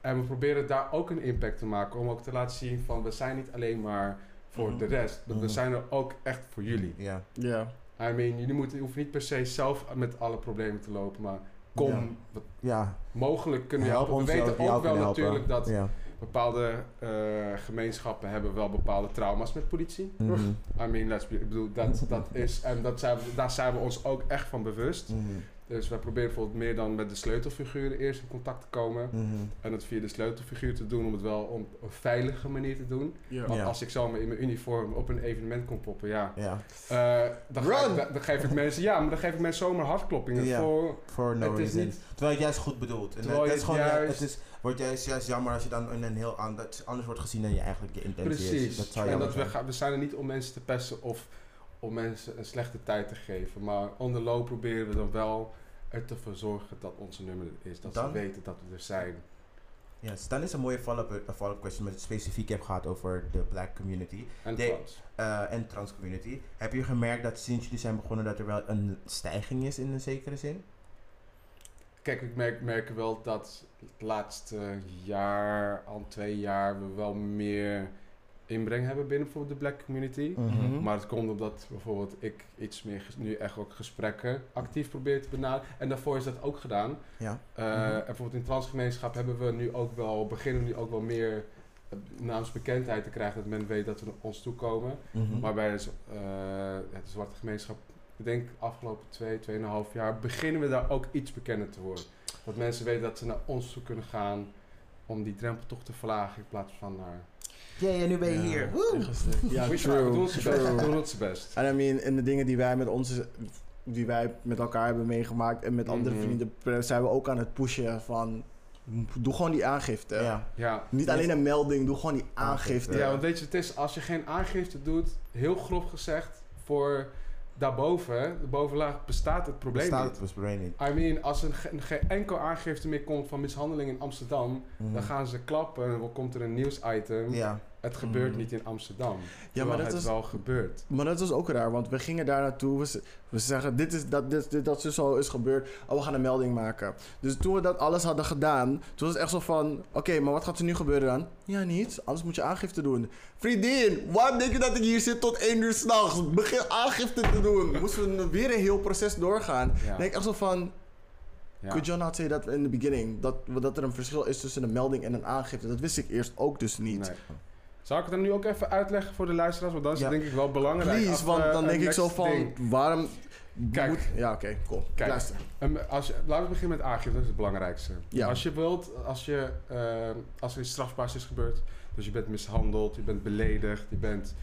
[SPEAKER 2] en we proberen daar ook een impact te maken om ook te laten zien van we zijn niet alleen maar voor
[SPEAKER 3] Mhm.
[SPEAKER 2] de rest, maar we
[SPEAKER 3] Mhm.
[SPEAKER 2] zijn er ook echt voor jullie.
[SPEAKER 3] Ja.
[SPEAKER 1] Ja.
[SPEAKER 2] I mean, jullie moeten, hoeven niet per se zelf met alle problemen te lopen, maar kom,
[SPEAKER 3] Ja.
[SPEAKER 2] wat
[SPEAKER 3] Ja.
[SPEAKER 2] mogelijk kunnen we
[SPEAKER 3] Help
[SPEAKER 2] helpen.
[SPEAKER 3] ons
[SPEAKER 2] We weten
[SPEAKER 3] die jou
[SPEAKER 2] ook wel
[SPEAKER 3] kunnen helpen.
[SPEAKER 2] natuurlijk dat
[SPEAKER 3] Ja.
[SPEAKER 2] bepaalde eh, gemeenschappen hebben wel bepaalde trauma's met politie.
[SPEAKER 3] Mhm.
[SPEAKER 2] I mean, let's be, ik bedoel, dat, dat is, en dat zijn, we- daar zijn we ons ook echt van bewust.
[SPEAKER 3] Mhm.
[SPEAKER 2] Dus wij proberen bijvoorbeeld meer dan met de sleutelfiguren eerst in contact te komen.
[SPEAKER 3] Mhm.
[SPEAKER 2] En het via de sleutelfiguur te doen, om het wel op een veilige manier te doen.
[SPEAKER 1] Ja.
[SPEAKER 2] Want
[SPEAKER 3] Ja.
[SPEAKER 2] als ik zomaar in mijn uniform op een evenement kon poppen, ja.
[SPEAKER 3] Ja.
[SPEAKER 2] eh, dan, ga
[SPEAKER 1] Run!
[SPEAKER 2] ik, dan- dan geef ik mensen, ja, maar dan geef ik mensen zomaar hartkloppingen
[SPEAKER 3] Ja.
[SPEAKER 2] voor.
[SPEAKER 3] For no
[SPEAKER 2] Het is
[SPEAKER 3] reason.
[SPEAKER 2] niet-
[SPEAKER 3] Terwijl het juist goed bedoeld. En eh,
[SPEAKER 2] Terwijl
[SPEAKER 3] dat
[SPEAKER 2] je
[SPEAKER 3] is
[SPEAKER 2] het
[SPEAKER 3] gewoon, ja,
[SPEAKER 2] juist-
[SPEAKER 3] het is, wordt juist, juist jammer als je dan in een heel ander, anders wordt gezien dan je eigenlijk je intentie is.
[SPEAKER 2] Precies.
[SPEAKER 3] Dat zou
[SPEAKER 2] en
[SPEAKER 3] jammer
[SPEAKER 2] dat we,
[SPEAKER 3] zijn.
[SPEAKER 2] gaan- we zijn er niet om mensen te pesten of om mensen een slechte tijd te geven. Maar on the low proberen we dan wel er te voor zorgen dat onze nummer er is. Dat ze
[SPEAKER 3] Dan-
[SPEAKER 2] weten dat we er zijn.
[SPEAKER 3] Yes. Dan is een mooie follow-up een follow-up question, maar het specifiek heb gehad over de black community
[SPEAKER 2] En
[SPEAKER 3] Nee.
[SPEAKER 2] trouwens.
[SPEAKER 3] eh, en trans community. Heb je gemerkt dat sinds jullie zijn begonnen dat er wel een stijging is in een zekere zin?
[SPEAKER 2] Kijk, ik merk, merk wel dat het laatste jaar, al twee jaar, we wel meer inbreng hebben binnen bijvoorbeeld de black community.
[SPEAKER 1] Mhm.
[SPEAKER 2] Maar het komt omdat bijvoorbeeld ik iets meer ges- nu echt ook gesprekken actief probeer te benaderen. En daarvoor is dat ook gedaan.
[SPEAKER 3] Ja.
[SPEAKER 2] Eh,
[SPEAKER 3] Mhm.
[SPEAKER 2] En bijvoorbeeld in transgemeenschap hebben we nu ook wel, beginnen we nu ook wel meer eh, naamsbekendheid te krijgen. Dat men weet dat we naar ons toe komen.
[SPEAKER 3] Mhm.
[SPEAKER 2] Maar bij de, z- dus, eh, het zwarte gemeenschap, ik denk afgelopen twee, tweeënhalf jaar, beginnen we daar ook iets bekender te worden. Dat mensen weten dat ze naar ons toe kunnen gaan om die drempel toch te verlagen in plaats van naar...
[SPEAKER 3] Jee, en nu ben je
[SPEAKER 1] Ja.
[SPEAKER 3] hier. Woe!
[SPEAKER 1] Ja,
[SPEAKER 2] We try, we doen
[SPEAKER 1] true.
[SPEAKER 2] ons best, we
[SPEAKER 1] true.
[SPEAKER 2] doen ons best.
[SPEAKER 1] En I mean, in de dingen die wij met onze, die wij met elkaar hebben meegemaakt en met andere
[SPEAKER 2] Mhm.
[SPEAKER 1] vrienden, eh, zijn we ook aan het pushen van, doe gewoon die aangifte.
[SPEAKER 3] Ja.
[SPEAKER 2] Ja.
[SPEAKER 1] Niet alleen een melding, doe gewoon die aangifte.
[SPEAKER 2] Ja, want weet je, het is als je geen aangifte doet, heel grof gezegd, voor daarboven, de bovenlaag, bestaat het probleem
[SPEAKER 3] Bestaat
[SPEAKER 2] niet.
[SPEAKER 3] het was brain niet.
[SPEAKER 2] I mean, als er geen, geen enkel aangifte meer komt van mishandeling in Amsterdam,
[SPEAKER 3] Mhm.
[SPEAKER 1] Hm.
[SPEAKER 2] dan gaan ze klappen en dan komt er een nieuwsitem.
[SPEAKER 3] Ja.
[SPEAKER 2] Het gebeurt
[SPEAKER 1] Mm.
[SPEAKER 2] niet in Amsterdam.
[SPEAKER 1] Ja,
[SPEAKER 2] Ja,
[SPEAKER 1] maar
[SPEAKER 2] maar
[SPEAKER 1] dat
[SPEAKER 2] het
[SPEAKER 1] is-
[SPEAKER 2] wel gebeurt.
[SPEAKER 1] Maar dat was ook raar, want we gingen daar naartoe. We, z- we zeggen, dit is dat, dit, dit, dat zo zo is gebeurd. Oh, we gaan een melding maken. Dus toen we dat alles hadden gedaan, toen was het echt zo van... Oké, maar wat gaat er nu gebeuren dan? Ja, niets. Anders moet je aangifte doen. Vriendin, waarom denk je dat ik hier zit tot één uur s'nachts? Begin aangifte te doen. Moesten we weer een heel proces doorgaan.
[SPEAKER 2] Ja.
[SPEAKER 1] denk ik echt zo van...
[SPEAKER 2] Ja.
[SPEAKER 1] Could you not say that in the beginning? Dat, dat er een verschil is tussen een melding en een aangifte. Dat wist ik eerst ook dus niet.
[SPEAKER 2] Nee. Zal ik het dan nu ook even uitleggen voor de luisteraars? Want dat is
[SPEAKER 3] Ja.
[SPEAKER 2] denk ik wel belangrijk.
[SPEAKER 1] Please,
[SPEAKER 2] Af,
[SPEAKER 1] want
[SPEAKER 2] eh,
[SPEAKER 1] dan denk ik
[SPEAKER 2] next
[SPEAKER 1] zo van...
[SPEAKER 2] thing.
[SPEAKER 1] Waarom...
[SPEAKER 2] Kijk.
[SPEAKER 1] moet- ja, oké, cool.
[SPEAKER 2] Kijk.
[SPEAKER 1] Luister.
[SPEAKER 2] En als je, laten we beginnen met aangifte, dat is het belangrijkste.
[SPEAKER 1] Ja.
[SPEAKER 2] Als je wilt, als, je, eh, als er iets strafbaars is gebeurd, dus je bent mishandeld, je bent beledigd, je bent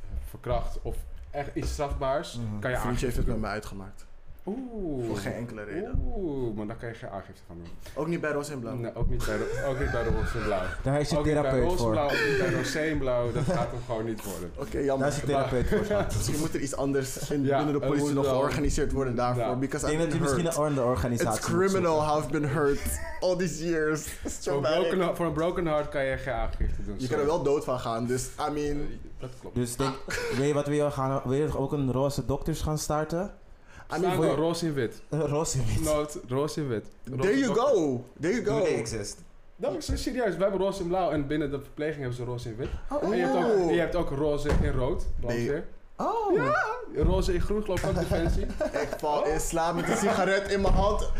[SPEAKER 2] eh, verkracht of echt iets strafbaars,
[SPEAKER 3] Mhm.
[SPEAKER 2] kan je
[SPEAKER 1] Vriendje heeft
[SPEAKER 2] aangifte
[SPEAKER 1] het met
[SPEAKER 2] doen.
[SPEAKER 1] mij uitgemaakt.
[SPEAKER 2] Oeh.
[SPEAKER 1] Voor geen enkele reden.
[SPEAKER 2] Oeh, maar dan kan je geen aangifte gaan doen.
[SPEAKER 1] Ook niet bij Roos en Blauw.
[SPEAKER 2] Nee, ook niet bij de, ook niet bij de roze en blauw.
[SPEAKER 3] Daar is je
[SPEAKER 2] Ook niet bij
[SPEAKER 3] therapeut
[SPEAKER 2] roze en
[SPEAKER 3] voor.
[SPEAKER 2] blauw, ook niet bij roze en blauw, dat gaat hem gewoon niet worden.
[SPEAKER 1] Oké,
[SPEAKER 3] Daar
[SPEAKER 1] jammer.
[SPEAKER 3] is je therapeut voor. schat.
[SPEAKER 1] Misschien moet er iets anders in,
[SPEAKER 2] Ja,
[SPEAKER 1] binnen de
[SPEAKER 2] het
[SPEAKER 1] politie
[SPEAKER 2] moet
[SPEAKER 1] nog
[SPEAKER 2] wel.
[SPEAKER 1] georganiseerd worden daarvoor.
[SPEAKER 2] Ja.
[SPEAKER 1] Because
[SPEAKER 3] Ik denk
[SPEAKER 1] I've
[SPEAKER 3] dat je misschien
[SPEAKER 1] been hurt.
[SPEAKER 3] een andere organisatie
[SPEAKER 1] It's
[SPEAKER 3] moet zoeken.
[SPEAKER 1] criminal how I've been hurt all these years. It's
[SPEAKER 2] Voor een, broken,
[SPEAKER 1] traumatic.
[SPEAKER 2] hart- voor een broken heart kan je geen aangifte doen.
[SPEAKER 1] Je kan
[SPEAKER 2] sorry.
[SPEAKER 1] er wel dood van gaan, dus I mean...
[SPEAKER 2] Eh, Dat klopt.
[SPEAKER 3] Dus denk, weet je wat wil je gaan? Wil je ook een roze dokters gaan starten?
[SPEAKER 1] I
[SPEAKER 2] Staan
[SPEAKER 1] mean
[SPEAKER 2] we
[SPEAKER 1] voor-
[SPEAKER 2] roze in wit.
[SPEAKER 3] Een roze wit.
[SPEAKER 2] Nood, roze in wit.
[SPEAKER 1] there you go. There you
[SPEAKER 3] Nee,
[SPEAKER 1] go.
[SPEAKER 3] exist.
[SPEAKER 2] Dat is serieus. Wij hebben roze en blauw en binnen de verpleging hebben ze roze in wit.
[SPEAKER 3] Oh,
[SPEAKER 2] En je hebt ook, je hebt ook roze in rood.
[SPEAKER 1] Nee.
[SPEAKER 2] brandweer.
[SPEAKER 3] Oh.
[SPEAKER 2] Roze in groen geloof ik ook defensie.
[SPEAKER 1] Ik val in slaap met een sigaret in mijn hand.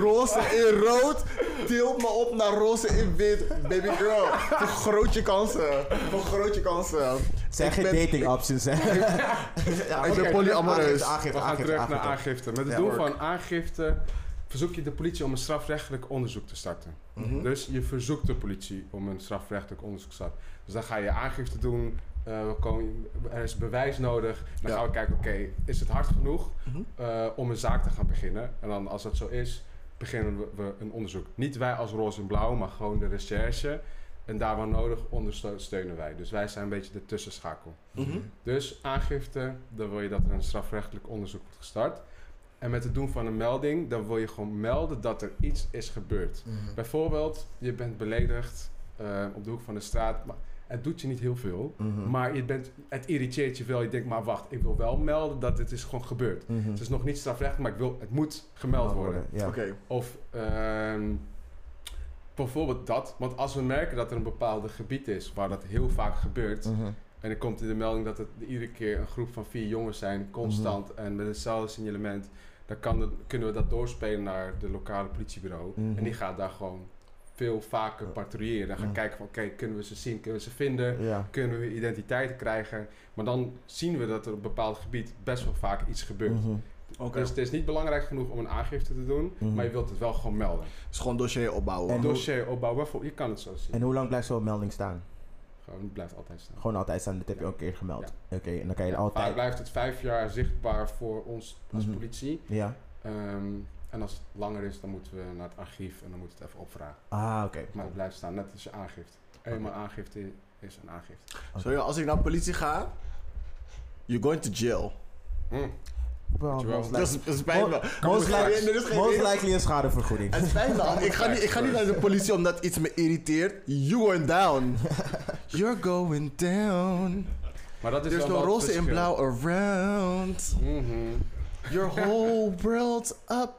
[SPEAKER 1] Roze in rood. Tilt me op naar roze in wit. Baby girl. Vergroot je kansen. Vergroot je kansen.
[SPEAKER 3] Het zijn
[SPEAKER 1] Ik
[SPEAKER 3] geen
[SPEAKER 1] ben-
[SPEAKER 3] dating options, hè? ja,
[SPEAKER 1] Ik ben
[SPEAKER 3] oké.
[SPEAKER 1] polyamoreus.
[SPEAKER 3] Aangifte, aangifte,
[SPEAKER 2] We
[SPEAKER 1] Ah.
[SPEAKER 2] gaan terug
[SPEAKER 3] aangifte.
[SPEAKER 2] naar aangifte. Met het
[SPEAKER 3] Ja,
[SPEAKER 2] doel
[SPEAKER 3] work.
[SPEAKER 2] van aangifte verzoek je de politie om een strafrechtelijk onderzoek te starten.
[SPEAKER 1] Mhm.
[SPEAKER 2] Dus je verzoekt de politie om een strafrechtelijk onderzoek te starten. Dus dan ga je aangifte doen. eh, we komen, er is bewijs nodig. Dan
[SPEAKER 1] Ja.
[SPEAKER 2] gaan we kijken, oké, is het hard genoeg
[SPEAKER 1] Mhm.
[SPEAKER 2] eh, om een zaak te gaan beginnen? En dan als dat zo is, beginnen we, we een onderzoek. Niet wij als Roze en Blauw, maar gewoon de recherche. En daar waar nodig ondersteunen wij. Dus wij zijn een beetje de tussenschakel.
[SPEAKER 1] Mhm.
[SPEAKER 2] Dus aangifte, dan wil je dat er een strafrechtelijk onderzoek wordt gestart. En met het doen van een melding, dan wil je gewoon melden dat er iets is gebeurd.
[SPEAKER 3] Mhm.
[SPEAKER 2] Bijvoorbeeld, je bent beledigd eh, op de hoek van de straat. Maar het doet je niet heel veel.
[SPEAKER 3] Mhm.
[SPEAKER 2] Maar je bent, het irriteert je wel. Je denkt, maar wacht, ik wil wel melden dat dit is gewoon gebeurd.
[SPEAKER 3] Mhm.
[SPEAKER 2] Het is nog niet strafrechtelijk, maar ik wil, het moet gemeld worden.
[SPEAKER 3] Ja.
[SPEAKER 1] Oké.
[SPEAKER 2] Of ehm, bijvoorbeeld dat. Want als we merken dat er een bepaald gebied is waar dat heel vaak gebeurt.
[SPEAKER 3] Mhm.
[SPEAKER 2] En dan komt in de melding dat het iedere keer een groep van vier jongens zijn, constant
[SPEAKER 3] Mhm.
[SPEAKER 2] en met hetzelfde signalement. Dan kan het- kunnen we dat doorspelen naar de lokale politiebureau.
[SPEAKER 3] Mhm.
[SPEAKER 2] En die gaat daar gewoon veel vaker patrouilleren. Dan gaan
[SPEAKER 3] Ja.
[SPEAKER 2] kijken van oké, kunnen we ze zien, kunnen we ze vinden,
[SPEAKER 3] Ja.
[SPEAKER 2] kunnen we identiteiten krijgen. Maar dan zien we dat er op een bepaald gebied best wel vaak iets gebeurt.
[SPEAKER 3] Mhm.
[SPEAKER 1] Oké.
[SPEAKER 2] Dus het is niet belangrijk genoeg om een aangifte te doen,
[SPEAKER 3] Mhm.
[SPEAKER 2] maar je wilt het wel gewoon melden.
[SPEAKER 1] Dus gewoon dossier opbouwen.
[SPEAKER 3] En- hoe-
[SPEAKER 2] Dossier opbouwen, bijvoorbeeld, je kan het zo zien.
[SPEAKER 3] En hoe lang blijft zo'n melding staan?
[SPEAKER 2] Gewoon, het blijft altijd staan.
[SPEAKER 3] Gewoon altijd staan, dit heb je
[SPEAKER 2] Ja.
[SPEAKER 3] ook een keer gemeld. Oké, en dan kan je
[SPEAKER 2] Ja, vaak
[SPEAKER 3] altijd...
[SPEAKER 2] blijft het vijf jaar zichtbaar voor ons als
[SPEAKER 3] Mhm.
[SPEAKER 2] politie.
[SPEAKER 3] Ja.
[SPEAKER 2] Ehm, en als het langer is, dan moeten we naar het archief en dan moeten we het even opvragen.
[SPEAKER 3] Ah, oké.
[SPEAKER 2] Maar het blijft staan, net als je aangifte. Eenmaal aangifte is een aangifte.
[SPEAKER 1] Zo, ja, als ik naar de politie ga, you're going to jail.
[SPEAKER 2] Hm.
[SPEAKER 3] Wel,
[SPEAKER 2] je wel.
[SPEAKER 3] most
[SPEAKER 1] Dat is,
[SPEAKER 3] likely-
[SPEAKER 1] dat spijt me.
[SPEAKER 3] Most
[SPEAKER 1] Nee, dit is
[SPEAKER 3] likely-
[SPEAKER 1] geen-
[SPEAKER 3] most likely een schadevergoeding.
[SPEAKER 1] Het spijt me. Anne. Ik ga, niet, ik ga niet naar de politie omdat iets me irriteert. You are down. You're going down.
[SPEAKER 2] Maar dat is
[SPEAKER 1] There's
[SPEAKER 2] wel
[SPEAKER 1] no
[SPEAKER 2] wel
[SPEAKER 1] Dus
[SPEAKER 2] het
[SPEAKER 1] roze en
[SPEAKER 2] verschil.
[SPEAKER 1] blauw around.
[SPEAKER 2] Mhm.
[SPEAKER 1] Your whole world's up.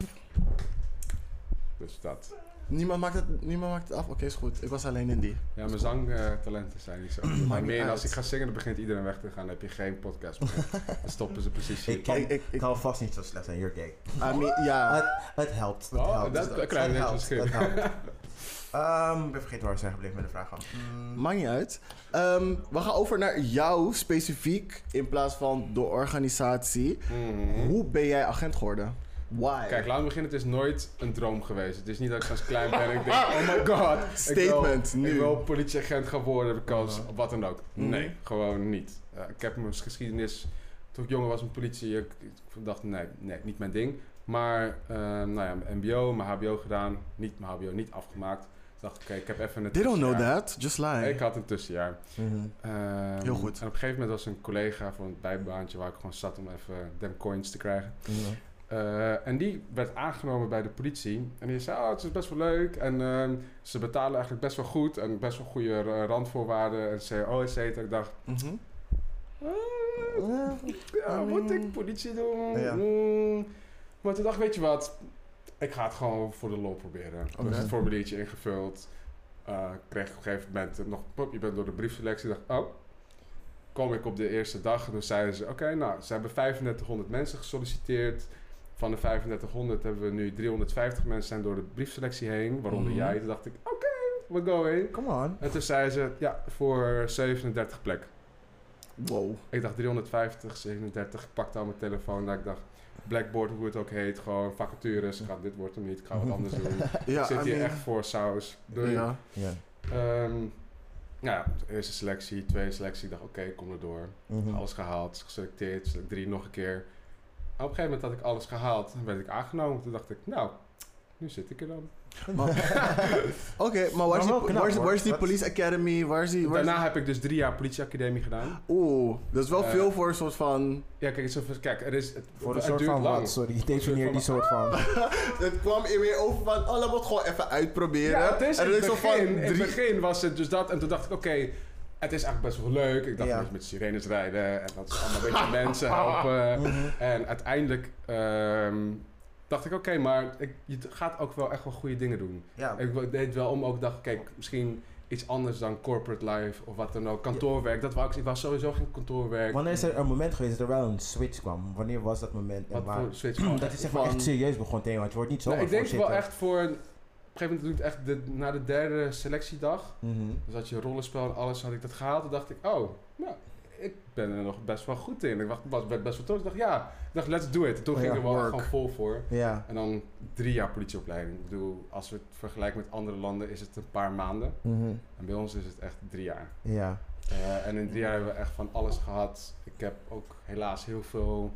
[SPEAKER 2] Dus dat.
[SPEAKER 1] Niemand maakt het, niemand maakt het af. Oké, is goed. Ik was alleen in die.
[SPEAKER 2] Ja, mijn zangtalenten zijn niet zo. Maar
[SPEAKER 1] niet
[SPEAKER 2] meer
[SPEAKER 1] uit.
[SPEAKER 2] als ik ga zingen, dan begint iedereen weg te gaan. Dan heb je geen podcast meer. Dan stoppen ze precies
[SPEAKER 3] Ik
[SPEAKER 2] hier.
[SPEAKER 3] kan,
[SPEAKER 1] Ik- ik- ik-
[SPEAKER 3] kan vast niet zo slecht zijn, you're gay.
[SPEAKER 1] I mean, ja.
[SPEAKER 3] Het, het helpt. Het
[SPEAKER 2] Oh,
[SPEAKER 3] helpt.
[SPEAKER 2] dat- dat krijg je net
[SPEAKER 3] helpt,
[SPEAKER 2] verschil.
[SPEAKER 3] het helpt. Ehm, ik ben vergeten waar we zijn gebleven met de vraag van.
[SPEAKER 1] Maakt niet uit. Ehm, we gaan over naar jou specifiek in plaats van de organisatie.
[SPEAKER 2] Mhm.
[SPEAKER 1] Hoe ben jij agent geworden? Why?
[SPEAKER 2] Kijk, laten we beginnen. Het is nooit een droom geweest. Het is niet dat ik als klein ben en ik denk, oh my god.
[SPEAKER 1] Ah! Statement,
[SPEAKER 2] ik wil,
[SPEAKER 1] nu. Mhm.
[SPEAKER 2] Ik wil politieagent gaan worden, because wat dan ook. Nee, gewoon niet. Eh, ik heb mijn geschiedenis, toen ik jonger was met politie, ik, ik dacht, nee, nee, niet mijn ding. Maar, eh, nou ja, mijn mbo, mijn hbo gedaan, niet mijn hbo, niet afgemaakt. Ik dacht, oké, ik heb even een
[SPEAKER 1] They don't know
[SPEAKER 2] tussenjaar.
[SPEAKER 1] that. Just Mhm. lie.
[SPEAKER 2] Ik had een tussenjaar. Ehm,
[SPEAKER 1] Heel goed.
[SPEAKER 2] En op een gegeven moment was een collega van het bijbaantje waar ik gewoon zat om even dem coins te krijgen. Eh, en die werd aangenomen bij de politie. En die zei, oh, het is best wel leuk. En ehm, ze betalen eigenlijk best wel goed. En best wel goede eh, randvoorwaarden. En CO, et cetera. Ik dacht,
[SPEAKER 1] Mhm.
[SPEAKER 2] "Ah, ja, moet ik politie doen?
[SPEAKER 3] Ja.
[SPEAKER 2] Mm." Maar toen dacht ik, weet je wat? Ik ga het gewoon voor de lol proberen.
[SPEAKER 1] Oké.
[SPEAKER 2] Dus het formuliertje ingevuld. Eh, kreeg ik op een gegeven moment nog, pop, je bent door de briefselectie. Ik dacht, oh. Kom ik op de eerste dag en toen zeiden ze, oké, nou, ze hebben 3500 mensen gesolliciteerd. Van de 3500 hebben we nu 350 mensen zijn door de briefselectie heen, waaronder
[SPEAKER 1] Mhm.
[SPEAKER 2] jij. Toen dacht ik, oké, we going.
[SPEAKER 3] Come on.
[SPEAKER 2] En toen zeiden ze, ja, voor 37 plek.
[SPEAKER 1] Wow.
[SPEAKER 2] Ik dacht 350, 37. Ik pakte al mijn telefoon. Dat ik dacht, Blackboard, hoe het ook heet. Gewoon vacatures. Ik ga- dit wordt hem niet. Ik ga wat anders doen.
[SPEAKER 1] Ja,
[SPEAKER 2] ik zit
[SPEAKER 1] I
[SPEAKER 2] hier
[SPEAKER 1] mean-
[SPEAKER 2] echt voor saus. Doei.
[SPEAKER 1] Ja.
[SPEAKER 3] Ja.
[SPEAKER 2] Ehm, nou ja, eerste selectie, tweede selectie. Ik dacht, oké, ik kom er door.
[SPEAKER 3] Mhm.
[SPEAKER 2] Alles gehaald, geselecteerd. select Drie nog een keer. Op een gegeven moment had ik alles gehaald. En werd ik aangenomen. Toen dacht ik, nou, nu zit ik er dan.
[SPEAKER 1] Oké, maar waar is,
[SPEAKER 3] Maar
[SPEAKER 1] die,
[SPEAKER 3] wel knap,
[SPEAKER 1] waar is-
[SPEAKER 3] hoor.
[SPEAKER 1] waar is die
[SPEAKER 3] Dat-
[SPEAKER 1] police academy? Waar is die... Waar is-
[SPEAKER 2] Daarna heb ik dus drie jaar politieacademie gedaan.
[SPEAKER 1] Oeh, dat is wel
[SPEAKER 2] Eh,
[SPEAKER 1] veel voor een soort van...
[SPEAKER 2] Ja, kijk, het is een- kijk er is, het,
[SPEAKER 3] Voor een
[SPEAKER 2] het
[SPEAKER 3] soort
[SPEAKER 2] duurt
[SPEAKER 3] van
[SPEAKER 2] lang.
[SPEAKER 3] wat? Sorry,
[SPEAKER 2] Voor een soort
[SPEAKER 3] definieer die
[SPEAKER 2] van-
[SPEAKER 3] soort van.
[SPEAKER 1] Het kwam er weer over van, oh, laten we het gewoon even uitproberen.
[SPEAKER 2] Ja, het is,
[SPEAKER 1] en
[SPEAKER 2] in,
[SPEAKER 1] dan
[SPEAKER 2] het
[SPEAKER 1] is zo
[SPEAKER 2] begin,
[SPEAKER 1] van
[SPEAKER 2] in het begin was het dus dat. En toen dacht ik, oké, het is eigenlijk best wel leuk. Ik dacht,
[SPEAKER 3] Ja.
[SPEAKER 2] een beetje met sirenes rijden en dat ze allemaal een beetje mensen helpen.
[SPEAKER 3] Mhm.
[SPEAKER 2] En uiteindelijk ehm, dacht ik, oké, maar ik, je t- gaat ook wel echt wel goede dingen doen.
[SPEAKER 3] Ja.
[SPEAKER 2] Ik w- deed wel om ook, dacht, kijk, misschien iets anders dan corporate life of wat dan ook. Kantoorwerk, dat wou ik, ik was sowieso geen kantoorwerk.
[SPEAKER 3] Wanneer is er een moment geweest dat er wel een switch kwam? Wanneer was dat moment en
[SPEAKER 2] wat
[SPEAKER 3] waar?
[SPEAKER 2] voor switch van.
[SPEAKER 3] Dat is zeg maar
[SPEAKER 1] Van-
[SPEAKER 3] echt serieus begon tegen, want je wordt niet zo
[SPEAKER 2] Nou, ik denk wel echt voor, op een gegeven moment doe ik het echt de, na de
[SPEAKER 3] Mhm.
[SPEAKER 2] derde selectiedag. Dus had je rollenspel en alles, had ik dat gehaald. Toen dacht ik, oh, nou, ik ben er nog best wel goed in. Ik wacht- was werd best wel trots. Ik dacht, ja, ik dacht, let's do it. Toen
[SPEAKER 1] Oh Ja,
[SPEAKER 2] ging ik er wel echt
[SPEAKER 1] work.
[SPEAKER 2] gewoon vol voor.
[SPEAKER 1] Ja.
[SPEAKER 2] En dan drie jaar politieopleiding. Ik bedoel, als we het vergelijken met andere landen is het een paar maanden.
[SPEAKER 1] Mhm.
[SPEAKER 2] En bij ons is het echt drie jaar.
[SPEAKER 1] Ja.
[SPEAKER 2] Eh, en in drie jaar hebben we echt van alles gehad. Ik heb ook helaas heel veel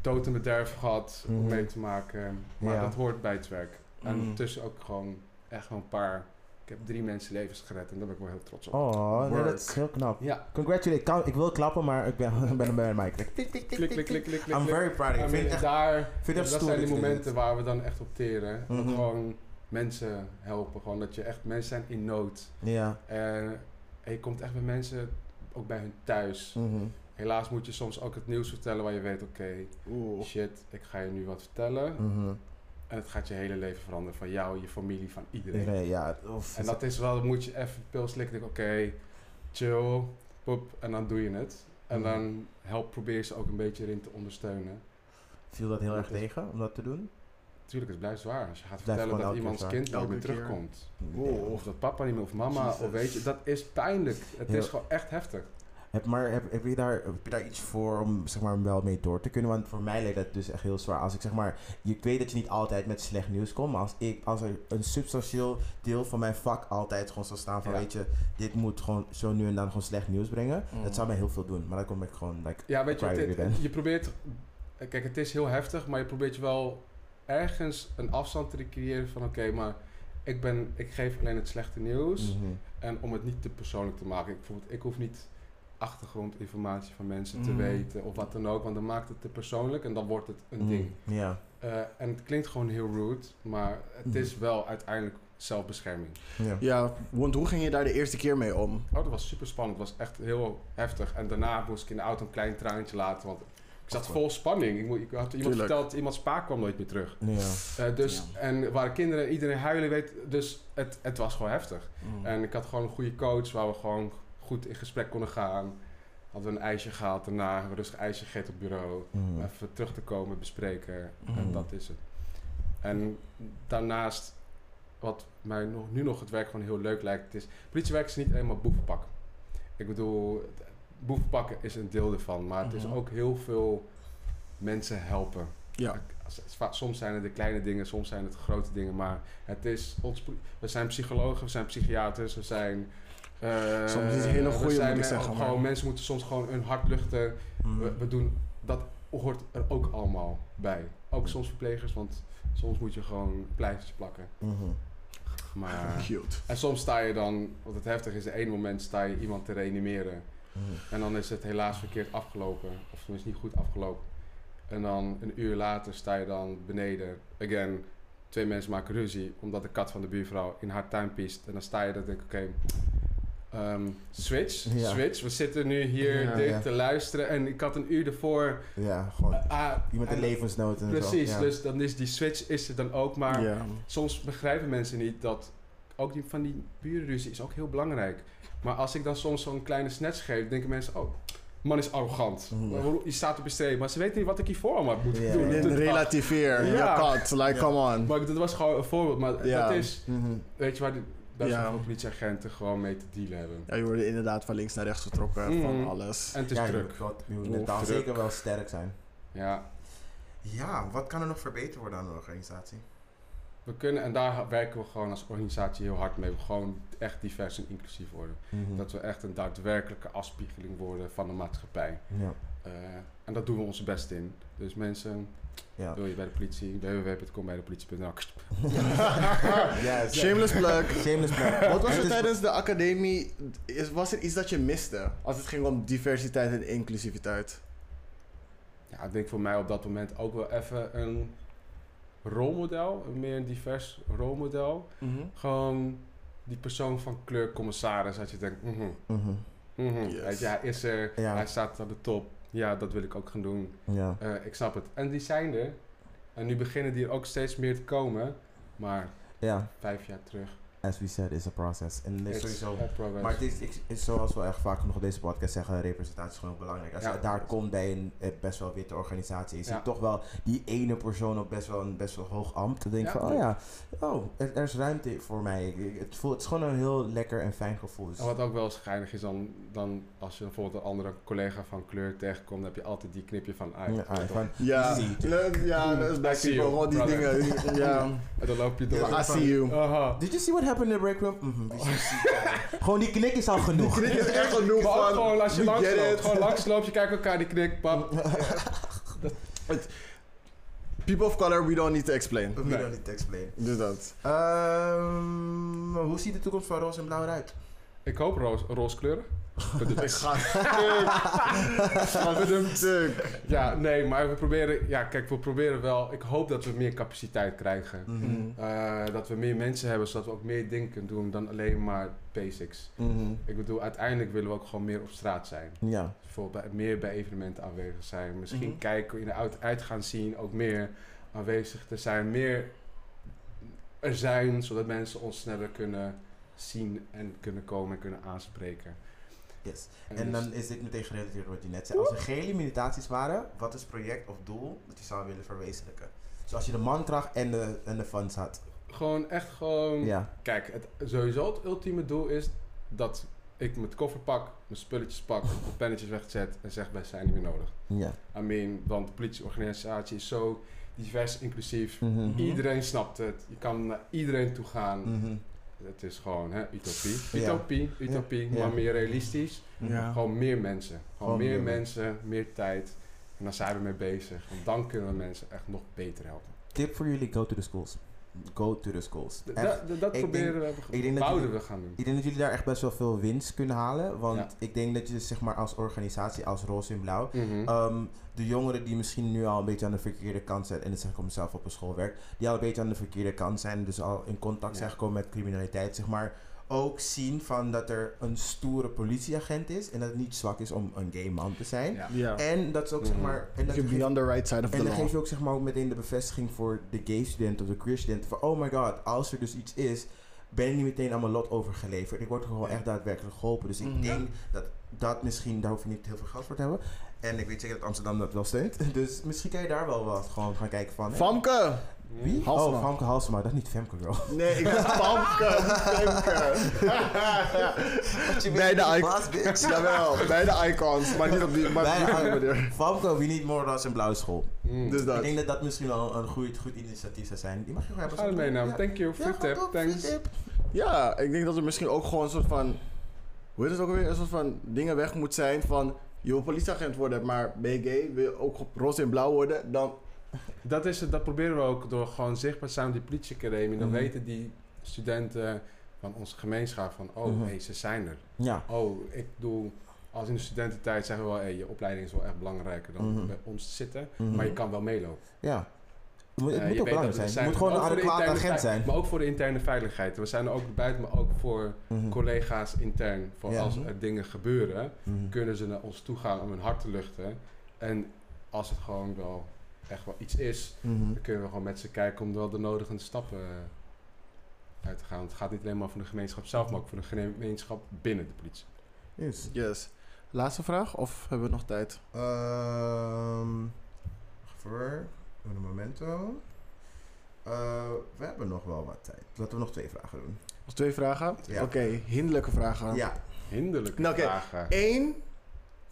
[SPEAKER 2] dood en bederf gehad om
[SPEAKER 1] Mhm.
[SPEAKER 2] mee te maken. Maar
[SPEAKER 1] Ja.
[SPEAKER 2] dat hoort bij het werk. En
[SPEAKER 1] Mhm.
[SPEAKER 2] ondertussen ook gewoon echt wel een paar... Ik heb drie mensen levens gered en daar ben ik wel heel trots op.
[SPEAKER 3] Oh, nee,
[SPEAKER 1] Work.
[SPEAKER 3] dat is heel knap.
[SPEAKER 2] Ja,
[SPEAKER 3] Congratulate. Ka- Ik wil klappen, maar ik ben, ben bij mijn mic. Klik, klik, klik,
[SPEAKER 2] klik, klik, klik, klik,
[SPEAKER 3] I'm
[SPEAKER 2] klik.
[SPEAKER 3] very proud.
[SPEAKER 2] I
[SPEAKER 3] Ik vind
[SPEAKER 2] mean,
[SPEAKER 3] het echt...
[SPEAKER 2] daar,
[SPEAKER 3] vind het echt
[SPEAKER 2] dat
[SPEAKER 3] stoer
[SPEAKER 2] zijn
[SPEAKER 3] dat
[SPEAKER 2] de
[SPEAKER 3] je dit
[SPEAKER 2] momenten
[SPEAKER 3] doet.
[SPEAKER 2] waar we dan echt op teren. Dat
[SPEAKER 3] Mhm.
[SPEAKER 2] gewoon mensen helpen. Gewoon dat je echt mensen zijn in nood.
[SPEAKER 3] Ja.
[SPEAKER 2] En, en je komt echt bij mensen, ook bij hun thuis.
[SPEAKER 3] Mhm.
[SPEAKER 2] Helaas moet je soms ook het nieuws vertellen waar je weet, oké,
[SPEAKER 1] Oeh.
[SPEAKER 2] shit, ik ga je nu wat vertellen.
[SPEAKER 3] Mhm.
[SPEAKER 2] En het gaat je hele leven veranderen. Van jou, je familie, van iedereen.
[SPEAKER 3] Nee, ja. Of,
[SPEAKER 2] En dat is wel, dan moet je even een pil slikken. denk ik, Oké, chill, pop, en dan doe je het. En
[SPEAKER 3] Mhm.
[SPEAKER 2] dan help, probeer je ze ook een beetje erin te ondersteunen.
[SPEAKER 3] viel dat heel erg
[SPEAKER 2] dat is-
[SPEAKER 3] tegen om dat te doen?
[SPEAKER 2] Tuurlijk, het blijft zwaar. Als je gaat
[SPEAKER 3] Blijft
[SPEAKER 2] vertellen
[SPEAKER 3] gewoon
[SPEAKER 2] dat
[SPEAKER 3] elke
[SPEAKER 2] iemands
[SPEAKER 3] keer
[SPEAKER 2] kind nooit
[SPEAKER 1] Elke
[SPEAKER 2] meer
[SPEAKER 1] keer.
[SPEAKER 2] terugkomt.
[SPEAKER 1] Oeh.
[SPEAKER 2] Of dat papa niet meer, of mama,
[SPEAKER 3] Jezus.
[SPEAKER 2] of weet je, dat is pijnlijk. Het
[SPEAKER 3] Heel-
[SPEAKER 2] is gewoon echt heftig.
[SPEAKER 3] Heb, maar heb, heb, je daar, heb je daar iets voor om zeg maar, wel mee door te kunnen? Want voor mij leek dat dus echt heel zwaar. Als ik zeg maar, je, ik weet dat je niet altijd met slecht nieuws komt, maar als, ik, als er een substantieel deel van mijn vak altijd gewoon zou staan van,
[SPEAKER 2] Ja.
[SPEAKER 3] weet je, dit moet gewoon zo nu en dan gewoon slecht nieuws brengen,
[SPEAKER 1] Mm.
[SPEAKER 3] dat zou mij heel veel doen. Maar dan kom ik gewoon, like,
[SPEAKER 2] Ja, weet je,
[SPEAKER 3] Waar
[SPEAKER 2] wat,
[SPEAKER 3] je
[SPEAKER 2] dit-
[SPEAKER 3] weer bent.
[SPEAKER 2] je probeert... Kijk, het is heel heftig, maar je probeert je wel ergens een afstand te creëren van... Oké, maar ik, ben, ik geef alleen het slechte nieuws.
[SPEAKER 3] mhm.
[SPEAKER 2] En om het niet te persoonlijk te maken. Ik, bijvoorbeeld, ik hoef niet achtergrondinformatie van mensen te
[SPEAKER 1] Mm.
[SPEAKER 2] weten of wat dan ook. Want dan maakt het te persoonlijk en dan wordt het een
[SPEAKER 3] Mm,
[SPEAKER 2] ding.
[SPEAKER 3] Ja,
[SPEAKER 2] Eh, en het klinkt gewoon heel rude, maar het is wel uiteindelijk zelfbescherming.
[SPEAKER 3] ja.
[SPEAKER 1] Ja, want hoe ging je daar de eerste keer mee om?
[SPEAKER 2] Oh, dat was super spannend. Het was echt heel heftig. En daarna moest ik in de auto een klein traantje laten, want ik zat vol spanning. Ik, mo- ik had iemand
[SPEAKER 1] Tuurlijk.
[SPEAKER 2] verteld, iemands pa kwam nooit meer terug.
[SPEAKER 3] ja.
[SPEAKER 2] Eh, dus, En er waren kinderen, iedereen huilen, weet, dus het, het was gewoon heftig. Hmm.
[SPEAKER 1] Mhm.
[SPEAKER 2] En ik had gewoon een goede coach waar we gewoon goed in gesprek konden gaan. Hadden we een ijsje gehaald, daarna hebben we rustig ijsje gegeten op het bureau. Om
[SPEAKER 3] Mhm.
[SPEAKER 2] even terug te komen, bespreken.
[SPEAKER 1] Mhm.
[SPEAKER 2] En dat is het. En daarnaast, wat mij nog, nu nog het werk gewoon heel leuk lijkt, is... Politiewerk is niet eenmaal boevenpak. Ik bedoel, het- boevenpakken is een deel ervan. Maar het
[SPEAKER 1] Mhm.
[SPEAKER 2] is ook heel veel mensen helpen.
[SPEAKER 1] Ja.
[SPEAKER 2] S- va- Soms zijn het de kleine dingen, soms zijn het grote dingen, maar het is ons. pro- We zijn psychologen, we zijn psychiaters, we zijn. eh,
[SPEAKER 1] Soms is het hele
[SPEAKER 2] we
[SPEAKER 1] goeie,
[SPEAKER 2] zijn
[SPEAKER 1] moet ik
[SPEAKER 2] me-
[SPEAKER 1] zeggen,
[SPEAKER 2] Gewoon,
[SPEAKER 1] maar-
[SPEAKER 2] Mensen moeten soms gewoon hun hart luchten.
[SPEAKER 3] Mhm.
[SPEAKER 2] We, we doen dat hoort er ook allemaal bij. Ook soms verplegers, want soms moet je gewoon pleisters plakken.
[SPEAKER 3] Mhm.
[SPEAKER 2] Maar
[SPEAKER 1] Cute.
[SPEAKER 2] en soms sta je dan, wat het heftig is, in één moment sta je iemand te reanimeren.
[SPEAKER 3] Mhm.
[SPEAKER 2] En dan is het helaas verkeerd afgelopen. Of tenminste niet goed afgelopen. En dan een uur later sta je dan beneden. Again, twee mensen maken ruzie. Omdat de kat van de buurvrouw in haar tuin piest. En dan sta je dan denk ik, oké. ehm, switch,
[SPEAKER 3] Ja.
[SPEAKER 2] switch. We zitten nu hier
[SPEAKER 1] Ja.
[SPEAKER 2] dit
[SPEAKER 3] Ja.
[SPEAKER 2] te luisteren. En ik had een uur ervoor...
[SPEAKER 3] Ja, gewoon.
[SPEAKER 2] eh, ah,
[SPEAKER 3] Iemand in
[SPEAKER 2] en-
[SPEAKER 3] levensnood en zo.
[SPEAKER 2] Precies,
[SPEAKER 3] ja.
[SPEAKER 2] dus dan is die switch is er dan ook. Maar
[SPEAKER 1] ja.
[SPEAKER 2] soms begrijpen mensen niet dat ook die van die burenruzie is ook heel belangrijk. Maar als ik dan soms zo'n kleine snatch geef, denken mensen, oh, man is arrogant.
[SPEAKER 3] Mhm.
[SPEAKER 2] Waarom- Je staat op een streep, maar ze weten niet wat ik hiervoor allemaal moet
[SPEAKER 3] Ja.
[SPEAKER 2] doen.
[SPEAKER 1] En relativeer.
[SPEAKER 2] Ja.
[SPEAKER 1] Ja. kat. Like,
[SPEAKER 3] Ja.
[SPEAKER 1] come on.
[SPEAKER 2] Maar dat was gewoon een voorbeeld. Maar
[SPEAKER 1] Ja.
[SPEAKER 2] dat is,
[SPEAKER 3] Mhm.
[SPEAKER 2] weet je waar de, best
[SPEAKER 1] Ja.
[SPEAKER 2] wel veel politieagenten gewoon mee te dealen hebben.
[SPEAKER 1] Ja, je wordt inderdaad van links naar rechts getrokken van
[SPEAKER 2] Mm.
[SPEAKER 1] alles.
[SPEAKER 2] En het is
[SPEAKER 3] Ja, je
[SPEAKER 2] druk.
[SPEAKER 3] moet wel- je moet
[SPEAKER 1] Oeh,
[SPEAKER 3] mentaal
[SPEAKER 2] druk.
[SPEAKER 3] zeker wel sterk zijn.
[SPEAKER 2] Ja,
[SPEAKER 3] Ja, wat kan er nog verbeterd worden aan de organisatie?
[SPEAKER 2] we kunnen, en daar werken we gewoon als organisatie heel hard mee. We gewoon echt divers en inclusief worden.
[SPEAKER 3] Hm. Mhm.
[SPEAKER 2] Dat we echt een daadwerkelijke afspiegeling worden van de maatschappij.
[SPEAKER 3] Ja.
[SPEAKER 2] Eh, en dat doen we ons best in. Dus mensen,
[SPEAKER 3] Ja.
[SPEAKER 2] wil je bij de politie, www.combijdepolitie.nl.
[SPEAKER 3] Yes.
[SPEAKER 1] Shameless plug.
[SPEAKER 3] Shameless plug.
[SPEAKER 1] Wat was er
[SPEAKER 3] Dus-
[SPEAKER 1] tijdens de academie? is- Was er iets dat je miste als het ging om diversiteit en inclusiviteit?
[SPEAKER 2] Ja, ik denk voor mij op dat moment ook wel even een rolmodel, een meer een divers rolmodel.
[SPEAKER 1] Mhm.
[SPEAKER 2] Gewoon die persoon van kleur commissaris, dat je denkt, mhm,
[SPEAKER 3] Mhm.
[SPEAKER 2] mhm,
[SPEAKER 1] Yes.
[SPEAKER 2] weet je, hij is er,
[SPEAKER 3] Ja.
[SPEAKER 2] hij staat aan de top. Ja, dat wil ik ook gaan doen.
[SPEAKER 3] Ja.
[SPEAKER 2] Eh, ik snap het. En die zijn er. En nu beginnen die er ook steeds meer te komen. Maar
[SPEAKER 3] Ja.
[SPEAKER 2] vijf jaar terug
[SPEAKER 3] as we said, is a process. En er is
[SPEAKER 2] It's
[SPEAKER 3] sowieso...
[SPEAKER 2] a progress.
[SPEAKER 3] Maar het is, ik- is zoals we echt vaak nog op deze podcast zeggen, representatie is gewoon belangrijk. Als
[SPEAKER 2] Ja.
[SPEAKER 3] je daar komt bij een eh, best wel witte organisatie, is
[SPEAKER 2] Ja.
[SPEAKER 3] het toch wel die ene persoon op best wel een best wel hoog ambt. Dan denk je
[SPEAKER 2] Ja.
[SPEAKER 3] van, oh ja, oh, er, er is ruimte voor mij. Ik- ik- Het, voelt, het is gewoon een heel lekker en fijn gevoel. Dus
[SPEAKER 2] En wat ook wel eens geinig is, dan, dan als je bijvoorbeeld een andere collega van kleur tegenkomt, dan heb je altijd die knipje van uit.
[SPEAKER 3] Ja, ah, van,
[SPEAKER 1] Ja,
[SPEAKER 3] Zie.
[SPEAKER 1] le- ja, dat is black
[SPEAKER 2] I see you,
[SPEAKER 1] people, gewoon die
[SPEAKER 2] brother.
[SPEAKER 1] dingen. Ja,
[SPEAKER 2] En dan loop je door.
[SPEAKER 3] Ja.
[SPEAKER 1] I see you.
[SPEAKER 2] Aha.
[SPEAKER 3] Did you see what happened in the break room? Mhm, we see- gewoon die knik is al genoeg.
[SPEAKER 1] Dit is echt genoeg
[SPEAKER 2] Maar ook
[SPEAKER 1] van,
[SPEAKER 2] gewoon als je
[SPEAKER 1] we
[SPEAKER 2] langs
[SPEAKER 1] get
[SPEAKER 2] loopt,
[SPEAKER 1] it.
[SPEAKER 2] gewoon langs loopt, je kijkt elkaar die knik, pap.
[SPEAKER 1] people of color, we don't need to explain.
[SPEAKER 3] We don't need to explain.
[SPEAKER 1] Dus dat.
[SPEAKER 3] Ehm, hoe ziet de toekomst van roze en blauw eruit?
[SPEAKER 2] Ik hoop roos, roze kleuren.
[SPEAKER 1] Ik ga Wat een stuk.
[SPEAKER 2] Ja, nee, maar we proberen, ja, kijk, we proberen wel, ik hoop dat we meer capaciteit krijgen.
[SPEAKER 3] Mhm,
[SPEAKER 2] Eh, dat we meer mensen hebben, zodat we ook meer dingen kunnen doen dan alleen maar basics.
[SPEAKER 3] Mhm.
[SPEAKER 2] Ik bedoel, uiteindelijk willen we ook gewoon meer op straat zijn.
[SPEAKER 3] Ja.
[SPEAKER 2] Bijvoorbeeld bij- meer bij evenementen aanwezig zijn. Misschien
[SPEAKER 3] Mhm.
[SPEAKER 2] kijken, in de uit, uit gaan zien, ook meer aanwezig te zijn. Meer er zijn, zodat mensen ons sneller kunnen zien en kunnen komen en kunnen aanspreken.
[SPEAKER 3] Yes.
[SPEAKER 2] En
[SPEAKER 3] En
[SPEAKER 2] dus-
[SPEAKER 3] dan is dit meteen gerelateerd aan wat je net zei. Als er geen limitaties waren, wat is project of doel dat je zou willen verwezenlijken? Dus als je de mankracht en de, en de funds had.
[SPEAKER 2] gewoon echt gewoon...
[SPEAKER 3] Ja.
[SPEAKER 2] Kijk, het, sowieso het ultieme doel is dat ik mijn koffer pak, mijn spulletjes pak, mijn pennetjes wegzet en zeg, wij zijn niet meer nodig.
[SPEAKER 3] Ja.
[SPEAKER 2] I mean, want de politieorganisatie is zo divers, inclusief.
[SPEAKER 3] Mhm.
[SPEAKER 2] Iedereen snapt het. Je kan naar iedereen toe gaan.
[SPEAKER 3] Mhm.
[SPEAKER 2] Het is gewoon hè, utopie.
[SPEAKER 3] Ja.
[SPEAKER 2] Utopie, utopie,
[SPEAKER 3] Ja.
[SPEAKER 2] maar meer realistisch.
[SPEAKER 1] Ja.
[SPEAKER 2] Gewoon meer mensen. Gewoon,
[SPEAKER 3] Gewoon
[SPEAKER 2] meer
[SPEAKER 3] meer
[SPEAKER 2] mensen, meer tijd. En daar zijn we mee bezig. Want dan kunnen we mensen echt nog beter helpen.
[SPEAKER 3] Tip voor jullie, go to the schools. Go to the schools.
[SPEAKER 2] D-
[SPEAKER 3] Echt.
[SPEAKER 2] dat- dat
[SPEAKER 3] Ik
[SPEAKER 2] proberen we,
[SPEAKER 3] ik denk dat
[SPEAKER 2] wouden
[SPEAKER 3] jullie-
[SPEAKER 2] we gaan doen.
[SPEAKER 3] Ik denk dat jullie daar echt best wel veel winst kunnen halen. Want
[SPEAKER 2] Ja.
[SPEAKER 3] ik denk dat je zeg maar als organisatie, als Roze in Blauw,
[SPEAKER 2] Mhm.
[SPEAKER 3] Ehm, de jongeren die misschien nu al een beetje aan de verkeerde kant zijn, en dat zeg ik om mezelf op een school werk, die al een beetje aan de verkeerde kant zijn, dus al in contact zijn
[SPEAKER 2] Ja.
[SPEAKER 3] gekomen met criminaliteit, zeg maar, ook zien van dat er een stoere politieagent is en dat het niet zwak is om een gay man te zijn.
[SPEAKER 2] Ja.
[SPEAKER 1] Ja.
[SPEAKER 3] En dat is ook, zeg
[SPEAKER 2] Mhm.
[SPEAKER 3] maar, en dat
[SPEAKER 1] You're
[SPEAKER 3] geeft-
[SPEAKER 1] beyond the right side of
[SPEAKER 3] en
[SPEAKER 1] the
[SPEAKER 3] dan
[SPEAKER 1] law.
[SPEAKER 3] geef je ook zeg maar ook meteen de bevestiging voor de gay student of de queer student. Van oh my god, als er dus iets is, ben je niet meteen aan mijn lot overgeleverd. Ik word gewoon echt daadwerkelijk geholpen. Dus ik
[SPEAKER 1] Mhm.
[SPEAKER 3] denk dat dat misschien, daar hoef je niet heel veel geld voor te hebben. En ik weet zeker dat Amsterdam dat wel steunt. Dus misschien kan je daar wel wat gewoon gaan kijken van. hè.
[SPEAKER 1] Famke!
[SPEAKER 3] Wie?
[SPEAKER 1] Halsema.
[SPEAKER 3] Oh, Famke Halsema. Dat is niet Femke, bro.
[SPEAKER 1] Nee, ik ben Famke, Femke. Bij de icons. Jawel, bij de icons, maar niet op die, maar
[SPEAKER 3] Bij
[SPEAKER 1] niet
[SPEAKER 3] de
[SPEAKER 1] op die
[SPEAKER 3] icons.
[SPEAKER 1] manier.
[SPEAKER 3] Famke, we need more dan een blauwe school.
[SPEAKER 2] Mm.
[SPEAKER 1] Dus
[SPEAKER 3] Ik
[SPEAKER 1] dat.
[SPEAKER 3] denk dat dat misschien wel een goed, goed initiatief zou zijn. Die mag je gewoon hebben.
[SPEAKER 2] Ga er mee nou.
[SPEAKER 3] Ja.
[SPEAKER 2] Thank you.
[SPEAKER 3] Ja,
[SPEAKER 2] Fit
[SPEAKER 3] gewoon
[SPEAKER 2] tip.
[SPEAKER 3] top,
[SPEAKER 2] Thanks.
[SPEAKER 3] fit tip.
[SPEAKER 1] Ja, ik denk dat er misschien ook gewoon een soort van. Hoe heet het ook alweer? Een soort van dingen weg moet zijn van. Je wil politieagent worden, maar ben je gay? Wil je ook op roze en blauw worden? Dan.
[SPEAKER 2] Dat, is het, dat proberen we ook door gewoon zichtbaar te zijn op die politieacademie. Dan
[SPEAKER 3] Mhm.
[SPEAKER 2] weten die studenten van onze gemeenschap van... Oh,
[SPEAKER 3] Mhm.
[SPEAKER 2] hey, ze zijn er.
[SPEAKER 3] Ja.
[SPEAKER 2] Oh, ik bedoel... Als in de studententijd zeggen we wel... Hey, je opleiding is wel echt belangrijker dan
[SPEAKER 3] Mhm.
[SPEAKER 2] bij ons zitten.
[SPEAKER 3] Mhm.
[SPEAKER 2] Maar je kan wel meelopen.
[SPEAKER 3] Ja. Het moet, het
[SPEAKER 2] Eh,
[SPEAKER 3] moet
[SPEAKER 2] je
[SPEAKER 3] ook
[SPEAKER 2] weet dat
[SPEAKER 3] belangrijk
[SPEAKER 2] we er
[SPEAKER 3] zijn. Je moet
[SPEAKER 2] maar
[SPEAKER 3] gewoon een
[SPEAKER 2] ook voor de
[SPEAKER 3] adequaat
[SPEAKER 2] interne
[SPEAKER 3] agent
[SPEAKER 2] veilig-
[SPEAKER 3] zijn.
[SPEAKER 2] Maar ook voor de interne veiligheid. We zijn er ook buiten, maar ook voor
[SPEAKER 3] Mhm.
[SPEAKER 2] collega's intern. Voor
[SPEAKER 3] Ja.
[SPEAKER 2] als er dingen gebeuren,
[SPEAKER 3] Mhm.
[SPEAKER 2] kunnen ze naar ons toe gaan om hun hart te luchten. En als het gewoon wel echt wel iets is,
[SPEAKER 3] Mhm.
[SPEAKER 2] Dan kunnen we gewoon met ze kijken om wel de nodige stappen eh, uit te gaan. Want het gaat niet alleen maar voor de gemeenschap zelf, maar ook voor de gemeenschap binnen de politie.
[SPEAKER 3] Yes.
[SPEAKER 1] Yes. Laatste vraag, of hebben we nog tijd?
[SPEAKER 3] Ehm, voor een momento. Eh, we hebben nog wel wat tijd. Laten we nog twee vragen doen.
[SPEAKER 1] Nog twee vragen?
[SPEAKER 3] Ja.
[SPEAKER 1] Oké, hinderlijke vragen.
[SPEAKER 3] Ja.
[SPEAKER 2] Hinderlijke
[SPEAKER 1] Nou, oké.
[SPEAKER 2] vragen.
[SPEAKER 1] Eén,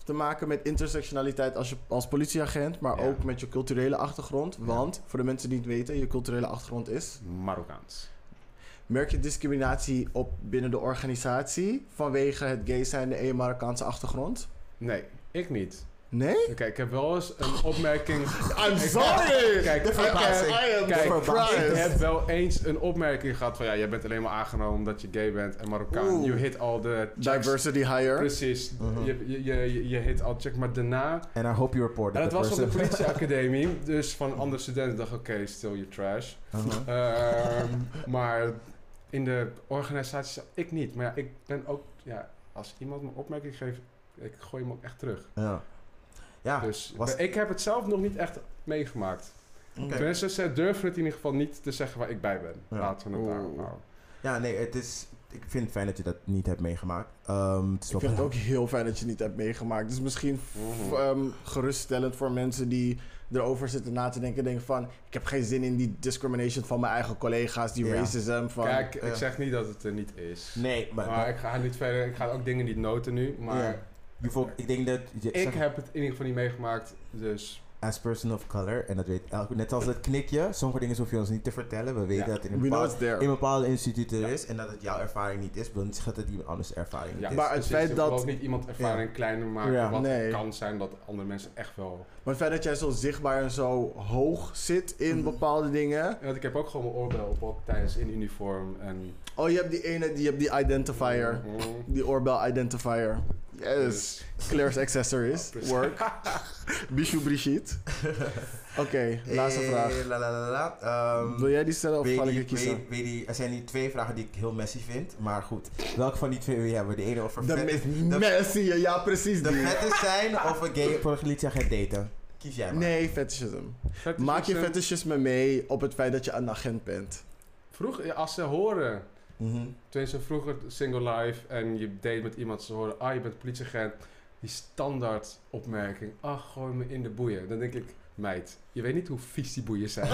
[SPEAKER 1] te maken met intersectionaliteit als, je, als politieagent, maar
[SPEAKER 2] Ja.
[SPEAKER 1] ook met je culturele achtergrond. Want, voor de mensen die het weten, je culturele achtergrond is.
[SPEAKER 2] Marokkaans.
[SPEAKER 1] Merk je discriminatie op binnen de organisatie vanwege het gay zijn en je Marokkaanse achtergrond?
[SPEAKER 2] Nee, ik niet.
[SPEAKER 1] Nee?
[SPEAKER 2] Oké, ik heb wel eens een opmerking.
[SPEAKER 1] I'm sorry!
[SPEAKER 2] Kijk,
[SPEAKER 1] De
[SPEAKER 2] ik
[SPEAKER 1] verbazing.
[SPEAKER 2] heb-
[SPEAKER 1] I am
[SPEAKER 2] kijk,
[SPEAKER 1] surprised.
[SPEAKER 2] Ik heb wel eens een opmerking gehad van ja, jij bent alleen maar aangenomen omdat je gay bent en Marokkaan.
[SPEAKER 1] Oeh.
[SPEAKER 2] You hit all the checks.
[SPEAKER 1] Diversity higher.
[SPEAKER 2] Precies.
[SPEAKER 3] Mhm.
[SPEAKER 2] je, je, je, je hit all check, maar daarna
[SPEAKER 3] En I hope you report
[SPEAKER 2] En dat
[SPEAKER 3] that
[SPEAKER 2] was van de
[SPEAKER 3] person-
[SPEAKER 2] politieacademie, dus van andere studenten dacht ik, oké, still you trash.
[SPEAKER 3] Uh-huh.
[SPEAKER 2] Ehm, maar in de organisatie, zelf- ik niet. Maar ja, ik ben ook, ja, als iemand me opmerking geeft, ik gooi hem ook echt terug.
[SPEAKER 3] Ja. Ja.
[SPEAKER 2] dus
[SPEAKER 3] was-
[SPEAKER 2] ik heb het zelf nog niet echt meegemaakt.
[SPEAKER 3] Oké.
[SPEAKER 2] Mensen ze durven het in ieder geval niet te zeggen waar ik bij ben.
[SPEAKER 3] Ja.
[SPEAKER 2] Laten we het
[SPEAKER 1] Oeh.
[SPEAKER 2] daarop houden.
[SPEAKER 3] Ja, nee, het is... Ik vind het fijn dat je dat niet hebt meegemaakt. Ehm, het is wel
[SPEAKER 1] Ik vind het ook heel fijn dat je het niet hebt meegemaakt. Dus misschien f-
[SPEAKER 2] Mhm.
[SPEAKER 1] ehm, geruststellend voor mensen die erover zitten na te denken. Denken van, ik heb geen zin in die discrimination van mijn eigen collega's. Die
[SPEAKER 3] Ja.
[SPEAKER 1] racism van...
[SPEAKER 2] Kijk,
[SPEAKER 3] eh.
[SPEAKER 2] ik zeg niet dat het er niet is.
[SPEAKER 3] Nee, maar,
[SPEAKER 2] Maar ik ga niet verder. Ik ga ook dingen niet noten nu. Maar
[SPEAKER 3] Ja. je voelt- ik denk dat... Je,
[SPEAKER 2] ik
[SPEAKER 3] zeg-
[SPEAKER 2] heb het in ieder geval niet meegemaakt. Dus
[SPEAKER 3] As person of color, en dat weet elk... Net als dat knikje, sommige dingen hoef je ons niet te vertellen. We weten
[SPEAKER 2] Ja.
[SPEAKER 3] dat in een
[SPEAKER 1] We know
[SPEAKER 3] bepaalde,
[SPEAKER 1] it's there.
[SPEAKER 3] in bepaalde instituten er
[SPEAKER 2] Ja.
[SPEAKER 3] is. En dat het jouw ervaring niet is, wil niet zeggen dat het iemand anders ervaring niet
[SPEAKER 2] ja,
[SPEAKER 3] is.
[SPEAKER 1] Maar het
[SPEAKER 2] precies.
[SPEAKER 1] feit
[SPEAKER 2] Ik
[SPEAKER 1] dat-
[SPEAKER 2] wil ook niet iemand ervaring kleiner maken.
[SPEAKER 3] Ja,
[SPEAKER 2] wat
[SPEAKER 1] nee.
[SPEAKER 2] kan zijn dat andere mensen echt wel.
[SPEAKER 1] Maar het feit dat jij zo zichtbaar en zo hoog zit in
[SPEAKER 3] Mhm.
[SPEAKER 1] bepaalde dingen.
[SPEAKER 2] Ja, Want ik heb ook gewoon mijn oorbel op ook tijdens in uniform. En,
[SPEAKER 1] Oh, je hebt die ene, die, je hebt die identifier.
[SPEAKER 2] Mhm.
[SPEAKER 1] Die oorbel identifier. Yes.
[SPEAKER 2] Dus-
[SPEAKER 1] Claire's accessories.
[SPEAKER 2] Oh, precies.
[SPEAKER 1] Work. Bijou Brigitte. Oké, laatste
[SPEAKER 3] Eh,
[SPEAKER 1] vraag.
[SPEAKER 3] La, la, la, la, la. Ehm,
[SPEAKER 1] Wil jij die stellen of
[SPEAKER 3] Weet
[SPEAKER 1] ga ik
[SPEAKER 3] die-
[SPEAKER 1] er kiezen?
[SPEAKER 3] weet- weet die- er zijn die twee vragen die ik heel messy vind. Maar goed, welke van die twee wil je hebben? De ene over
[SPEAKER 1] De
[SPEAKER 3] vet-
[SPEAKER 1] me- Messi, ja precies
[SPEAKER 3] de
[SPEAKER 1] die.
[SPEAKER 3] vettes zijn of een gay voor een lied zeggen daten? Kies jij maar.
[SPEAKER 1] Nee, fetishism.
[SPEAKER 2] Fetishism.
[SPEAKER 1] Maak je fetishisme mee op het feit dat je een agent bent.
[SPEAKER 2] Vroeger, als ze horen.
[SPEAKER 3] Mhm.
[SPEAKER 2] Tenminste, vroeger single life en je date met iemand, ze horen, ah, je bent politieagent. Die standaard opmerking, ach, gooi me in de boeien. Dan denk ik, meid, je weet niet hoe vies die boeien zijn. I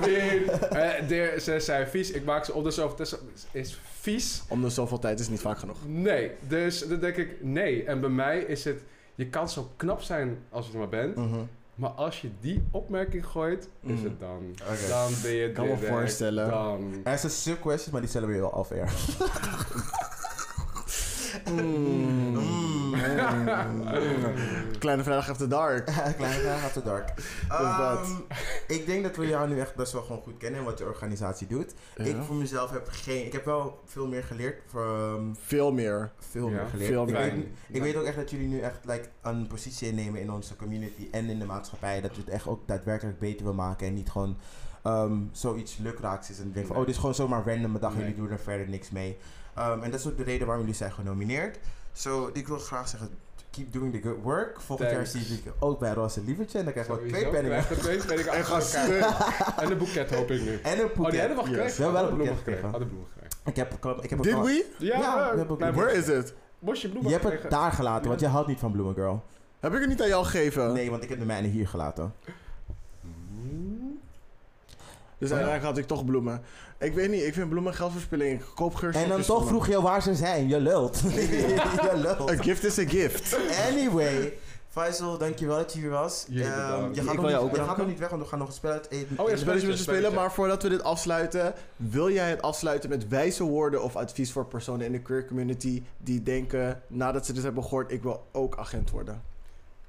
[SPEAKER 2] mean, eh, de- ze zijn vies, ik maak ze op de zoveel Het is- is vies.
[SPEAKER 1] Om de zoveel tijd is niet vaak genoeg.
[SPEAKER 2] Nee, dus dan denk ik, nee. En bij mij is het, je kan zo knap zijn als je er maar bent.
[SPEAKER 3] Mhm.
[SPEAKER 2] Maar als je die opmerking gooit, is
[SPEAKER 1] Mm.
[SPEAKER 2] het dan.
[SPEAKER 3] Oké.
[SPEAKER 2] Dan ben je
[SPEAKER 1] Kan me
[SPEAKER 2] direct
[SPEAKER 1] voorstellen.
[SPEAKER 2] Dan.
[SPEAKER 3] Er is een sub-question, maar die stellen we je wel off-air. Mm.
[SPEAKER 1] Kleine vrijdag after dark.
[SPEAKER 3] Kleine vraag after dark.
[SPEAKER 1] dat.
[SPEAKER 3] Ehm, ik denk dat we jou nu echt best wel gewoon goed kennen en wat je organisatie doet. Ik voor mezelf heb geen... Ik heb wel veel meer geleerd. Ehm,
[SPEAKER 1] Veel meer.
[SPEAKER 3] veel
[SPEAKER 2] Ja,
[SPEAKER 3] meer geleerd.
[SPEAKER 1] veel
[SPEAKER 3] ik
[SPEAKER 1] meer.
[SPEAKER 3] weet,
[SPEAKER 2] Fijn.
[SPEAKER 3] ik weet ook echt dat jullie nu echt like, een positie innemen in onze community en in de maatschappij. Dat je het echt ook daadwerkelijk beter wil maken en niet gewoon ehm, zoiets lukraaks is. En denk van,
[SPEAKER 2] Nee.
[SPEAKER 3] oh, dit is gewoon zomaar random bedacht en
[SPEAKER 2] Nee.
[SPEAKER 3] jullie doen er verder niks mee. Ehm, en dat is ook de reden waarom jullie zijn genomineerd. So, ik wil graag zeggen, keep doing the good work. Volgend
[SPEAKER 2] Thanks.
[SPEAKER 3] jaar zie ik jullie ook bij Roze Lievertje en dan krijgen we
[SPEAKER 2] Sowieso
[SPEAKER 3] twee penningen.
[SPEAKER 2] krijgen we twee penningen
[SPEAKER 1] En
[SPEAKER 2] achter
[SPEAKER 1] ga
[SPEAKER 2] elkaar. En een boeket hoop ik nu.
[SPEAKER 3] En een
[SPEAKER 2] Oh, die
[SPEAKER 3] boeket.
[SPEAKER 2] hadden
[SPEAKER 1] Yes.
[SPEAKER 2] we gekregen.
[SPEAKER 3] We hebben wel een
[SPEAKER 2] Hadden
[SPEAKER 3] boeket gekregen.
[SPEAKER 2] bloemen gekregen. Hadden bloemen gekregen.
[SPEAKER 3] Ik heb, ik heb- ik heb
[SPEAKER 1] Did
[SPEAKER 3] ook-
[SPEAKER 1] we?
[SPEAKER 2] Ja,
[SPEAKER 3] Ja, we
[SPEAKER 2] eh,
[SPEAKER 3] hebben
[SPEAKER 2] klein
[SPEAKER 3] bloemen.
[SPEAKER 1] Where
[SPEAKER 2] bosje-
[SPEAKER 1] is it?
[SPEAKER 2] Bosje
[SPEAKER 3] Je
[SPEAKER 2] bloemen
[SPEAKER 3] hebt het
[SPEAKER 2] gekregen.
[SPEAKER 3] daar gelaten, want je houdt niet van Bloemen Girl.
[SPEAKER 1] Heb ik het niet aan jou gegeven?
[SPEAKER 3] Nee, want ik heb de mijne hier gelaten.
[SPEAKER 1] Dus uiteindelijk had ik toch bloemen. Ik weet niet, ik vind bloemen geldverspilling. Ik koop geurstjes.
[SPEAKER 3] En dan
[SPEAKER 2] Dus
[SPEAKER 3] toch vroeg je waar ze zijn. Je lult. je lult.
[SPEAKER 1] A gift is a gift.
[SPEAKER 3] Anyway. Faisal, dankjewel dat je hier was.
[SPEAKER 2] Jullie
[SPEAKER 3] Ehm,
[SPEAKER 2] bedankt.
[SPEAKER 3] je
[SPEAKER 1] Ik
[SPEAKER 3] gaat,
[SPEAKER 1] wil
[SPEAKER 3] nog niet,
[SPEAKER 1] jou ook
[SPEAKER 3] je gaat
[SPEAKER 1] bedanken.
[SPEAKER 3] nog niet weg, want we gaan nog een spel uit eten.
[SPEAKER 2] Oh ja,
[SPEAKER 1] Spelletjes
[SPEAKER 2] spelletje,
[SPEAKER 1] met je spelen,
[SPEAKER 2] spelletje.
[SPEAKER 1] maar voordat we dit afsluiten, wil jij het afsluiten met wijze woorden of advies voor personen in de queer community die denken, nadat ze dit hebben gehoord, ik wil ook agent worden?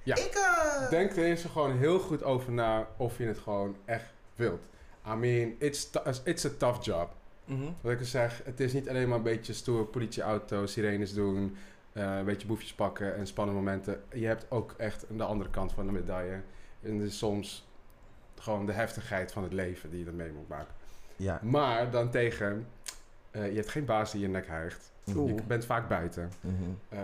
[SPEAKER 3] Ik, eh,
[SPEAKER 2] Denk er eens gewoon heel goed over na of je het gewoon echt wilt. I mean, it's, tou- it's a tough job.
[SPEAKER 3] Mhm.
[SPEAKER 2] Wat ik al zeg, het is niet alleen maar een beetje stoer politieauto's, sirenes doen, eh, een beetje boefjes pakken en spannende momenten. Je hebt ook echt de andere kant van de medaille. En dus soms gewoon de heftigheid van het leven die je dan mee moet maken.
[SPEAKER 3] Ja.
[SPEAKER 2] Maar dan tegen, eh, je hebt geen baas die je nek hijgt.
[SPEAKER 1] Oeh.
[SPEAKER 2] Je bent vaak buiten.
[SPEAKER 3] Mhm.
[SPEAKER 2] Eh,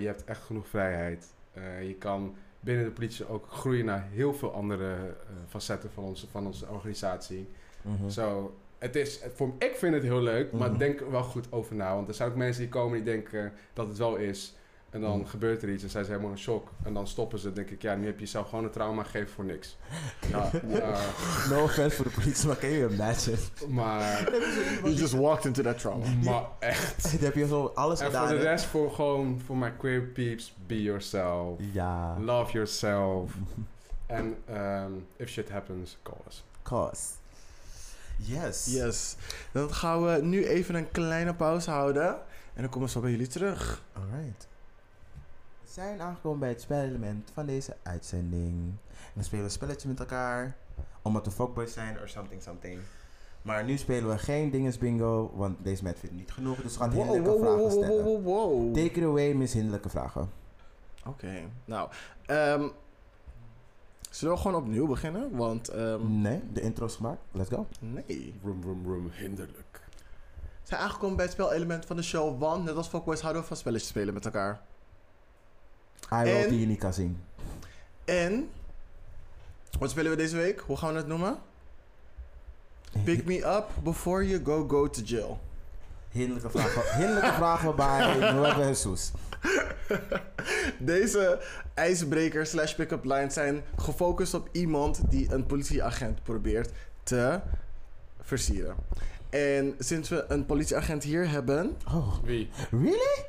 [SPEAKER 2] je hebt echt genoeg vrijheid. Eh, je kan binnen de politie ook groeien naar heel veel andere eh, facetten van onze, van onze organisatie.
[SPEAKER 3] Mhm.
[SPEAKER 2] Zo, het is, voor, ik vind het heel leuk, maar
[SPEAKER 3] Mhm.
[SPEAKER 2] denk er wel goed over na. Want er zijn ook mensen die komen die denken dat het wel is. En dan
[SPEAKER 3] Mhm.
[SPEAKER 2] gebeurt er iets en zijn ze helemaal in shock. En dan stoppen ze. Dan denk ik, ja, nu heb je jezelf gewoon een trauma gegeven voor niks. Ja, eh,
[SPEAKER 3] No offense voor de politie, maar kan je imagine?
[SPEAKER 2] maar,
[SPEAKER 1] You just walked into that trauma.
[SPEAKER 2] maar echt.
[SPEAKER 3] Dan heb je zo alles
[SPEAKER 2] En
[SPEAKER 3] gedaan.
[SPEAKER 2] voor de
[SPEAKER 3] hè?
[SPEAKER 2] rest, voor gewoon, voor mijn queer peeps, be yourself.
[SPEAKER 3] Ja.
[SPEAKER 2] Love yourself. En ehm, if shit happens, call us.
[SPEAKER 3] Cause. Yes.
[SPEAKER 1] Yes. Dan gaan we nu even een kleine pauze houden. En dan komen we zo bij jullie terug.
[SPEAKER 3] Alright. We zijn aangekomen bij het spelelement van deze uitzending. En we spelen een spelletje met elkaar. Omdat we fuckboys zijn or something something. Maar nu spelen we geen dinges bingo, want deze met vindt niet genoeg. Dus we gaan hinderlijke vragen stellen.
[SPEAKER 1] wow, wow. Oké,
[SPEAKER 3] Take it away, miss hinderlijke vragen.
[SPEAKER 1] nou. ehm, zullen we gewoon opnieuw beginnen? Want, ehm,
[SPEAKER 3] Nee, de intro is gemaakt. Let's go.
[SPEAKER 1] nee.
[SPEAKER 2] Room, room, room, hinderlijk.
[SPEAKER 1] We zijn aangekomen bij het spelelement van de show. Want, net als Fuckboys, houden we van spelletjes spelen met elkaar.
[SPEAKER 3] I will
[SPEAKER 1] En-
[SPEAKER 3] die je niet kan zien.
[SPEAKER 1] En wat spelen we deze week? Hoe gaan we het noemen? Pick me up before you go go to jail.
[SPEAKER 3] Hinderlijke vragen, hinderlijke vragen bij Nueva Jesus.
[SPEAKER 1] Deze ijsbreker slash pick-up lines zijn gefocust op iemand die een politieagent probeert te versieren. En sinds we een politieagent hier hebben,
[SPEAKER 3] Oh,
[SPEAKER 2] Wie?
[SPEAKER 3] really?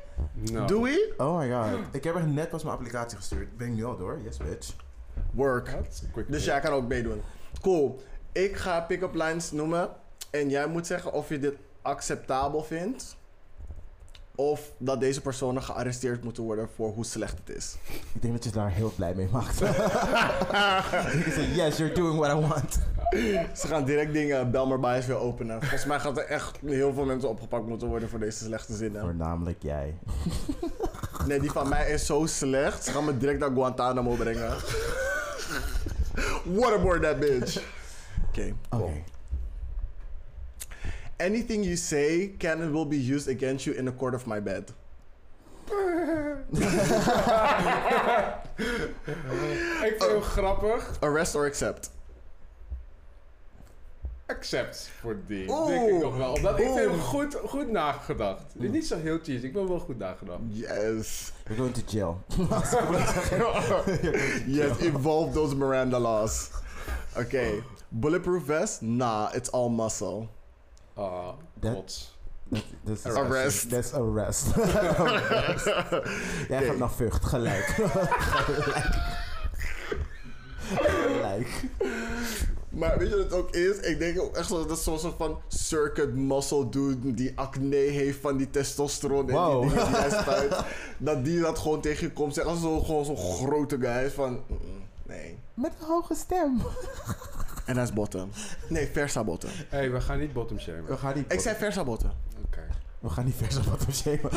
[SPEAKER 2] No.
[SPEAKER 1] doe we
[SPEAKER 3] Oh my god. Ik heb echt net pas mijn applicatie gestuurd. Ben ik nu al door? Yes, bitch.
[SPEAKER 1] work.
[SPEAKER 2] That's a quick
[SPEAKER 1] Dus jij kan ook meedoen. Cool. Ik ga pick-up lines noemen en jij moet zeggen of je dit acceptabel vindt. Of dat deze personen gearresteerd moeten worden voor hoe slecht het is.
[SPEAKER 3] Ik denk dat je daar heel blij mee maakt. Ik zeg, yes, you're doing what I want.
[SPEAKER 1] Ze gaan direct dingen Belmer Bias weer openen. Volgens mij gaat er echt heel veel mensen opgepakt moeten worden voor deze slechte zinnen.
[SPEAKER 3] Voornamelijk jij.
[SPEAKER 1] Nee, die van mij is zo slecht. Ze gaan me direct naar Guantanamo brengen. Waterboard that bitch. Oké,
[SPEAKER 3] Oké.
[SPEAKER 1] cool. Anything you say can and will be used against you in the court of my bed.
[SPEAKER 2] Ik vind hem grappig.
[SPEAKER 1] Arrest or accept.
[SPEAKER 2] Accept voor die.
[SPEAKER 1] Oeh.
[SPEAKER 2] Denk ik nog wel. Omdat ik vind hem
[SPEAKER 1] Oeh.
[SPEAKER 2] goed, goed nagedacht. Dit is niet zo heel cheesy. Ik ben wel goed nagedacht.
[SPEAKER 1] Yes.
[SPEAKER 3] We're going to jail.
[SPEAKER 1] Yes, evolve those Miranda laws. Oké. Bulletproof vest? Nah, it's all muscle.
[SPEAKER 2] Ah,
[SPEAKER 3] Dat-
[SPEAKER 2] trots.
[SPEAKER 3] Dus
[SPEAKER 1] Arrest.
[SPEAKER 3] That's arrest. Arrest. Jij gaat naar Vught, gelijk. gelijk. Gelijk.
[SPEAKER 1] Maar weet je wat het ook is? Ik denk ook echt zo, dat is zo'n soort van circuit muscle dude die acne heeft van die testosteron en
[SPEAKER 3] Wow.
[SPEAKER 1] die dingen die hij spuit. dat die dat gewoon tegen je komt zeggen. Als zo'n gewoon zo'n grote guy is van, "Mm, nee.
[SPEAKER 3] Met een hoge stem.
[SPEAKER 1] En hij is bottom. Nee, versa bottom.
[SPEAKER 2] Hé, hey, we gaan niet bottom shamen.
[SPEAKER 3] We
[SPEAKER 2] Oké.
[SPEAKER 3] gaan niet,
[SPEAKER 1] Ik zei versa bottom.
[SPEAKER 3] we gaan niet verder wat we shamen.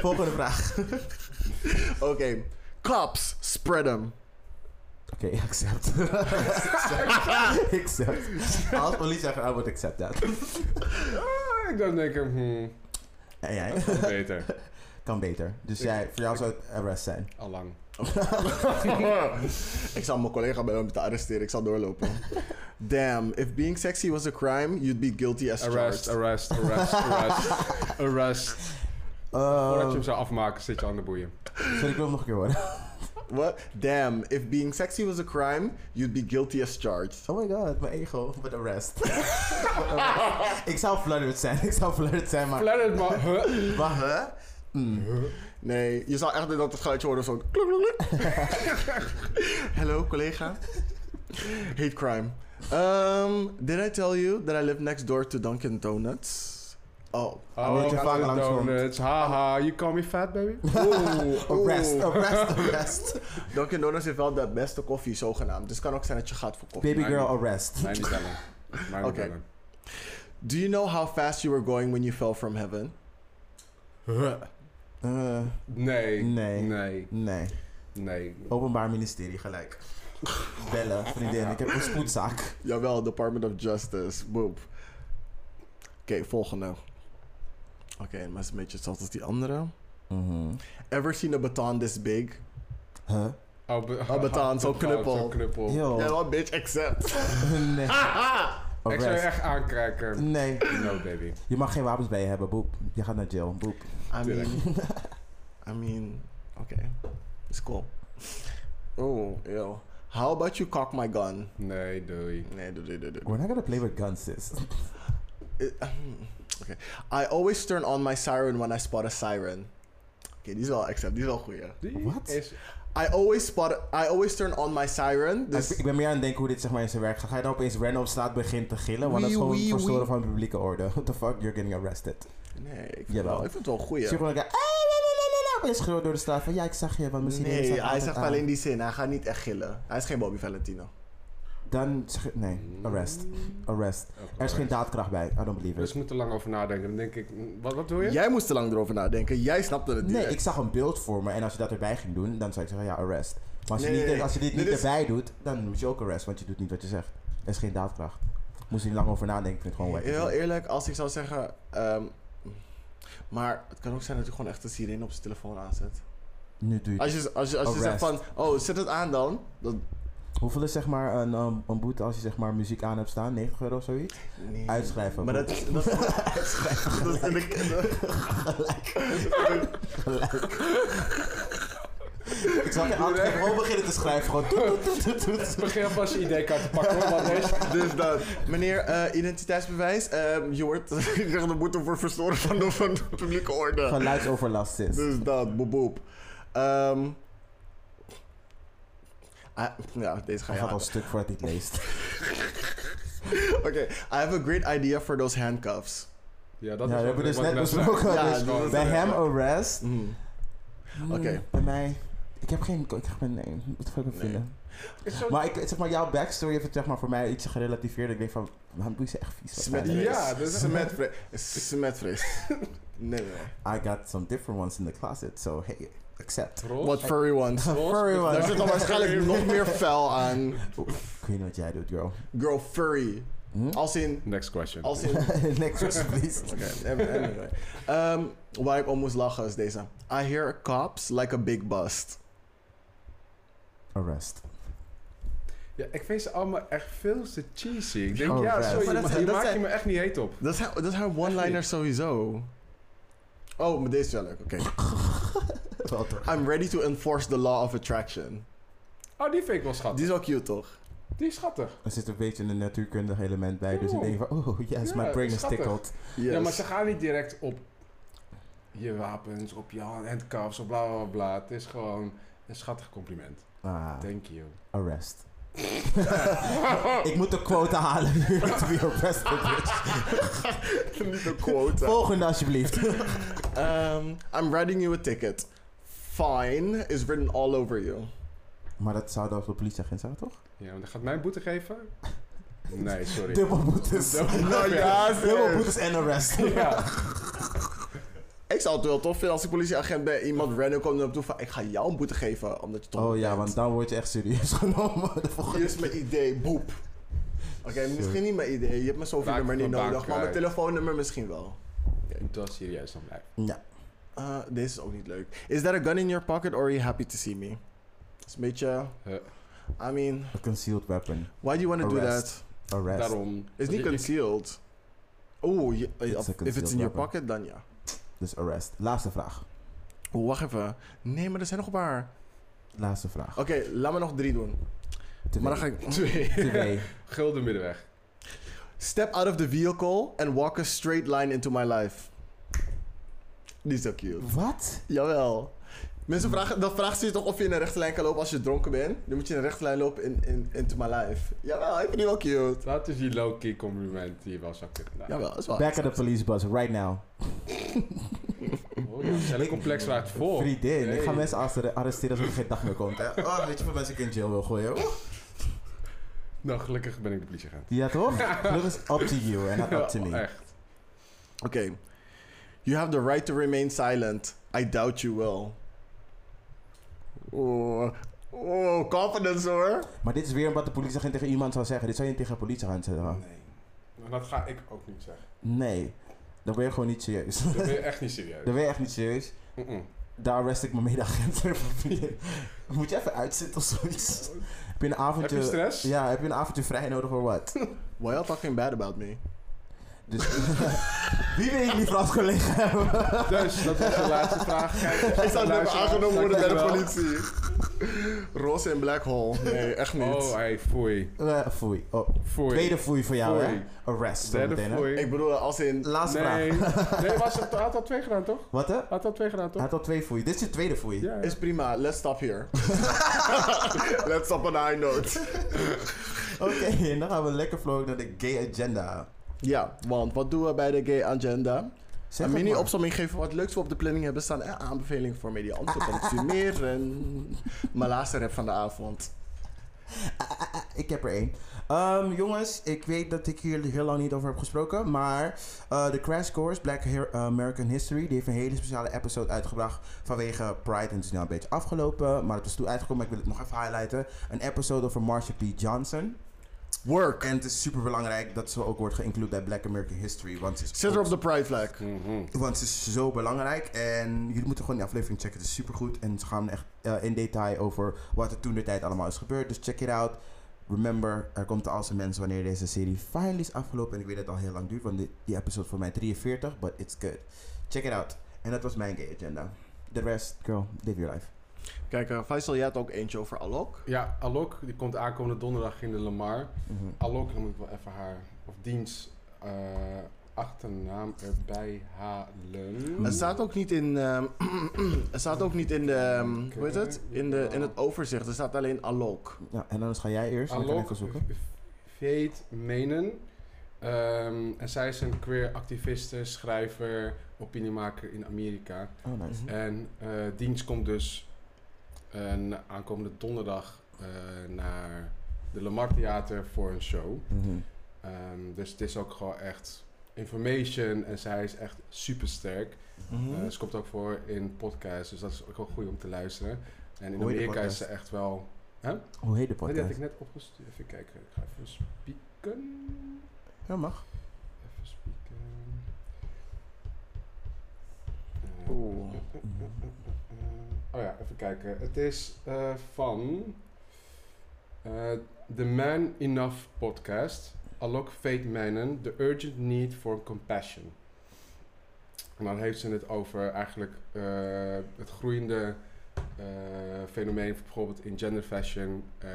[SPEAKER 3] Volgende vraag.
[SPEAKER 1] Oké. Cops, spread them.
[SPEAKER 3] Oké, accept. accept. Als politie zegt, I would accept that.
[SPEAKER 2] Ah, ik dan denk ik, hmm,
[SPEAKER 3] En jij?
[SPEAKER 2] dat kan beter.
[SPEAKER 3] Kan beter. Dus jij, voor jou zou het arrest zijn.
[SPEAKER 2] Allang.
[SPEAKER 1] Ik zal mijn collega bij hem te arresteren. Ik zal doorlopen. Damn, if being sexy was a crime, you'd be guilty as
[SPEAKER 2] Arrest,
[SPEAKER 1] charged.
[SPEAKER 2] arrest, arrest, arrest. arrest.
[SPEAKER 1] Oh.
[SPEAKER 2] Voordat je
[SPEAKER 3] Uh,
[SPEAKER 2] hem zou afmaken, zit je aan de boeien.
[SPEAKER 3] sorry, ik wil hem nog een keer horen.
[SPEAKER 1] What? Damn, if being sexy was a crime, you'd be guilty as charged.
[SPEAKER 3] Oh my god, mijn ego. But arrest. But arrest. ik zou flutterd zijn. Ik zou flutterd zijn, maar...
[SPEAKER 2] Planet Ma... Huh?
[SPEAKER 3] Wacht, hè? Mm.
[SPEAKER 1] Nee, je zal echt dat het geluidje horen zo'n... klok, klok, klok. Hello, collega. Hate crime. Um, did I tell you that I live next door to Dunkin' Donuts? Oh.
[SPEAKER 3] Omdat je
[SPEAKER 2] Oh,
[SPEAKER 3] vaak
[SPEAKER 2] de
[SPEAKER 3] langskomt.
[SPEAKER 2] donuts. Haha, you call me fat, baby? Oeh,
[SPEAKER 3] Arrest, Oh.
[SPEAKER 2] oeh.
[SPEAKER 3] arrest, arrest.
[SPEAKER 1] Dunkin' Donuts heeft wel de beste koffie, zogenaamd. Dus het kan ook zijn dat je gaat voor koffie.
[SPEAKER 3] Baby girl, arrest.
[SPEAKER 2] Mij niet bellen. Mij niet
[SPEAKER 1] Oké.
[SPEAKER 2] bellen.
[SPEAKER 1] Do you know how fast you were going when you fell from heaven?
[SPEAKER 3] Eh,
[SPEAKER 2] Nee.
[SPEAKER 3] Nee.
[SPEAKER 2] Nee.
[SPEAKER 3] nee.
[SPEAKER 2] Nee.
[SPEAKER 3] Openbaar ministerie, gelijk. Bellen, vriendin. Ik heb een spoedzaak.
[SPEAKER 1] Jawel, Department of Justice. Boep. Oké, volgende. Oké, maar het is een beetje hetzelfde als die andere.
[SPEAKER 3] Mhm.
[SPEAKER 1] Ever seen a baton this big?
[SPEAKER 3] Huh?
[SPEAKER 2] Oh, be-
[SPEAKER 1] Oh, betaald, zo'n
[SPEAKER 2] betaald,
[SPEAKER 1] knuppel.
[SPEAKER 2] zo'n knuppel.
[SPEAKER 3] Yo.
[SPEAKER 1] Ja, wel, bitch, accept.
[SPEAKER 3] nee.
[SPEAKER 2] Ik zou je
[SPEAKER 3] Arrest.
[SPEAKER 2] echt aankijken.
[SPEAKER 3] Nee.
[SPEAKER 2] No, baby.
[SPEAKER 3] Je mag geen wapens bij je hebben, boep. Je gaat naar jail, boep.
[SPEAKER 1] I mean, I mean, okay, it's cool. Oh, ew. How about you cock my gun?
[SPEAKER 2] Nee, doei.
[SPEAKER 1] Nee, doe, doe, doe, doe.
[SPEAKER 3] We're not gonna play with guns, sis.
[SPEAKER 1] Eh, Okay. I always turn on my siren when I spot a siren. Okay, die is wel accept, die is wel goeie.
[SPEAKER 2] Die
[SPEAKER 3] Wat?
[SPEAKER 2] is-
[SPEAKER 1] I always spot, I always turn on my siren.
[SPEAKER 3] Ik,
[SPEAKER 1] Dus
[SPEAKER 3] ik ben meer aan het denken hoe dit zeg maar in zijn werk gaat. Ga je dan opeens random op straat begint te gillen? Want dat is
[SPEAKER 1] Wee,
[SPEAKER 3] gewoon
[SPEAKER 1] wee,
[SPEAKER 3] verstoren
[SPEAKER 1] wee.
[SPEAKER 3] van publieke orde. What the fuck? You're getting arrested.
[SPEAKER 1] nee, ik vind, het
[SPEAKER 3] Jawel.
[SPEAKER 1] wel, ik vind het wel een goeie.
[SPEAKER 3] Dus je gewoon een keer, "Hey, la, la, la, la, la," opeens schreeuwen door de straat van ja, ik zag je, want misschien neem je
[SPEAKER 1] Nee,
[SPEAKER 3] staat
[SPEAKER 1] hij
[SPEAKER 3] altijd
[SPEAKER 1] zegt
[SPEAKER 3] aan."
[SPEAKER 1] alleen die zin. Hij gaat niet echt gillen. Hij is geen Bobby Valentino.
[SPEAKER 3] Dan zeg je- nee, arrest. Arrest.
[SPEAKER 2] Ook
[SPEAKER 3] Er is geen
[SPEAKER 2] alright.
[SPEAKER 3] daadkracht bij. I don't believe
[SPEAKER 2] Oh, Dus
[SPEAKER 3] it.
[SPEAKER 2] ik moet er lang over nadenken. Dan denk ik, mm, wat, wat doe je?
[SPEAKER 1] Jij moest te lang erover nadenken. Jij snapte het
[SPEAKER 3] Nee,
[SPEAKER 1] direct.
[SPEAKER 3] ik zag een beeld voor me en als je dat erbij ging doen, dan zou ik zeggen ja, arrest. Maar als,
[SPEAKER 1] Nee,
[SPEAKER 3] je,
[SPEAKER 1] nee,
[SPEAKER 3] niet,
[SPEAKER 1] nee.
[SPEAKER 3] als je dit
[SPEAKER 1] Dit
[SPEAKER 3] niet
[SPEAKER 1] is-
[SPEAKER 3] erbij doet, dan moet je ook arrest, want je doet niet wat je zegt. Er is geen daadkracht. Moest je niet lang over nadenken, ik vind het gewoon wack.
[SPEAKER 1] Heel e- eerlijk, als ik zou zeggen. ehm, maar het kan ook zijn dat hij gewoon echt de sirene op zijn telefoon aanzet.
[SPEAKER 3] Nu doe je
[SPEAKER 1] Als je, als je, als je
[SPEAKER 3] Arrest.
[SPEAKER 1] zegt van. Oh, zet het aan dan. dan
[SPEAKER 3] Hoeveel is zeg maar een, um, een boete als je zeg maar muziek aan hebt staan? 90 euro of zoiets?
[SPEAKER 1] Nee.
[SPEAKER 3] Uitschrijven.
[SPEAKER 1] Maar dat is. Dat, dat is in de-
[SPEAKER 3] Ik zal je altijd gewoon beginnen te schrijven. Gewoon toet, toet, toet, toet, toet.
[SPEAKER 2] Begin alvast je ID-kaart te pakken hoor, want deze...
[SPEAKER 1] Dus dat. Meneer, eh, identiteitsbewijs. ehm, je wordt. Ik zeg de boete voor verstoren van de, van de publieke orde.
[SPEAKER 3] Geluidsoverlast is.
[SPEAKER 1] Dus dat, boep boep. Ehm, ah, ja, deze ga
[SPEAKER 3] Hij gaat
[SPEAKER 1] je aan.
[SPEAKER 3] al stuk voor het niet leest.
[SPEAKER 1] Oké, I have a great idea for those handcuffs.
[SPEAKER 2] Ja, dat
[SPEAKER 3] Ja,
[SPEAKER 2] is
[SPEAKER 3] we
[SPEAKER 2] wat
[SPEAKER 3] hebben
[SPEAKER 2] ik-
[SPEAKER 3] dus
[SPEAKER 2] wat ik
[SPEAKER 3] net
[SPEAKER 2] zei.
[SPEAKER 3] besproken.
[SPEAKER 1] Ja,
[SPEAKER 2] Dus
[SPEAKER 1] dat
[SPEAKER 2] gewoon-
[SPEAKER 1] is-
[SPEAKER 3] Bij hem arrest.
[SPEAKER 1] Mhm.
[SPEAKER 3] Hmm,
[SPEAKER 1] Oké.
[SPEAKER 3] Bij mij. Ik heb geen. Ik heb geen. Nee, moet ik even
[SPEAKER 1] Nee.
[SPEAKER 3] vinden.
[SPEAKER 2] Is zo-
[SPEAKER 3] Maar ik, zeg maar, jouw backstory heeft het zeg maar, voor mij iets gerelativeerd. Ik denk van, waarom doe je ze echt vies? Wat zijn
[SPEAKER 1] Smetvrees.
[SPEAKER 3] er?
[SPEAKER 2] Ja, dat is-
[SPEAKER 1] Smetvrees. Smetvrees. Nee, nee.
[SPEAKER 3] I got some different ones in the closet, so hey, accept.
[SPEAKER 2] Ross?
[SPEAKER 1] What furry ones.
[SPEAKER 2] Ross?
[SPEAKER 3] Furry ones.
[SPEAKER 1] Daar zit dan waarschijnlijk nog meer fel aan.
[SPEAKER 3] Ik weet niet wat jij doet, girl.
[SPEAKER 1] Girl furry.
[SPEAKER 3] Hm?
[SPEAKER 1] Als in.
[SPEAKER 2] Next question.
[SPEAKER 1] Als in.
[SPEAKER 3] Next, please.
[SPEAKER 1] Oh. Oké, anyway. Ehm, waar ik om moest lachen is deze. I hear cops like a big bust.
[SPEAKER 3] Arrest.
[SPEAKER 2] Ja, ik vind ze allemaal echt veel te cheesy. Ik denk,
[SPEAKER 3] Oh,
[SPEAKER 2] ja,
[SPEAKER 3] right.
[SPEAKER 2] sorry,
[SPEAKER 1] Maar dat
[SPEAKER 2] maar
[SPEAKER 1] zijn-
[SPEAKER 2] hier
[SPEAKER 1] dat
[SPEAKER 2] maak je
[SPEAKER 1] zijn-
[SPEAKER 2] me echt niet heet op.
[SPEAKER 1] Dat is haar, dat is haar one-liner sowieso. Oh, maar deze is wel leuk. Oké.
[SPEAKER 3] Wel toch?
[SPEAKER 1] I'm ready to enforce the law of attraction.
[SPEAKER 2] Oh, die vind ik wel schattig.
[SPEAKER 1] Die is wel cute, toch?
[SPEAKER 2] Die is schattig.
[SPEAKER 3] Er zit een beetje een natuurkundig element bij, dus ik denk van, oh yes,
[SPEAKER 2] Ja,
[SPEAKER 3] my brain is
[SPEAKER 2] schattig.
[SPEAKER 3] tickled.
[SPEAKER 1] Yes.
[SPEAKER 2] Ja, maar ze gaan niet direct op je wapens, op je hand- handcuffs, op bla bla bla. Het is gewoon een schattig compliment.
[SPEAKER 3] Ah,
[SPEAKER 2] Thank you.
[SPEAKER 3] arrest.
[SPEAKER 2] Oh.
[SPEAKER 3] ik moet de quota halen. You to be arrested, bitch.
[SPEAKER 1] Niet een quote.
[SPEAKER 3] Volgende alsjeblieft.
[SPEAKER 1] Ehm, I'm writing you a ticket. Fine is written all over you.
[SPEAKER 3] maar dat zou dan de politieagent zijn, toch?
[SPEAKER 2] Ja, want dat gaat mij een boete geven? Nee, sorry.
[SPEAKER 3] Dubbel boetes.
[SPEAKER 2] Nou ja,
[SPEAKER 3] Dubbel boetes en arrest.
[SPEAKER 2] Ja.
[SPEAKER 1] Ik zou het wel tof vinden als ik politieagent ben. Iemand random komt naar me toe van... Ik ga jou een boete geven, omdat je toch
[SPEAKER 3] Oh ja, want dan word je echt serieus genomen. De
[SPEAKER 1] Hier
[SPEAKER 3] volgende
[SPEAKER 1] is mijn idee, boep. Oké, misschien niet mijn idee. Je hebt mijn Sophie-nummer
[SPEAKER 2] Raak
[SPEAKER 1] niet
[SPEAKER 2] mijn baan
[SPEAKER 1] nodig. Maar mijn
[SPEAKER 2] kwijt.
[SPEAKER 1] telefoonnummer misschien wel.
[SPEAKER 2] Het was serieus dan blijven.
[SPEAKER 3] Ja.
[SPEAKER 1] Eh, deze is ook niet leuk. Is that a gun in your pocket or are you happy to see me? Dat is een beetje...
[SPEAKER 2] Eh.
[SPEAKER 1] I mean,
[SPEAKER 3] A concealed weapon.
[SPEAKER 1] why do you want to do
[SPEAKER 3] Arrest.
[SPEAKER 1] that?
[SPEAKER 3] Arrest.
[SPEAKER 2] Daarom.
[SPEAKER 1] Is niet
[SPEAKER 2] Je- je-
[SPEAKER 1] concealed. Oeh, je- eh,
[SPEAKER 3] It's a
[SPEAKER 1] of- if
[SPEAKER 3] concealed
[SPEAKER 1] it's in your
[SPEAKER 3] weapon.
[SPEAKER 1] pocket, dan ja.
[SPEAKER 3] Dus arrest. Laatste vraag.
[SPEAKER 1] Oeh, wacht even. Nee, maar er zijn nog een paar.
[SPEAKER 3] Laatste vraag.
[SPEAKER 1] Oké, laat me nog drie doen.
[SPEAKER 3] Twee.
[SPEAKER 1] Maar dan ga ik...
[SPEAKER 3] Twee.
[SPEAKER 2] Gulden middenweg.
[SPEAKER 1] Step out of the vehicle and walk a straight line into my life. Die is zo cute.
[SPEAKER 3] Wat?
[SPEAKER 1] Jawel. Mensen vragen, dan vragen ze je toch of je in een rechte lijn kan lopen als je dronken bent. Dan moet je in een rechte lijn lopen in, in, into my life. Jawel, ik vind die wel cute.
[SPEAKER 2] Dat is die low-key compliment die je wel zou kunnen. Nou,
[SPEAKER 1] Jawel, dat is wel.
[SPEAKER 3] Back at the police bus right now.
[SPEAKER 2] Oh, ja, Cellen complex waar het voor.
[SPEAKER 3] Vriendin, ik ga
[SPEAKER 2] Hey.
[SPEAKER 3] mensen arre- arresteren zodat er geen dag meer komt. Hè? Oh, weet je hoeveel mensen ik in jail wil gooien? Oeh.
[SPEAKER 2] Nou, gelukkig ben ik de politieagent.
[SPEAKER 3] Ja toch? Gelukkig is up to you and not up to
[SPEAKER 2] Ja,
[SPEAKER 3] me.
[SPEAKER 2] Echt.
[SPEAKER 1] Oké. You have the right to remain silent. I doubt you will. Oh, oh confidence hoor.
[SPEAKER 3] Maar dit is weer wat de politieagent tegen iemand zou zeggen. Dit zou je niet tegen een politieagent zeggen.
[SPEAKER 2] Nee. Maar Dat ga ik ook niet zeggen.
[SPEAKER 3] Nee, dan ben je gewoon niet serieus.
[SPEAKER 2] Dat ben je echt niet serieus.
[SPEAKER 3] Dan ben je echt niet serieus.
[SPEAKER 2] Mm-mm.
[SPEAKER 3] Daar arrest ik mijn medeagent. Moet je even uitzitten of zoiets? Heb je een
[SPEAKER 2] Heb je
[SPEAKER 3] avondje...
[SPEAKER 2] stress?
[SPEAKER 3] Ja, heb je een avondje vrij nodig of wat?
[SPEAKER 1] Why are you talking bad about me?
[SPEAKER 3] Dus wie wil ik liever als collega hebben?
[SPEAKER 2] Dus, dat was de laatste vraag. Kijk,
[SPEAKER 1] Hij zou net
[SPEAKER 2] luisteraars,
[SPEAKER 1] aangenomen worden bij de
[SPEAKER 2] dankjewel.
[SPEAKER 1] politie. Roze in black hole. Nee, echt niet.
[SPEAKER 2] Oh, hey, foei.
[SPEAKER 3] Eh, foei. Oh,
[SPEAKER 2] Foei.
[SPEAKER 3] tweede foei voor jou,
[SPEAKER 2] Foei.
[SPEAKER 3] hè? Arrest. zo
[SPEAKER 2] Derde
[SPEAKER 3] meteen, hè?
[SPEAKER 2] foei.
[SPEAKER 1] Ik bedoel, als in...
[SPEAKER 3] Laatste
[SPEAKER 2] Nee.
[SPEAKER 3] vraag.
[SPEAKER 2] Nee, was het, had al twee gedaan, toch?
[SPEAKER 3] Wat hè? Hij
[SPEAKER 2] Had al twee gedaan, toch?
[SPEAKER 3] had al twee foei. Dit is je tweede foei.
[SPEAKER 2] Ja.
[SPEAKER 1] Is prima, let's stop here. let's stop on a high note.
[SPEAKER 3] Oké, en dan gaan we lekker vlog naar de gay agenda.
[SPEAKER 1] Ja, want wat doen we bij de gay agenda?
[SPEAKER 3] Zeg
[SPEAKER 1] een
[SPEAKER 3] het maar.
[SPEAKER 1] mini-opsomming geven wat leuks we op de planning hebben staan. En aanbevelingen voor medianten te consumeren. Mijn laatste rap van de avond.
[SPEAKER 3] Ik heb er één. Ehm, jongens, ik weet dat ik hier heel lang niet over heb gesproken. Maar eh, de Crash Course Black Her- American History. Die heeft een hele speciale episode uitgebracht. Vanwege Pride. En het is nu al een beetje afgelopen. Maar het is toen uitgekomen. maar Ik wil het nog even highlighten. Een episode over Marsha P. Johnson.
[SPEAKER 1] Work.
[SPEAKER 3] En het is super belangrijk dat ze ook wordt geïncludeerd bij Black American History. Want ze is,
[SPEAKER 1] Zit er
[SPEAKER 3] ook-
[SPEAKER 1] op de pride flag.
[SPEAKER 2] Mhm.
[SPEAKER 3] want ze is zo belangrijk. En jullie moeten gewoon die aflevering checken. Het is super goed. En ze gaan echt eh, in detail over wat er toen de tijd allemaal is gebeurd. Dus check it out. Remember, er komt de Alse Mens wanneer deze serie finally is afgelopen. En ik weet dat het al heel lang duurt, want die, die episode is voor mij 43, but it's good. Check it out. En dat was mijn gay agenda. The rest, girl, live your life.
[SPEAKER 1] Kijk, eh, Faisal, jij had ook eentje over Alok.
[SPEAKER 2] Ja, Alok, die komt aankomende donderdag in de Lamar.
[SPEAKER 1] Mhm.
[SPEAKER 2] Alok, dan moet ik wel even haar, of diens eh, achternaam erbij halen.
[SPEAKER 1] Het staat ook niet in, ehm, het staat ook niet in de, ehm, hoe heet het? In, de, in het overzicht. Er staat alleen Alok.
[SPEAKER 3] Ja, en dan ga jij eerst. en dan kan ik wel
[SPEAKER 2] Alok
[SPEAKER 3] zoeken.
[SPEAKER 2] Veet Menen. Ehm, en zij is een queer activiste, schrijver, opiniemaker in Amerika.
[SPEAKER 3] Oh, nice.
[SPEAKER 2] En eh dienst komt dus een aankomende donderdag eh, naar de Lamar Theater voor een show.
[SPEAKER 3] Mhm.
[SPEAKER 2] Ehm, dus het is ook gewoon echt information en zij is echt super sterk.
[SPEAKER 3] Mhm.
[SPEAKER 2] ze komt ook voor in podcasts, dus dat is ook wel goed om te luisteren. En in
[SPEAKER 3] Hoe heet de
[SPEAKER 2] Amerika is ze
[SPEAKER 3] podcast?
[SPEAKER 2] echt wel.
[SPEAKER 3] Hoe heet de
[SPEAKER 2] Nee, die had
[SPEAKER 3] podcast?
[SPEAKER 2] ik net opgestuurd. Even kijken, ik ga even spieken.
[SPEAKER 3] Ja, mag.
[SPEAKER 2] Even spieken. Eh,
[SPEAKER 1] Oeh.
[SPEAKER 2] Oh ja, even kijken. Het is eh, van eh, The Man Enough podcast. Alok Fate Manon, The Urgent Need for Compassion. En dan heeft ze het over eigenlijk eh, het groeiende eh, fenomeen, bijvoorbeeld in gender fashion. ehm,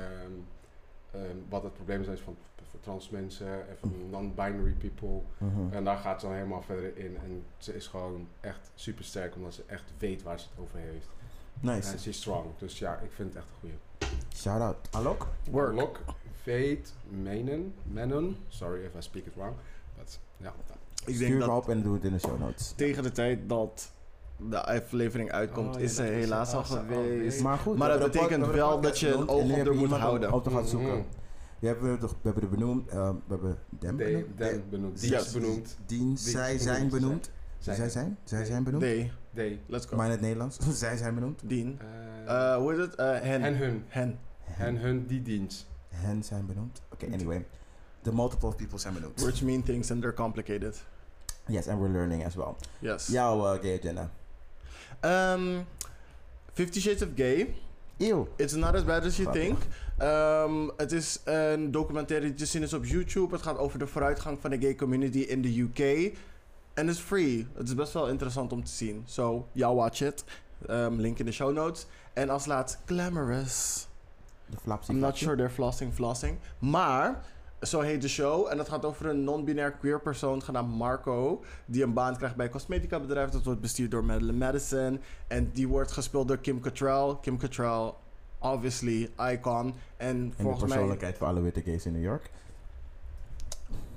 [SPEAKER 2] ehm, wat het probleem zijn van, voor trans mensen en van non-binary people.
[SPEAKER 3] Mhm.
[SPEAKER 2] En daar gaat ze dan helemaal verder in. En ze is gewoon echt super sterk, omdat ze echt weet waar ze het over heeft.
[SPEAKER 3] Nice.
[SPEAKER 2] En ze is strong. Dus ja, ik vind het echt een goeie.
[SPEAKER 3] Shout out. Alok?
[SPEAKER 1] Work.
[SPEAKER 2] Lok, Veet, Menen, Menon. Sorry if I speak it wrong. But, ja,
[SPEAKER 1] Ik
[SPEAKER 3] Stuur
[SPEAKER 1] denk
[SPEAKER 3] me
[SPEAKER 1] dat
[SPEAKER 3] op en doe het in de show notes.
[SPEAKER 1] tegen de tijd dat de aflevering uitkomt,
[SPEAKER 2] Oh, ja,
[SPEAKER 1] is ze
[SPEAKER 2] dat is
[SPEAKER 1] helaas
[SPEAKER 2] al
[SPEAKER 1] al Oh,
[SPEAKER 2] geweest.
[SPEAKER 1] geweest.
[SPEAKER 3] Maar goed,
[SPEAKER 1] Maar
[SPEAKER 3] we
[SPEAKER 1] dat
[SPEAKER 3] hebben de
[SPEAKER 1] betekent
[SPEAKER 3] pod- we hebben
[SPEAKER 1] wel
[SPEAKER 3] de
[SPEAKER 1] dat je
[SPEAKER 3] podcast
[SPEAKER 1] een
[SPEAKER 3] genoemd en
[SPEAKER 1] oog
[SPEAKER 3] nu
[SPEAKER 1] op
[SPEAKER 3] hebben
[SPEAKER 1] er moet
[SPEAKER 3] we iemand
[SPEAKER 1] houden.
[SPEAKER 3] Op te gaan zoeken.
[SPEAKER 2] Mhm.
[SPEAKER 3] We hebben er toch- we hebben er benoemd. eh, we hebben dem
[SPEAKER 2] They-
[SPEAKER 3] benoemd.
[SPEAKER 2] them
[SPEAKER 3] Eh,
[SPEAKER 2] benoemd.
[SPEAKER 1] die-
[SPEAKER 2] Dies benoemd.
[SPEAKER 3] Dien,
[SPEAKER 2] Die-
[SPEAKER 3] zij
[SPEAKER 2] benoemd.
[SPEAKER 3] zijn benoemd.
[SPEAKER 2] Zij.
[SPEAKER 3] Zij zijn? Zij zijn benoemd?
[SPEAKER 1] Nee,
[SPEAKER 2] They.
[SPEAKER 1] let's go.
[SPEAKER 3] Maar in het Nederlands. Zij zijn benoemd.
[SPEAKER 1] Dien.
[SPEAKER 2] Eh,
[SPEAKER 1] Eh, hoe heet het? Eh, hen.
[SPEAKER 2] en hun.
[SPEAKER 1] Hen.
[SPEAKER 2] En hun die dienst.
[SPEAKER 3] Hen zijn benoemd. Oké, anyway. The multiple people zijn benoemd.
[SPEAKER 1] Which mean things and they're complicated.
[SPEAKER 3] Yes, and we're learning as well.
[SPEAKER 1] Yes.
[SPEAKER 3] Jouw eh, gay agenda.
[SPEAKER 1] Ehm, Fifty Shades of Gay.
[SPEAKER 3] Eeuw.
[SPEAKER 1] It's not as bad as you
[SPEAKER 3] Grappig.
[SPEAKER 1] think. Ehm, het is een documentaire die te zien is op YouTube. Het gaat over de vooruitgang van de gay community in de UK. En het is free. Het is best wel interessant om te zien. So, yeah, watch it. Ehm, link in de show notes. En als laatst, Glamorous.
[SPEAKER 3] De flapsie.
[SPEAKER 1] I'm not
[SPEAKER 3] flapsie.
[SPEAKER 1] sure they're flossing, flossing. Maar, zo heet de show. En dat gaat over een non-binair queer persoon genaamd Marco. Die een baan krijgt bij een cosmetica bedrijf. Dat wordt bestuurd door Madeleine Madison. En die wordt gespeeld door Kim Cattrall. Kim Cattrall, obviously, icon. En
[SPEAKER 3] En de
[SPEAKER 1] volgens mij...
[SPEAKER 3] persoonlijkheid voor alle witte gays in New York.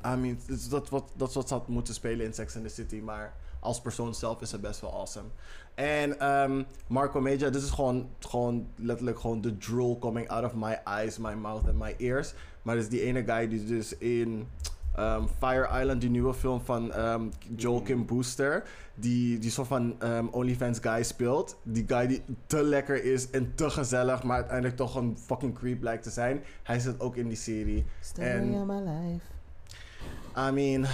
[SPEAKER 1] I mean, dat is dat wat, dat is wat ze had moeten spelen in Sex and the City. Maar als persoon zelf is ze best wel awesome. En ehm, Marco Meja, dit is gewoon, gewoon letterlijk gewoon de drool coming out of my eyes, my mouth and my ears. Maar dit is die ene guy die dus in ehm, Fire Island, die nieuwe film van ehm, Joel Kim Booster, die, die soort van ehm, OnlyFans guy speelt. Die guy die te lekker is en te gezellig, maar uiteindelijk toch een fucking creep lijkt te zijn. Hij zit ook in die serie. En-
[SPEAKER 3] of my life.
[SPEAKER 1] I mean.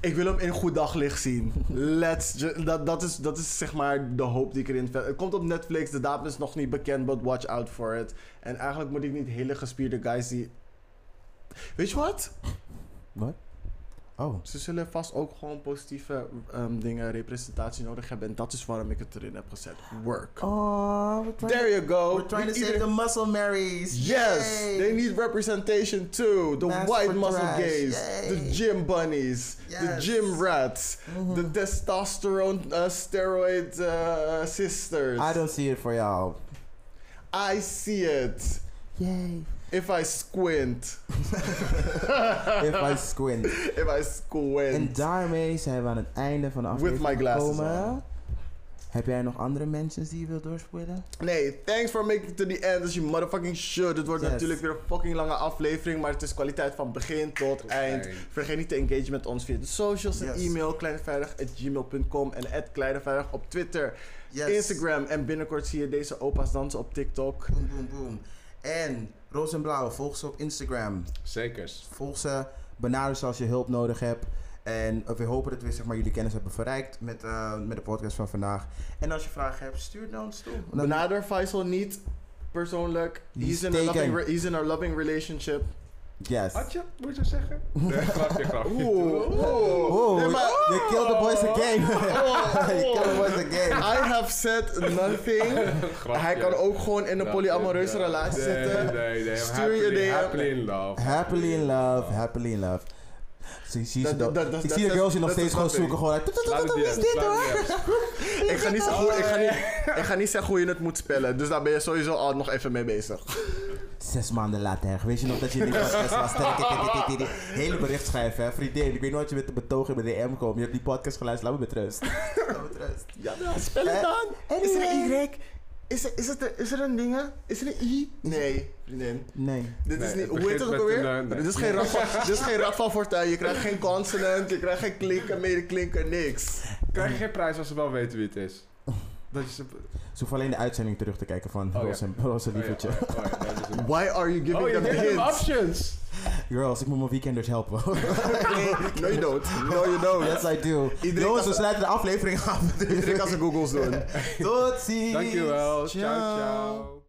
[SPEAKER 1] Ik wil hem in goed daglicht zien. Let's ju- dat, dat, is, dat is zeg maar de hoop die ik erin vet. Het komt op Netflix, de datum is nog niet bekend, but watch out for it. En eigenlijk moet ik niet hele gespierde guys die. Weet je wat?
[SPEAKER 3] Wat? Oh.
[SPEAKER 1] Ze zullen vast ook gewoon positieve ehm, dingen, representatie nodig hebben. En dat is waarom ik het erin heb gezet. Work.
[SPEAKER 3] Oh, we're trying,
[SPEAKER 1] There you go.
[SPEAKER 3] we're trying to
[SPEAKER 1] Ieder-
[SPEAKER 3] save the muscle Marys.
[SPEAKER 1] Yes,
[SPEAKER 3] Yay.
[SPEAKER 1] they need representation too. The
[SPEAKER 3] Mass
[SPEAKER 1] white
[SPEAKER 3] for
[SPEAKER 1] muscle
[SPEAKER 3] trash.
[SPEAKER 1] gays, the
[SPEAKER 3] Yay.
[SPEAKER 1] gym bunnies, the
[SPEAKER 3] Yes. Mm-hmm.
[SPEAKER 1] gym rats, the testosterone uh, steroid uh, sisters.
[SPEAKER 3] I don't see it for y'all.
[SPEAKER 1] I see it
[SPEAKER 3] Yay.
[SPEAKER 1] if I squint.
[SPEAKER 3] If I squint.
[SPEAKER 1] If I
[SPEAKER 3] En
[SPEAKER 1] squint.
[SPEAKER 3] daarmee zijn we aan het einde van de aflevering
[SPEAKER 1] my glasses
[SPEAKER 3] gekomen.
[SPEAKER 1] on.
[SPEAKER 3] Heb jij nog andere mensen die je wilt doorspelen?
[SPEAKER 1] Nee, thanks for making it to the end as you motherfucking should. Het wordt
[SPEAKER 3] Yes.
[SPEAKER 1] natuurlijk weer een fucking lange aflevering, maar het is kwaliteit van begin tot eind.
[SPEAKER 2] eind.
[SPEAKER 1] Vergeet niet te engagen met ons via de socials en
[SPEAKER 3] Yes.
[SPEAKER 1] e-mail kleineveilig@gmail.com en at kleineveilig op Twitter, Instagram en binnenkort zie je deze opa's dansen op TikTok.
[SPEAKER 3] Boom, boom, boom. En Roos en Blauw, volg ze op Instagram.
[SPEAKER 2] Zekers.
[SPEAKER 3] Volg ze, benader ze als je hulp nodig hebt. En we hopen dat we zeg maar, jullie kennis hebben verrijkt met, eh, met de podcast van vandaag. En als je vragen hebt, stuur het naar ons toe. Dan-
[SPEAKER 1] Benader Faisal niet persoonlijk.
[SPEAKER 3] He's
[SPEAKER 1] He's in, a loving,
[SPEAKER 3] taken.
[SPEAKER 1] re- he's in a loving relationship.
[SPEAKER 3] yes.
[SPEAKER 2] Had je, moet je zeggen? Nee, grapje, grapje.
[SPEAKER 3] Oh,
[SPEAKER 1] Nee, maar-
[SPEAKER 3] you killed the boys again. you killed the boys again.
[SPEAKER 1] I have said nothing.
[SPEAKER 2] Grapje.
[SPEAKER 1] Hij kan ook gewoon in een
[SPEAKER 2] Grapje,
[SPEAKER 1] polyamoreuze
[SPEAKER 2] ja.
[SPEAKER 1] relatie
[SPEAKER 2] Nee,
[SPEAKER 1] zitten.
[SPEAKER 2] Nee, nee,
[SPEAKER 1] Stuur
[SPEAKER 2] Happily-
[SPEAKER 1] je DM.
[SPEAKER 2] Happily in love.
[SPEAKER 3] Happily in love, happily in love. Zie- zie ze
[SPEAKER 1] Dat-
[SPEAKER 3] dat-
[SPEAKER 1] dat- dat-
[SPEAKER 3] Ik
[SPEAKER 1] dat-
[SPEAKER 3] zie de
[SPEAKER 1] dat-
[SPEAKER 3] girls je nog
[SPEAKER 1] dat
[SPEAKER 3] steeds
[SPEAKER 1] is
[SPEAKER 3] gewoon
[SPEAKER 1] wat ik-
[SPEAKER 3] zoeken. Gewoon,
[SPEAKER 2] Laat het
[SPEAKER 3] wat is
[SPEAKER 2] DM's,
[SPEAKER 3] dit
[SPEAKER 2] laat
[SPEAKER 3] hoor?
[SPEAKER 2] het DM's.
[SPEAKER 1] Ik ga, niet zeggen hoe, Oh, ik, ga niet, ik ga niet zeggen hoe je het moet spellen. Dus daar ben je sowieso al nog even mee bezig.
[SPEAKER 3] Zes maanden later. Weet je nog dat je niet was? Zes maanden later. Hele bericht schrijven, hè. Vriendin, ik weet nooit wat je met de betoog in de DM komt. Je hebt die podcast geluisterd, laat me met rust. Laat me met rust.
[SPEAKER 1] Ja, spel
[SPEAKER 3] het dan.
[SPEAKER 1] Is
[SPEAKER 3] eh,
[SPEAKER 1] er een
[SPEAKER 3] Anyway.
[SPEAKER 1] Y? Is er, is, het een- is er een ding? Is er een I? Nee, vriendin.
[SPEAKER 3] Nee.
[SPEAKER 1] Dit
[SPEAKER 2] Nee,
[SPEAKER 1] is
[SPEAKER 2] het
[SPEAKER 1] niet, hoe
[SPEAKER 2] begint
[SPEAKER 1] heet het ook
[SPEAKER 2] met
[SPEAKER 1] alweer?
[SPEAKER 2] een, eh, nee.
[SPEAKER 1] Dit is geen rad van- dit is geen rad van Fortuin. Je krijgt geen consonant, je krijgt geen klinker, medeklinker, niks.
[SPEAKER 2] Krijg je geen prijs als ze wel weten wie het is? Dat is een...
[SPEAKER 3] Ze hoeven alleen de uitzending terug te kijken van
[SPEAKER 2] ja.
[SPEAKER 3] Roos en Roos en
[SPEAKER 2] Oh ja,
[SPEAKER 3] Lievertje.
[SPEAKER 2] oh ja, oh ja, dat is een-
[SPEAKER 1] Why are you giving
[SPEAKER 2] Oh, je
[SPEAKER 1] them
[SPEAKER 2] geeft hem
[SPEAKER 1] hints?
[SPEAKER 2] options.
[SPEAKER 3] Girls, ik moet mijn weekenders helpen.
[SPEAKER 1] Nee, no you don't. No you don't.
[SPEAKER 3] yes, I do.
[SPEAKER 1] Oh, Iedereen
[SPEAKER 3] Jongens,
[SPEAKER 1] kan-
[SPEAKER 3] we sluiten de aflevering af.
[SPEAKER 1] Iedereen kan zijn googles doen.
[SPEAKER 3] Tot ziens.
[SPEAKER 2] Dankjewel. Ciao,
[SPEAKER 3] Ciao.
[SPEAKER 2] ciao.